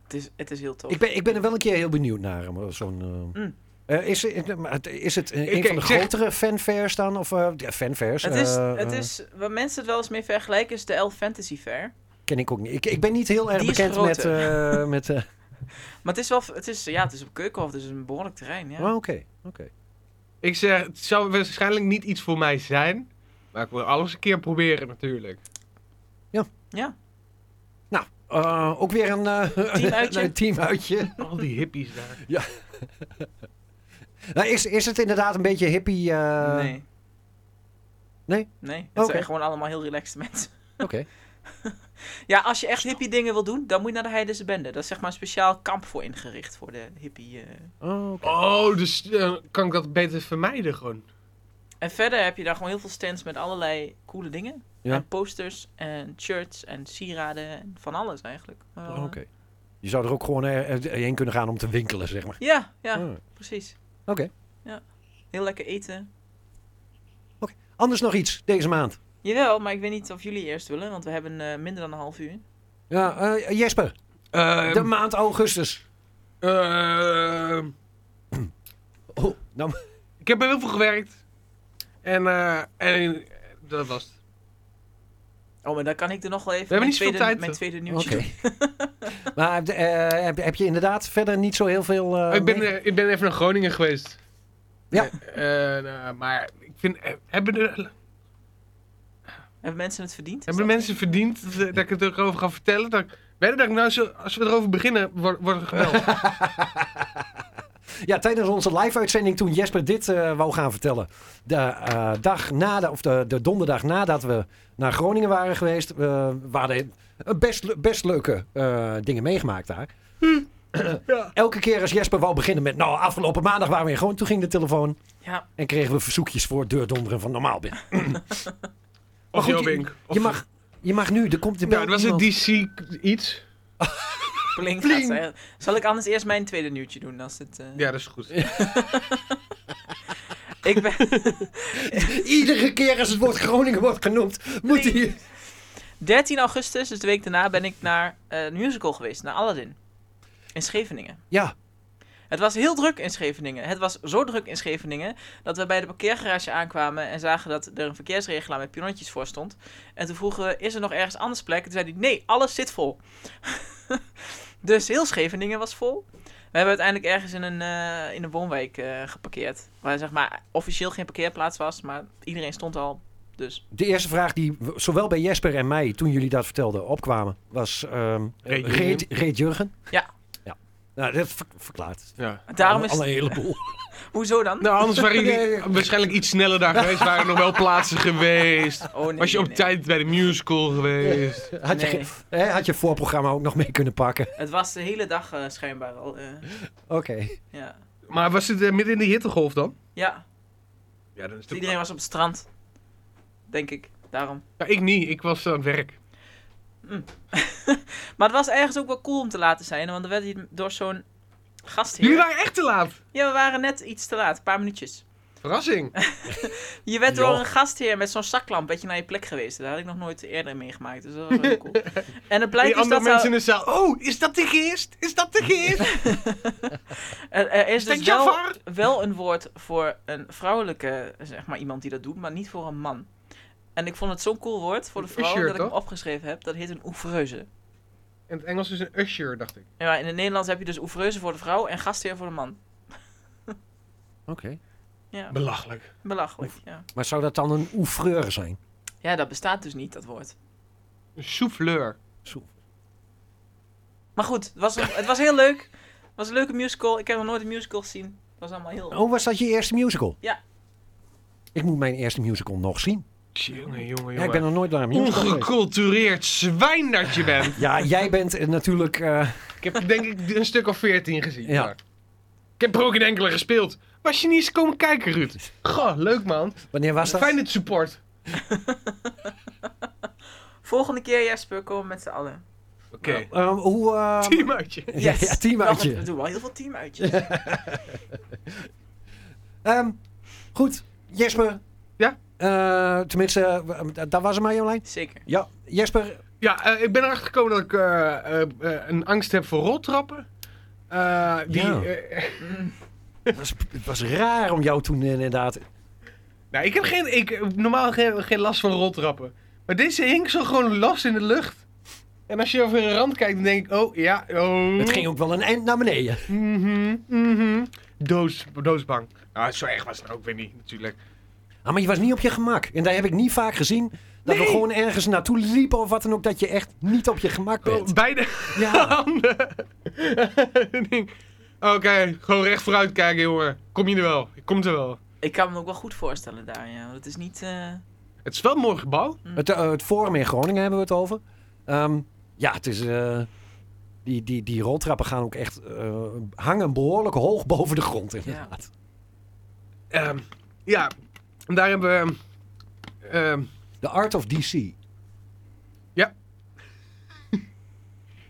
Het is, het is heel tof. Ik ben, ik ben er wel een keer heel benieuwd naar. eh, maar Zo'n, eh, Mm. eh, is, het- eh, maar het- is het eh, Ik- een van de ik zeg- grotere fanfairs dan? Of eh, ja, fanfairs? het is, eh, het eh, is, waar mensen het wel eens mee vergelijken, is de Elf Fantasy Fair. Ken ik ook niet. Ik, ik ben niet heel erg Die is bekend met... groter. eh, met eh, Maar het is wel, het is, ja, het is op Keukenhof, dus het is een behoorlijk terrein, ja. oh, Oké, oké. Ik zeg, het zou waarschijnlijk niet iets voor mij zijn. Maar ik wil alles een keer proberen natuurlijk. Eh, ook weer een, eh, Teamuitje. een teamuitje. Al die hippies daar. Nou, is, is het inderdaad een beetje hippie? eh, nee. nee? Nee, het Oké. zijn gewoon allemaal heel relaxed mensen. Oké. Ja, als je echt hippie dingen wil doen, dan moet je naar de Heidense Bende. Dat is zeg maar een speciaal kamp voor ingericht, voor de hippie... eh, Oh, oké. Oh, dus eh, kan ik dat beter vermijden gewoon. En verder heb je daar gewoon heel veel stands met allerlei coole dingen. Ja. en posters en shirts en sieraden en van alles eigenlijk. Maar Oh, wel, Oké. eh, Je zou er ook gewoon eh, eh, heen kunnen gaan om te winkelen, zeg maar. Ja, ja, Oh. Ah. precies. Oké. Ja, heel lekker eten. Anders nog iets deze maand. Jawel, maar ik weet niet of jullie eerst willen, want we hebben eh, minder dan een half uur. Ja, eh, Jesper, Ehm, de maand augustus. Ehm, Oh, nou, ik heb heel veel gewerkt. En, eh, en dat was het. Oh, maar dan kan ik er nog wel even hebben mijn, niet zoveel tijd, tweede, mijn hè? tweede oké. nieuwtje maar eh, heb, heb je inderdaad verder niet zo heel veel... eh, ik, ben, mee- eh, ik ben even naar Groningen geweest. Ja. Eh, eh, nou, maar ik vind, eh, hebben de, Hebben mensen het verdiend? Is hebben de dat- mensen verdiend dat, eh, dat ik het erover ga vertellen? Dat ik, weet je dat ik nou, zo, als we erover beginnen, wor- worden we gebeld? Ja, tijdens onze live-uitzending toen Jesper dit eh, wou gaan vertellen. De, eh, dag nadat, of de, de donderdag nadat we naar Groningen waren geweest, eh, waren er best, le- best leuke eh, dingen meegemaakt daar. Hm. Elke keer als Jesper wou beginnen met, nou, afgelopen maandag waren we in Groningen, toen ging de telefoon Ja, en kregen we verzoekjes voor deurdonderen van normaal binnen. Of goed, Jobink. Of- Je mag, je mag nu, er komt in Nou, dat was een iemand. DC iets. Blink Blink. gaat zeggen. Zal ik anders eerst mijn tweede nieuwtje doen? Als het, eh, Ja, dat is goed. Ik ben... Iedere keer als het woord Groningen wordt genoemd, moet hij... 13 augustus, dus de week daarna, ben ik naar eh, een musical geweest, naar Aladdin. In Scheveningen. Ja, Het was heel druk in Scheveningen. Het was zo druk in Scheveningen dat we bij de parkeergarage aankwamen en zagen dat er een verkeersregelaar met pionnetjes voor stond. En toen vroegen we, is er nog ergens anders plek? Toen zei hij, nee, alles zit vol. dus heel Scheveningen was vol. We hebben uiteindelijk ergens in een, eh, in een woonwijk eh, geparkeerd. Waar zeg maar officieel geen parkeerplaats was, maar iedereen stond al. Dus De eerste vraag die w- zowel bij Jesper en mij toen jullie dat vertelden opkwamen was: ehm Reed Reed, Jurgen. Reed Jurgen? Ja. ja. Nou, dat ver- verklaart. Ja. daarom is... Al een heleboel. Hoezo dan? Nou, anders waren jullie Nee, nee. waarschijnlijk iets sneller daar geweest. Waren er nog wel plaatsen geweest. Oh, nee, Was je nee, op nee. tijd bij de musical geweest. Had, je, Nee. ge- hè, had je voorprogramma ook nog mee kunnen pakken? Het was de hele dag eh, schijnbaar al. eh, Oké. ja. Maar was het eh, midden in de hittegolf dan? ja, dus Ja, dan is het iedereen was op het strand. Denk ik, daarom. Ja, ik niet. Ik was aan het werk. Maar het was ergens ook wel cool om te laten zijn, want er werd hier door zo'n gast Jullie hier. waren echt te laat. Ja, we waren net iets te laat, een paar minuutjes. Verrassing. Je werd Joh. door een gastheer met zo'n zaklamp werd je naar je plek geweest. Daar had ik nog nooit eerder meegemaakt, dus dat was wel heel cool. En het blijkt Die dus andere dat... mensen in er, de zaal. Oh, is dat de geest? Is dat de geest? er- er is Is dat dus wel, Jafar? wel een woord voor een vrouwelijke, zeg maar, iemand die dat doet, maar niet voor een man. En ik vond het zo'n cool woord voor de Een vrouw usher, dat ik hem toch? opgeschreven heb. Dat heet een oevreuze. In het Engels is een usher, dacht ik. Ja, in het Nederlands heb je dus oevreuze voor de vrouw en gastheer voor de man. Oké. Ja, Belachelijk. belachelijk. Ja. Maar zou dat dan een oefreur zijn? ja, dat bestaat dus niet, dat woord. Een souffleur. Maar goed, het was, het was heel leuk. Het was een leuke musical. Ik heb nog nooit een musical gezien. Het was allemaal heel... Oh, was dat je eerste musical? Ja. Ik moet mijn eerste musical nog zien. Jongen, jongen, Ja, ik ben jongen. nog nooit naar een musical geweest. Ongecultureerd zwijn dat je bent. Ja, jij bent eh, natuurlijk... eh, Ik heb denk ik een stuk of veertien gezien. Ja. daar. Ik heb er ook in enkele gespeeld. Was je niet eens komen kijken, Ruud? Goh, leuk man. wanneer was dat? Fijn het support. Volgende keer, Jesper, komen we met z'n allen. Oké. Eh, hoe... eh, Team uitje. ja, ja, teamuitje. Wel, We doen wel heel veel teamuitjes. Ehm, goed, Jesper. Ja? Eh, tenminste, eh, daar was hem maar, Jolijn. Zeker. Ja, Jesper. Ja, eh, ik ben erachter gekomen dat ik eh, eh, eh, een angst heb voor roltrappen. Eh, die, Ja. eh, eh, Het was, het was raar om jou toen eh, inderdaad... nou, ik heb geen, ik, heb normaal geen, geen last van roltrappen. Maar deze hing zo gewoon los in de lucht. En als je over een rand kijkt, dan denk ik, oh ja, oh. Het ging ook wel een eind naar beneden. Mhm, mhm. Doos, doosbang. Nou, zo erg was het ook weer niet, natuurlijk. Ah, maar je was niet op je gemak. En daar heb ik niet vaak gezien. Dat we Nee. gewoon ergens naartoe liepen of wat dan ook. Dat je echt niet op je gemak bent. Oh, beide Ja, handen. Ik denk, Oké, gewoon recht vooruit kijken, jongen. Kom je er wel? Ik kom er wel. Ik kan me ook wel goed voorstellen daar, ja. Want het is niet... eh, Het is wel een mooi gebouw. het, eh, het Forum in Groningen hebben we het over. Ehm, ja, het is... eh, die, die, die roltrappen gaan ook echt eh, hangen behoorlijk hoog boven de grond inderdaad. Ehm, ja, en daar hebben we ehm, The Art of DC.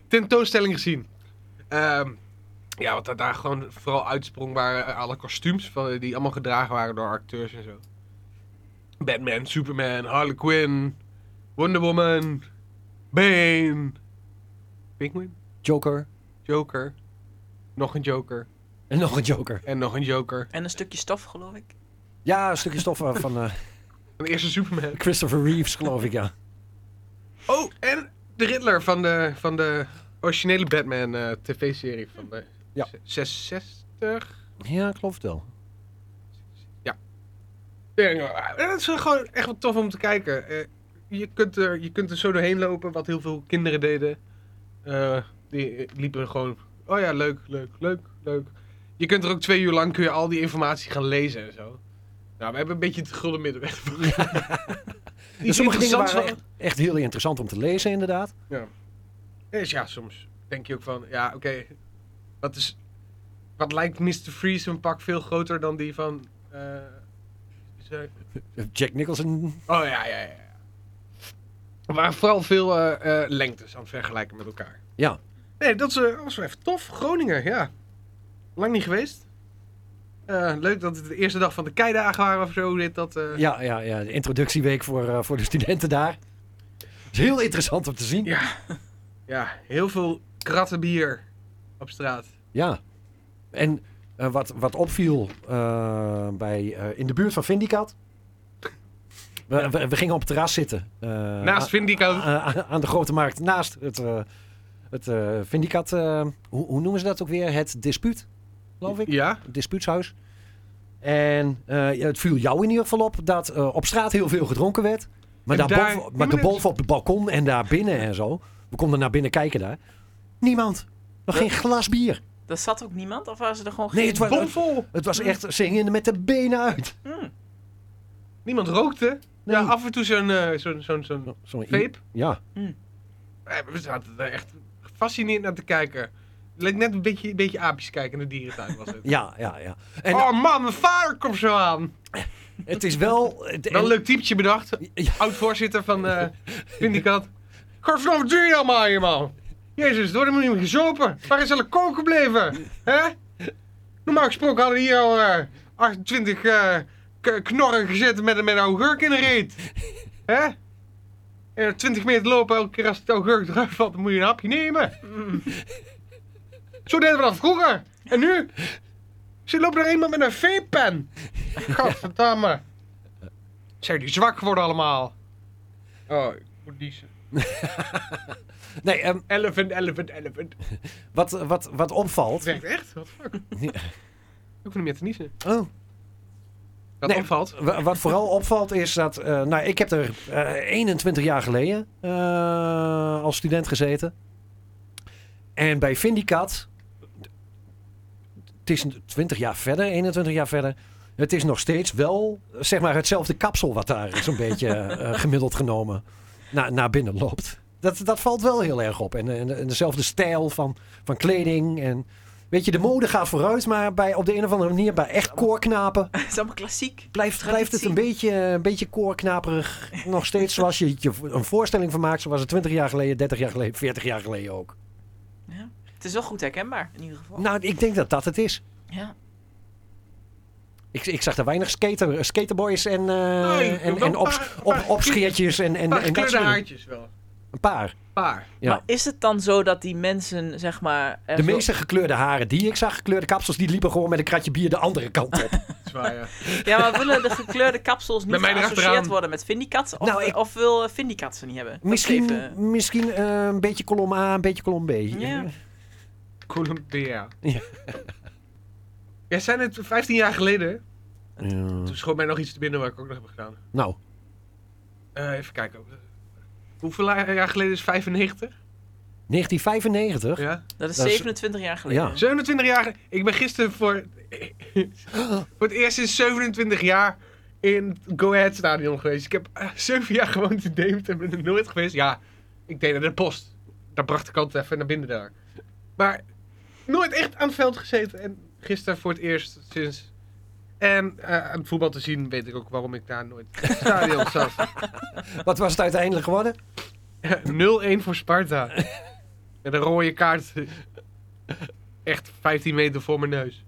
tentoonstelling gezien. Ehm, ja, wat daar, daar gewoon vooral uitsprong waren eh, alle kostuums van- eh, die allemaal gedragen waren door acteurs en zo. Batman, Superman, Harley Quinn, Wonder Woman, Bane, Penguin, Joker. Joker, nog een Joker En nog een Joker. en nog een Joker. En een stukje stof, geloof ik. Ja, een stukje stof eh, van eh, En de eerste Superman. Christopher Reeves, geloof ik, ja. Oh, en de Riddler van de, van de originele Batman eh, tv-serie van de Ja. z- 66. Ja, ik geloof het wel. Ja, ja. En het Ah, is gewoon echt wat tof om te kijken. Eh, je, kunt er, je kunt er zo doorheen lopen, wat heel veel kinderen deden. Eh, die eh, liepen gewoon, oh ja, leuk, leuk, leuk, leuk. Je kunt er ook twee uur lang kun je al die informatie gaan lezen en zo. Nou, we hebben een beetje het gulden middenweg. Dus sommige dingen waren interessant echt, echt heel interessant om te lezen, inderdaad. Is ja, soms denk je ook van, ja, oké, wat is... Wat lijkt Mr. Freeze een pak veel groter dan die van... eh, ze- Jack Nicholson. Oh ja, ja, ja, ja. Er waren vooral veel eh, eh, lengtes aan het vergelijken met elkaar. Ja. Nee, dat is, eh, dat was wel even tof. Groningen, ja. Lang niet geweest. Eh, leuk dat het de eerste dag van de keidagen waren of zo. Dit, dat, eh. Ja, ja, ja. De introductieweek voor, eh, voor de studenten daar. Is heel interessant om te zien. Ja. ja, heel veel kratten bier op straat. Ja. En eh, wat, wat opviel eh, bij, eh, in de buurt van Vindicat. We, we, we gingen op het terras zitten. eh, ah, Naast Vindico. a- a- aan de grote markt. Naast het, eh, het eh, Vindicat. eh, hoe, hoe noemen ze dat ook weer? Het dispuut, geloof ik. Ja, Het dispuutshuis. En eh, ja, het viel jou in ieder geval op dat eh, op straat heel veel gedronken werd. Maar, En daar daar- boven, Ja, maar maar dat- daarboven op het balkon en daar binnen en zo. We konden naar binnen kijken daar. Niemand. Nog geen glas bier. Daar zat ook niemand, of waren ze er gewoon Nee, geen- het was, het, bomvol. het was echt zingen met de benen uit. Hmm. Niemand rookte. Nee. Ja, af en toe zo'n eh, zo'n zo'n zo'n Zo'n i- vape. Ja. Eh, We zaten er echt gefascineerd naar te kijken. Het leek net een beetje, een beetje aapjes kijken naar de dierentuin was het. Ja, ja, ja. En oh man, mijn vader komt zo aan. het is wel... Het, Wel een leuk typetje bedacht. Ja, Oud-voorzitter van eh Vindicat. Godverdomme, wat doe je allemaal hier, man? Jezus, door hem niet meer gezopen. Waar is alle koken gebleven? Hè? Normaal gesproken hadden we hier al eh, 28 eh, k- knorren gezet met, met een augurk in de reet. Hè? En 20 meter lopen, elke keer als het augurk eruit valt, dan moet je een hapje nemen. Zo deden we dat vroeger. En nu? Ze loopt er iemand met een vape-pen. Godverdamme. Zijn die zwak worden allemaal? Oh, ik moet niezen. nee, ehm, Elephant, elephant, elephant. wat, wat, wat Het opvalt... werkt echt? Wat fuck? Ja. Ik hoef niet meer te niezen. Oh, Dat Nee. opvalt. wa- wat vooral opvalt is dat... eh, nou, ik heb er eh, 21 jaar geleden eh, als student gezeten. En bij Vindicat... Het is 20 jaar verder, 21 jaar verder. Het is nog steeds wel, zeg maar, hetzelfde kapsel wat daar zo'n beetje eh, gemiddeld genomen naar, naar binnen loopt. Dat, dat valt wel heel erg op. En, en, en dezelfde stijl van, van kleding. En, weet je, de mode gaat vooruit, maar bij, op de een of andere manier bij echt koorknapen Het is allemaal klassiek. blijft, blijft het een beetje, een beetje koorknaperig. Nog steeds zoals je je een voorstelling van maakt, zoals het 20 jaar geleden, 30 jaar geleden, 40 jaar geleden ook. Het is wel goed herkenbaar, in ieder Oh. geval. Nou, ik denk dat dat het is. Ja. Ik, ik zag daar weinig skater, skaterboys en, eh, Nee, en, en wel een op, paar- op, paar- opscheertjes en, en, Een paar en dat gekleurde soort dingen. haartjes wel. Een paar. Paar. Ja. Maar is het dan zo dat die mensen, zeg maar... De echt wel- meeste gekleurde haren die ik zag, gekleurde kapsels, die liepen gewoon met een kratje bier de andere kant op. Zwaar, ja. Ja, maar willen de gekleurde kapsels niet Bij mij geassocieerd erachteraan. worden met Vindicat? Of, Nou, ik- of wil eh, Vindicat ze niet hebben? Dat is misschien even- misschien eh, een beetje kolom A, een beetje kolom B. Ja. Columbia. Ja. Jij zei net 15 jaar geleden. Hm. Ja. Toen schoot mij nog iets te binnen waar ik ook nog heb gedaan. Nou, Eh, even kijken. Hoeveel jaar geleden is 95? 1995. Ja. Dat is Dat is- 27 jaar geleden. Ja. 27 jaar. Ik ben gisteren voor, voor het eerst in 27 jaar in het Go Ahead Stadion geweest. Ik heb eh, zeven jaar gewoond in Deventer en ben er nooit geweest. Ja, ik deed naar de post. Daar bracht ik altijd even naar binnen daar. Maar nooit echt aan het veld gezeten. En gisteren voor het eerst sinds En eh, aan het voetbal te zien weet ik ook waarom ik daar nooit in het stadion zat. Wat was het uiteindelijk geworden? 0-1 voor Sparta. Met een rode kaart. Echt 15 meter voor mijn neus.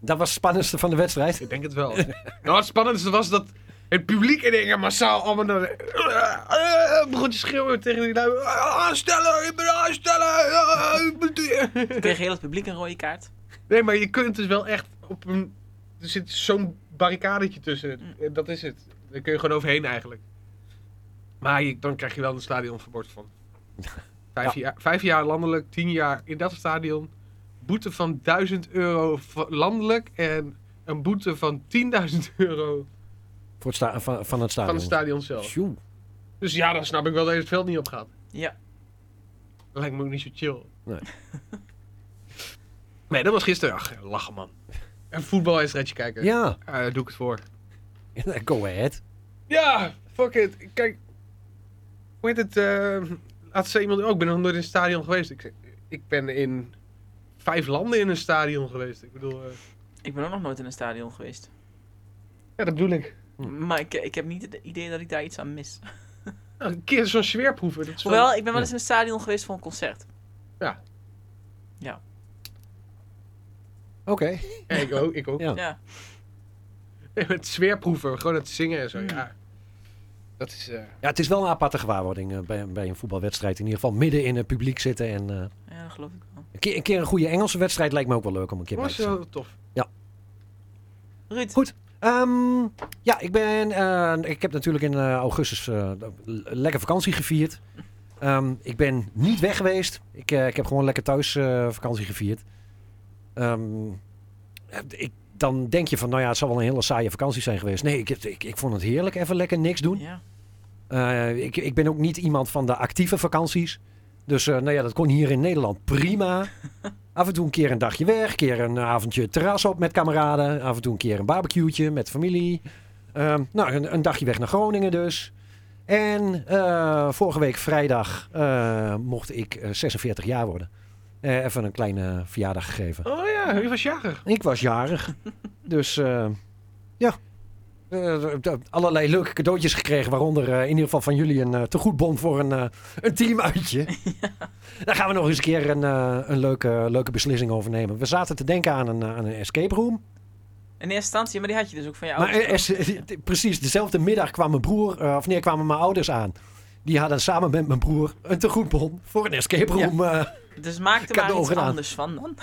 Dat was het spannendste van de wedstrijd. Ik denk het wel. nou, het spannendste was dat het publiek in één keer massaal allemaal naar de... begon te schreeuwen tegen die lui. Aansteller, ik ben aansteller. ah, ik ben die- Kreeg heel het publiek een rode kaart. nee, maar je kunt dus wel echt op een... Er zit zo'n barricadetje tussen. En Dat is het. Daar kun je gewoon overheen eigenlijk. Maar je- dan krijg je wel een stadionverbod van. Vijf, jaar, vijf jaar landelijk, tien jaar in dat stadion. Boete van 1000 euro va- landelijk en een boete van 10.000 euro Voor het sta- van, van het van stadion. het stadion zelf. Tjoe. Dus ja, dan snap ik wel dat je het veld niet op gaat. Ja. Dat lijkt me ook niet zo chill. Nee. nee, dat was gisteren. Ach, lachen man. Een voetbalwedstrijdje kijken. Ja, Eh, daar doe ik het voor. go ahead. Ja, fuck it. Kijk, hoe heet het? eh laatst zei iemand, ook ik ben nog nooit in een stadion geweest. Ik, zeg, ik ben in vijf landen in een stadion geweest. Ik bedoel, eh, Ik ben ook nog nooit in een stadion geweest. ja, dat bedoel ik. Hm. Maar ik, ik heb niet het idee dat ik daar iets aan mis. Nou, een keer zo'n sfeerproeven. Dat is wel- Hoewel, ik ben wel eens in een stadion geweest voor een concert. Oké. Ja, ik ook. Ik ook. Ja. Ja. Nee, Het sfeerproeven, gewoon het zingen en zo. Ja. Dat is. eh, Ja, het is wel een aparte gewaarwording eh, bij, bij een voetbalwedstrijd. In ieder geval midden in het publiek zitten. En eh, Ja, dat geloof ik wel. een, keer, een keer een goede Engelse wedstrijd lijkt me ook wel leuk om een keer bij was te zijn. wel tof. Ruud, Goed. Ehm, ja, ik, ben, eh, ik heb natuurlijk in eh, augustus eh, l- lekker vakantie gevierd. Ehm, ik ben niet weg geweest. Ik, eh, ik heb gewoon lekker thuis eh, vakantie gevierd. Ehm, ik, dan denk je van, nou ja, het zal wel een hele saaie vakantie zijn geweest. Nee, ik, ik, ik vond het heerlijk. Even lekker niks doen. Ja. Eh, ik, ik ben ook niet iemand van de actieve vakanties. Dus eh, nou ja, dat kon hier in Nederland prima. Af en toe een keer een dagje weg, een keer een avondje terras op met kameraden. Af en toe een keer een barbecue met familie. Ehm, nou, een, een dagje weg naar Groningen dus. En eh, vorige week vrijdag eh, mocht ik eh, 46 jaar worden. Eh, even een kleine verjaardag gegeven. Oh ja, je was jarig. Ik was jarig. dus eh, ja. Eh, d- allerlei leuke cadeautjes gekregen. Waaronder eh, in ieder geval van jullie een eh tegoedbon voor een, eh, een teamuitje. Daar gaan we nog eens een keer een, eh, een leuke, leuke beslissing over nemen. We zaten te denken aan een, eh, aan een escape room. In eerste instantie, maar die had je dus ook van je maar ouders. eh, es- precies, dezelfde middag kwam mijn broer, eh, of nee, kwamen mijn ouders aan. Die hadden samen met mijn broer een tegoedbon voor een escape room. eh. dus maak er maar cadeau iets gedaan. anders van dan.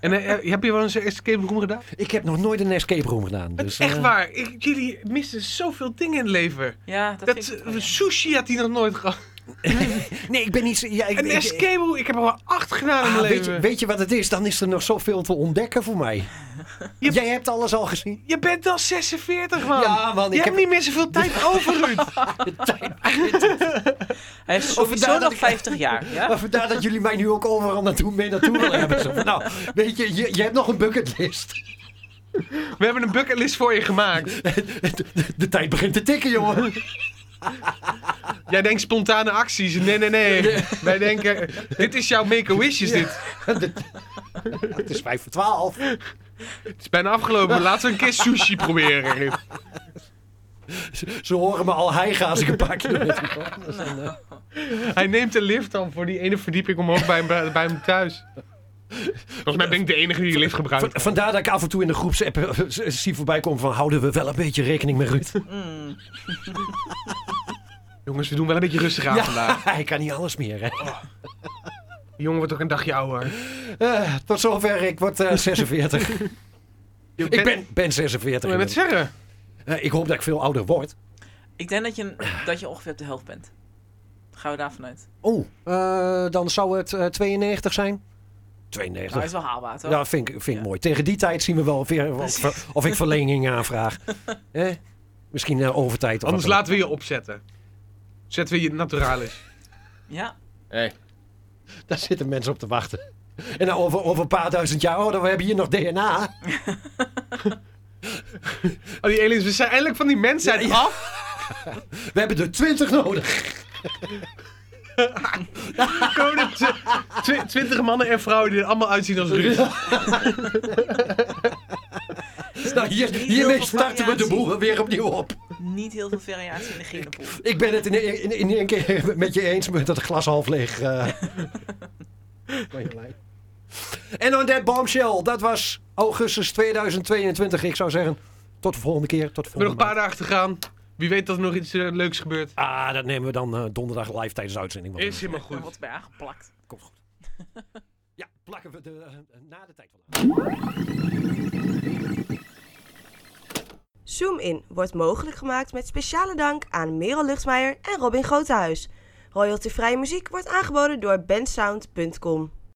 En eh, eh, heb je wel eens een escape room gedaan? ik heb nog nooit een escape room gedaan. Het Dus, is echt eh, waar. Ik, jullie missen zoveel dingen in het leven. Ja, dat, Dat, vind ik eh, wel, ja. sushi had hij nog nooit gehad. Nee, ik ben niet... zo- Ja, ik, Een ik- ik- escape room, ik heb er wel acht gedaan in Ah, mijn weet, leven. je, weet je wat het is? Dan is er nog zoveel te ontdekken voor mij. Je- Jij hebt alles al gezien. Je bent al 46, man. Ja, man, Je ik hebt heb- niet meer zoveel tijd over, Ruud. Hij is vandaar sowieso dat nog ik- 50 jaar. Ja? Maar vandaar dat jullie mij nu ook overal naartoe mee naartoe willen hebben. Zo van, nou, weet je, je, je hebt nog een bucketlist. We hebben een bucketlist voor je gemaakt. De, de- de tijd begint te tikken, jongen. Jij denkt spontane acties. Nee, nee, nee. Wij denken, dit is jouw make-a-wish, is dit. De- het is vijf voor twaalf. Het is bijna afgelopen. Laten we een keer sushi proberen, Ruud. Ze, ze horen me al hijgen als ik een paar kilometer kom. Dus dan, eh, Hij neemt de lift dan voor die ene verdieping omhoog bij hem, bij hem thuis. Volgens mij ben ik de enige die die lift van- gebruikt. vandaar dat ik af en toe in de groepsapp eh, z- zie voorbij komen van... houden we wel een beetje rekening met Ruud? Mm. Jongens, we doen wel een beetje rustig aan vandaag. Hij kan niet alles meer, hè? Die jongen wordt ook een dagje ouder. Eh, tot zover, ik word eh, 46. Ik ben, ben 46. Ik het zeggen. Eh, ik hoop dat ik veel ouder word. Ik denk dat je, een- dat je ongeveer op de helft bent. Gaan we daarvan uit. Oh, eh, dan zou het eh, 92 zijn. Nou, dat is 92. wel haalbaar, toch? Ja, vind ik, vind ik Ja. mooi. Tegen die tijd zien we wel weer of, Precies. of ik verlenging aanvraag. Eh? Misschien eh, overtijd. Of Anders wat dan laten we je opzetten. Zetten we je naturalis. Ja. ook. Daar zitten mensen op te wachten. En dan over, over een paar duizend jaar, oh, dan hebben we hier nog DNA. Oh, die aliens, we zijn eindelijk van die mensheid Ja, ja. af. We hebben er twintig nodig. Komen twintig mannen en vrouwen die er allemaal uitzien als Ruud. Snap Nou, hier, Niet heel hiermee veel starten we de variatie. boel weer opnieuw op. Niet heel veel variatie in de Genepoel. Ik ben het in, in, in één keer met je eens met dat glas half leeg. eh. Van je lijn. En on that bombshell, dat was augustus 2022. Ik zou zeggen, tot de volgende keer. Tot de We hebben nog een volgende paar dagen te gaan. Wie weet dat er nog iets eh, leuks gebeurt. maand. Ah, dat nemen we dan eh, donderdag live tijdens de uitzending. want Is dan- helemaal Ik ben goed. wat bij aangeplakt. Komt goed. Ja, plakken we de, eh, na de tijd wel aan. Zoom In wordt mogelijk gemaakt met speciale dank aan Merel Luchtmeijer en Robin Grotehuis. Royaltyvrije muziek wordt aangeboden door bensound.com.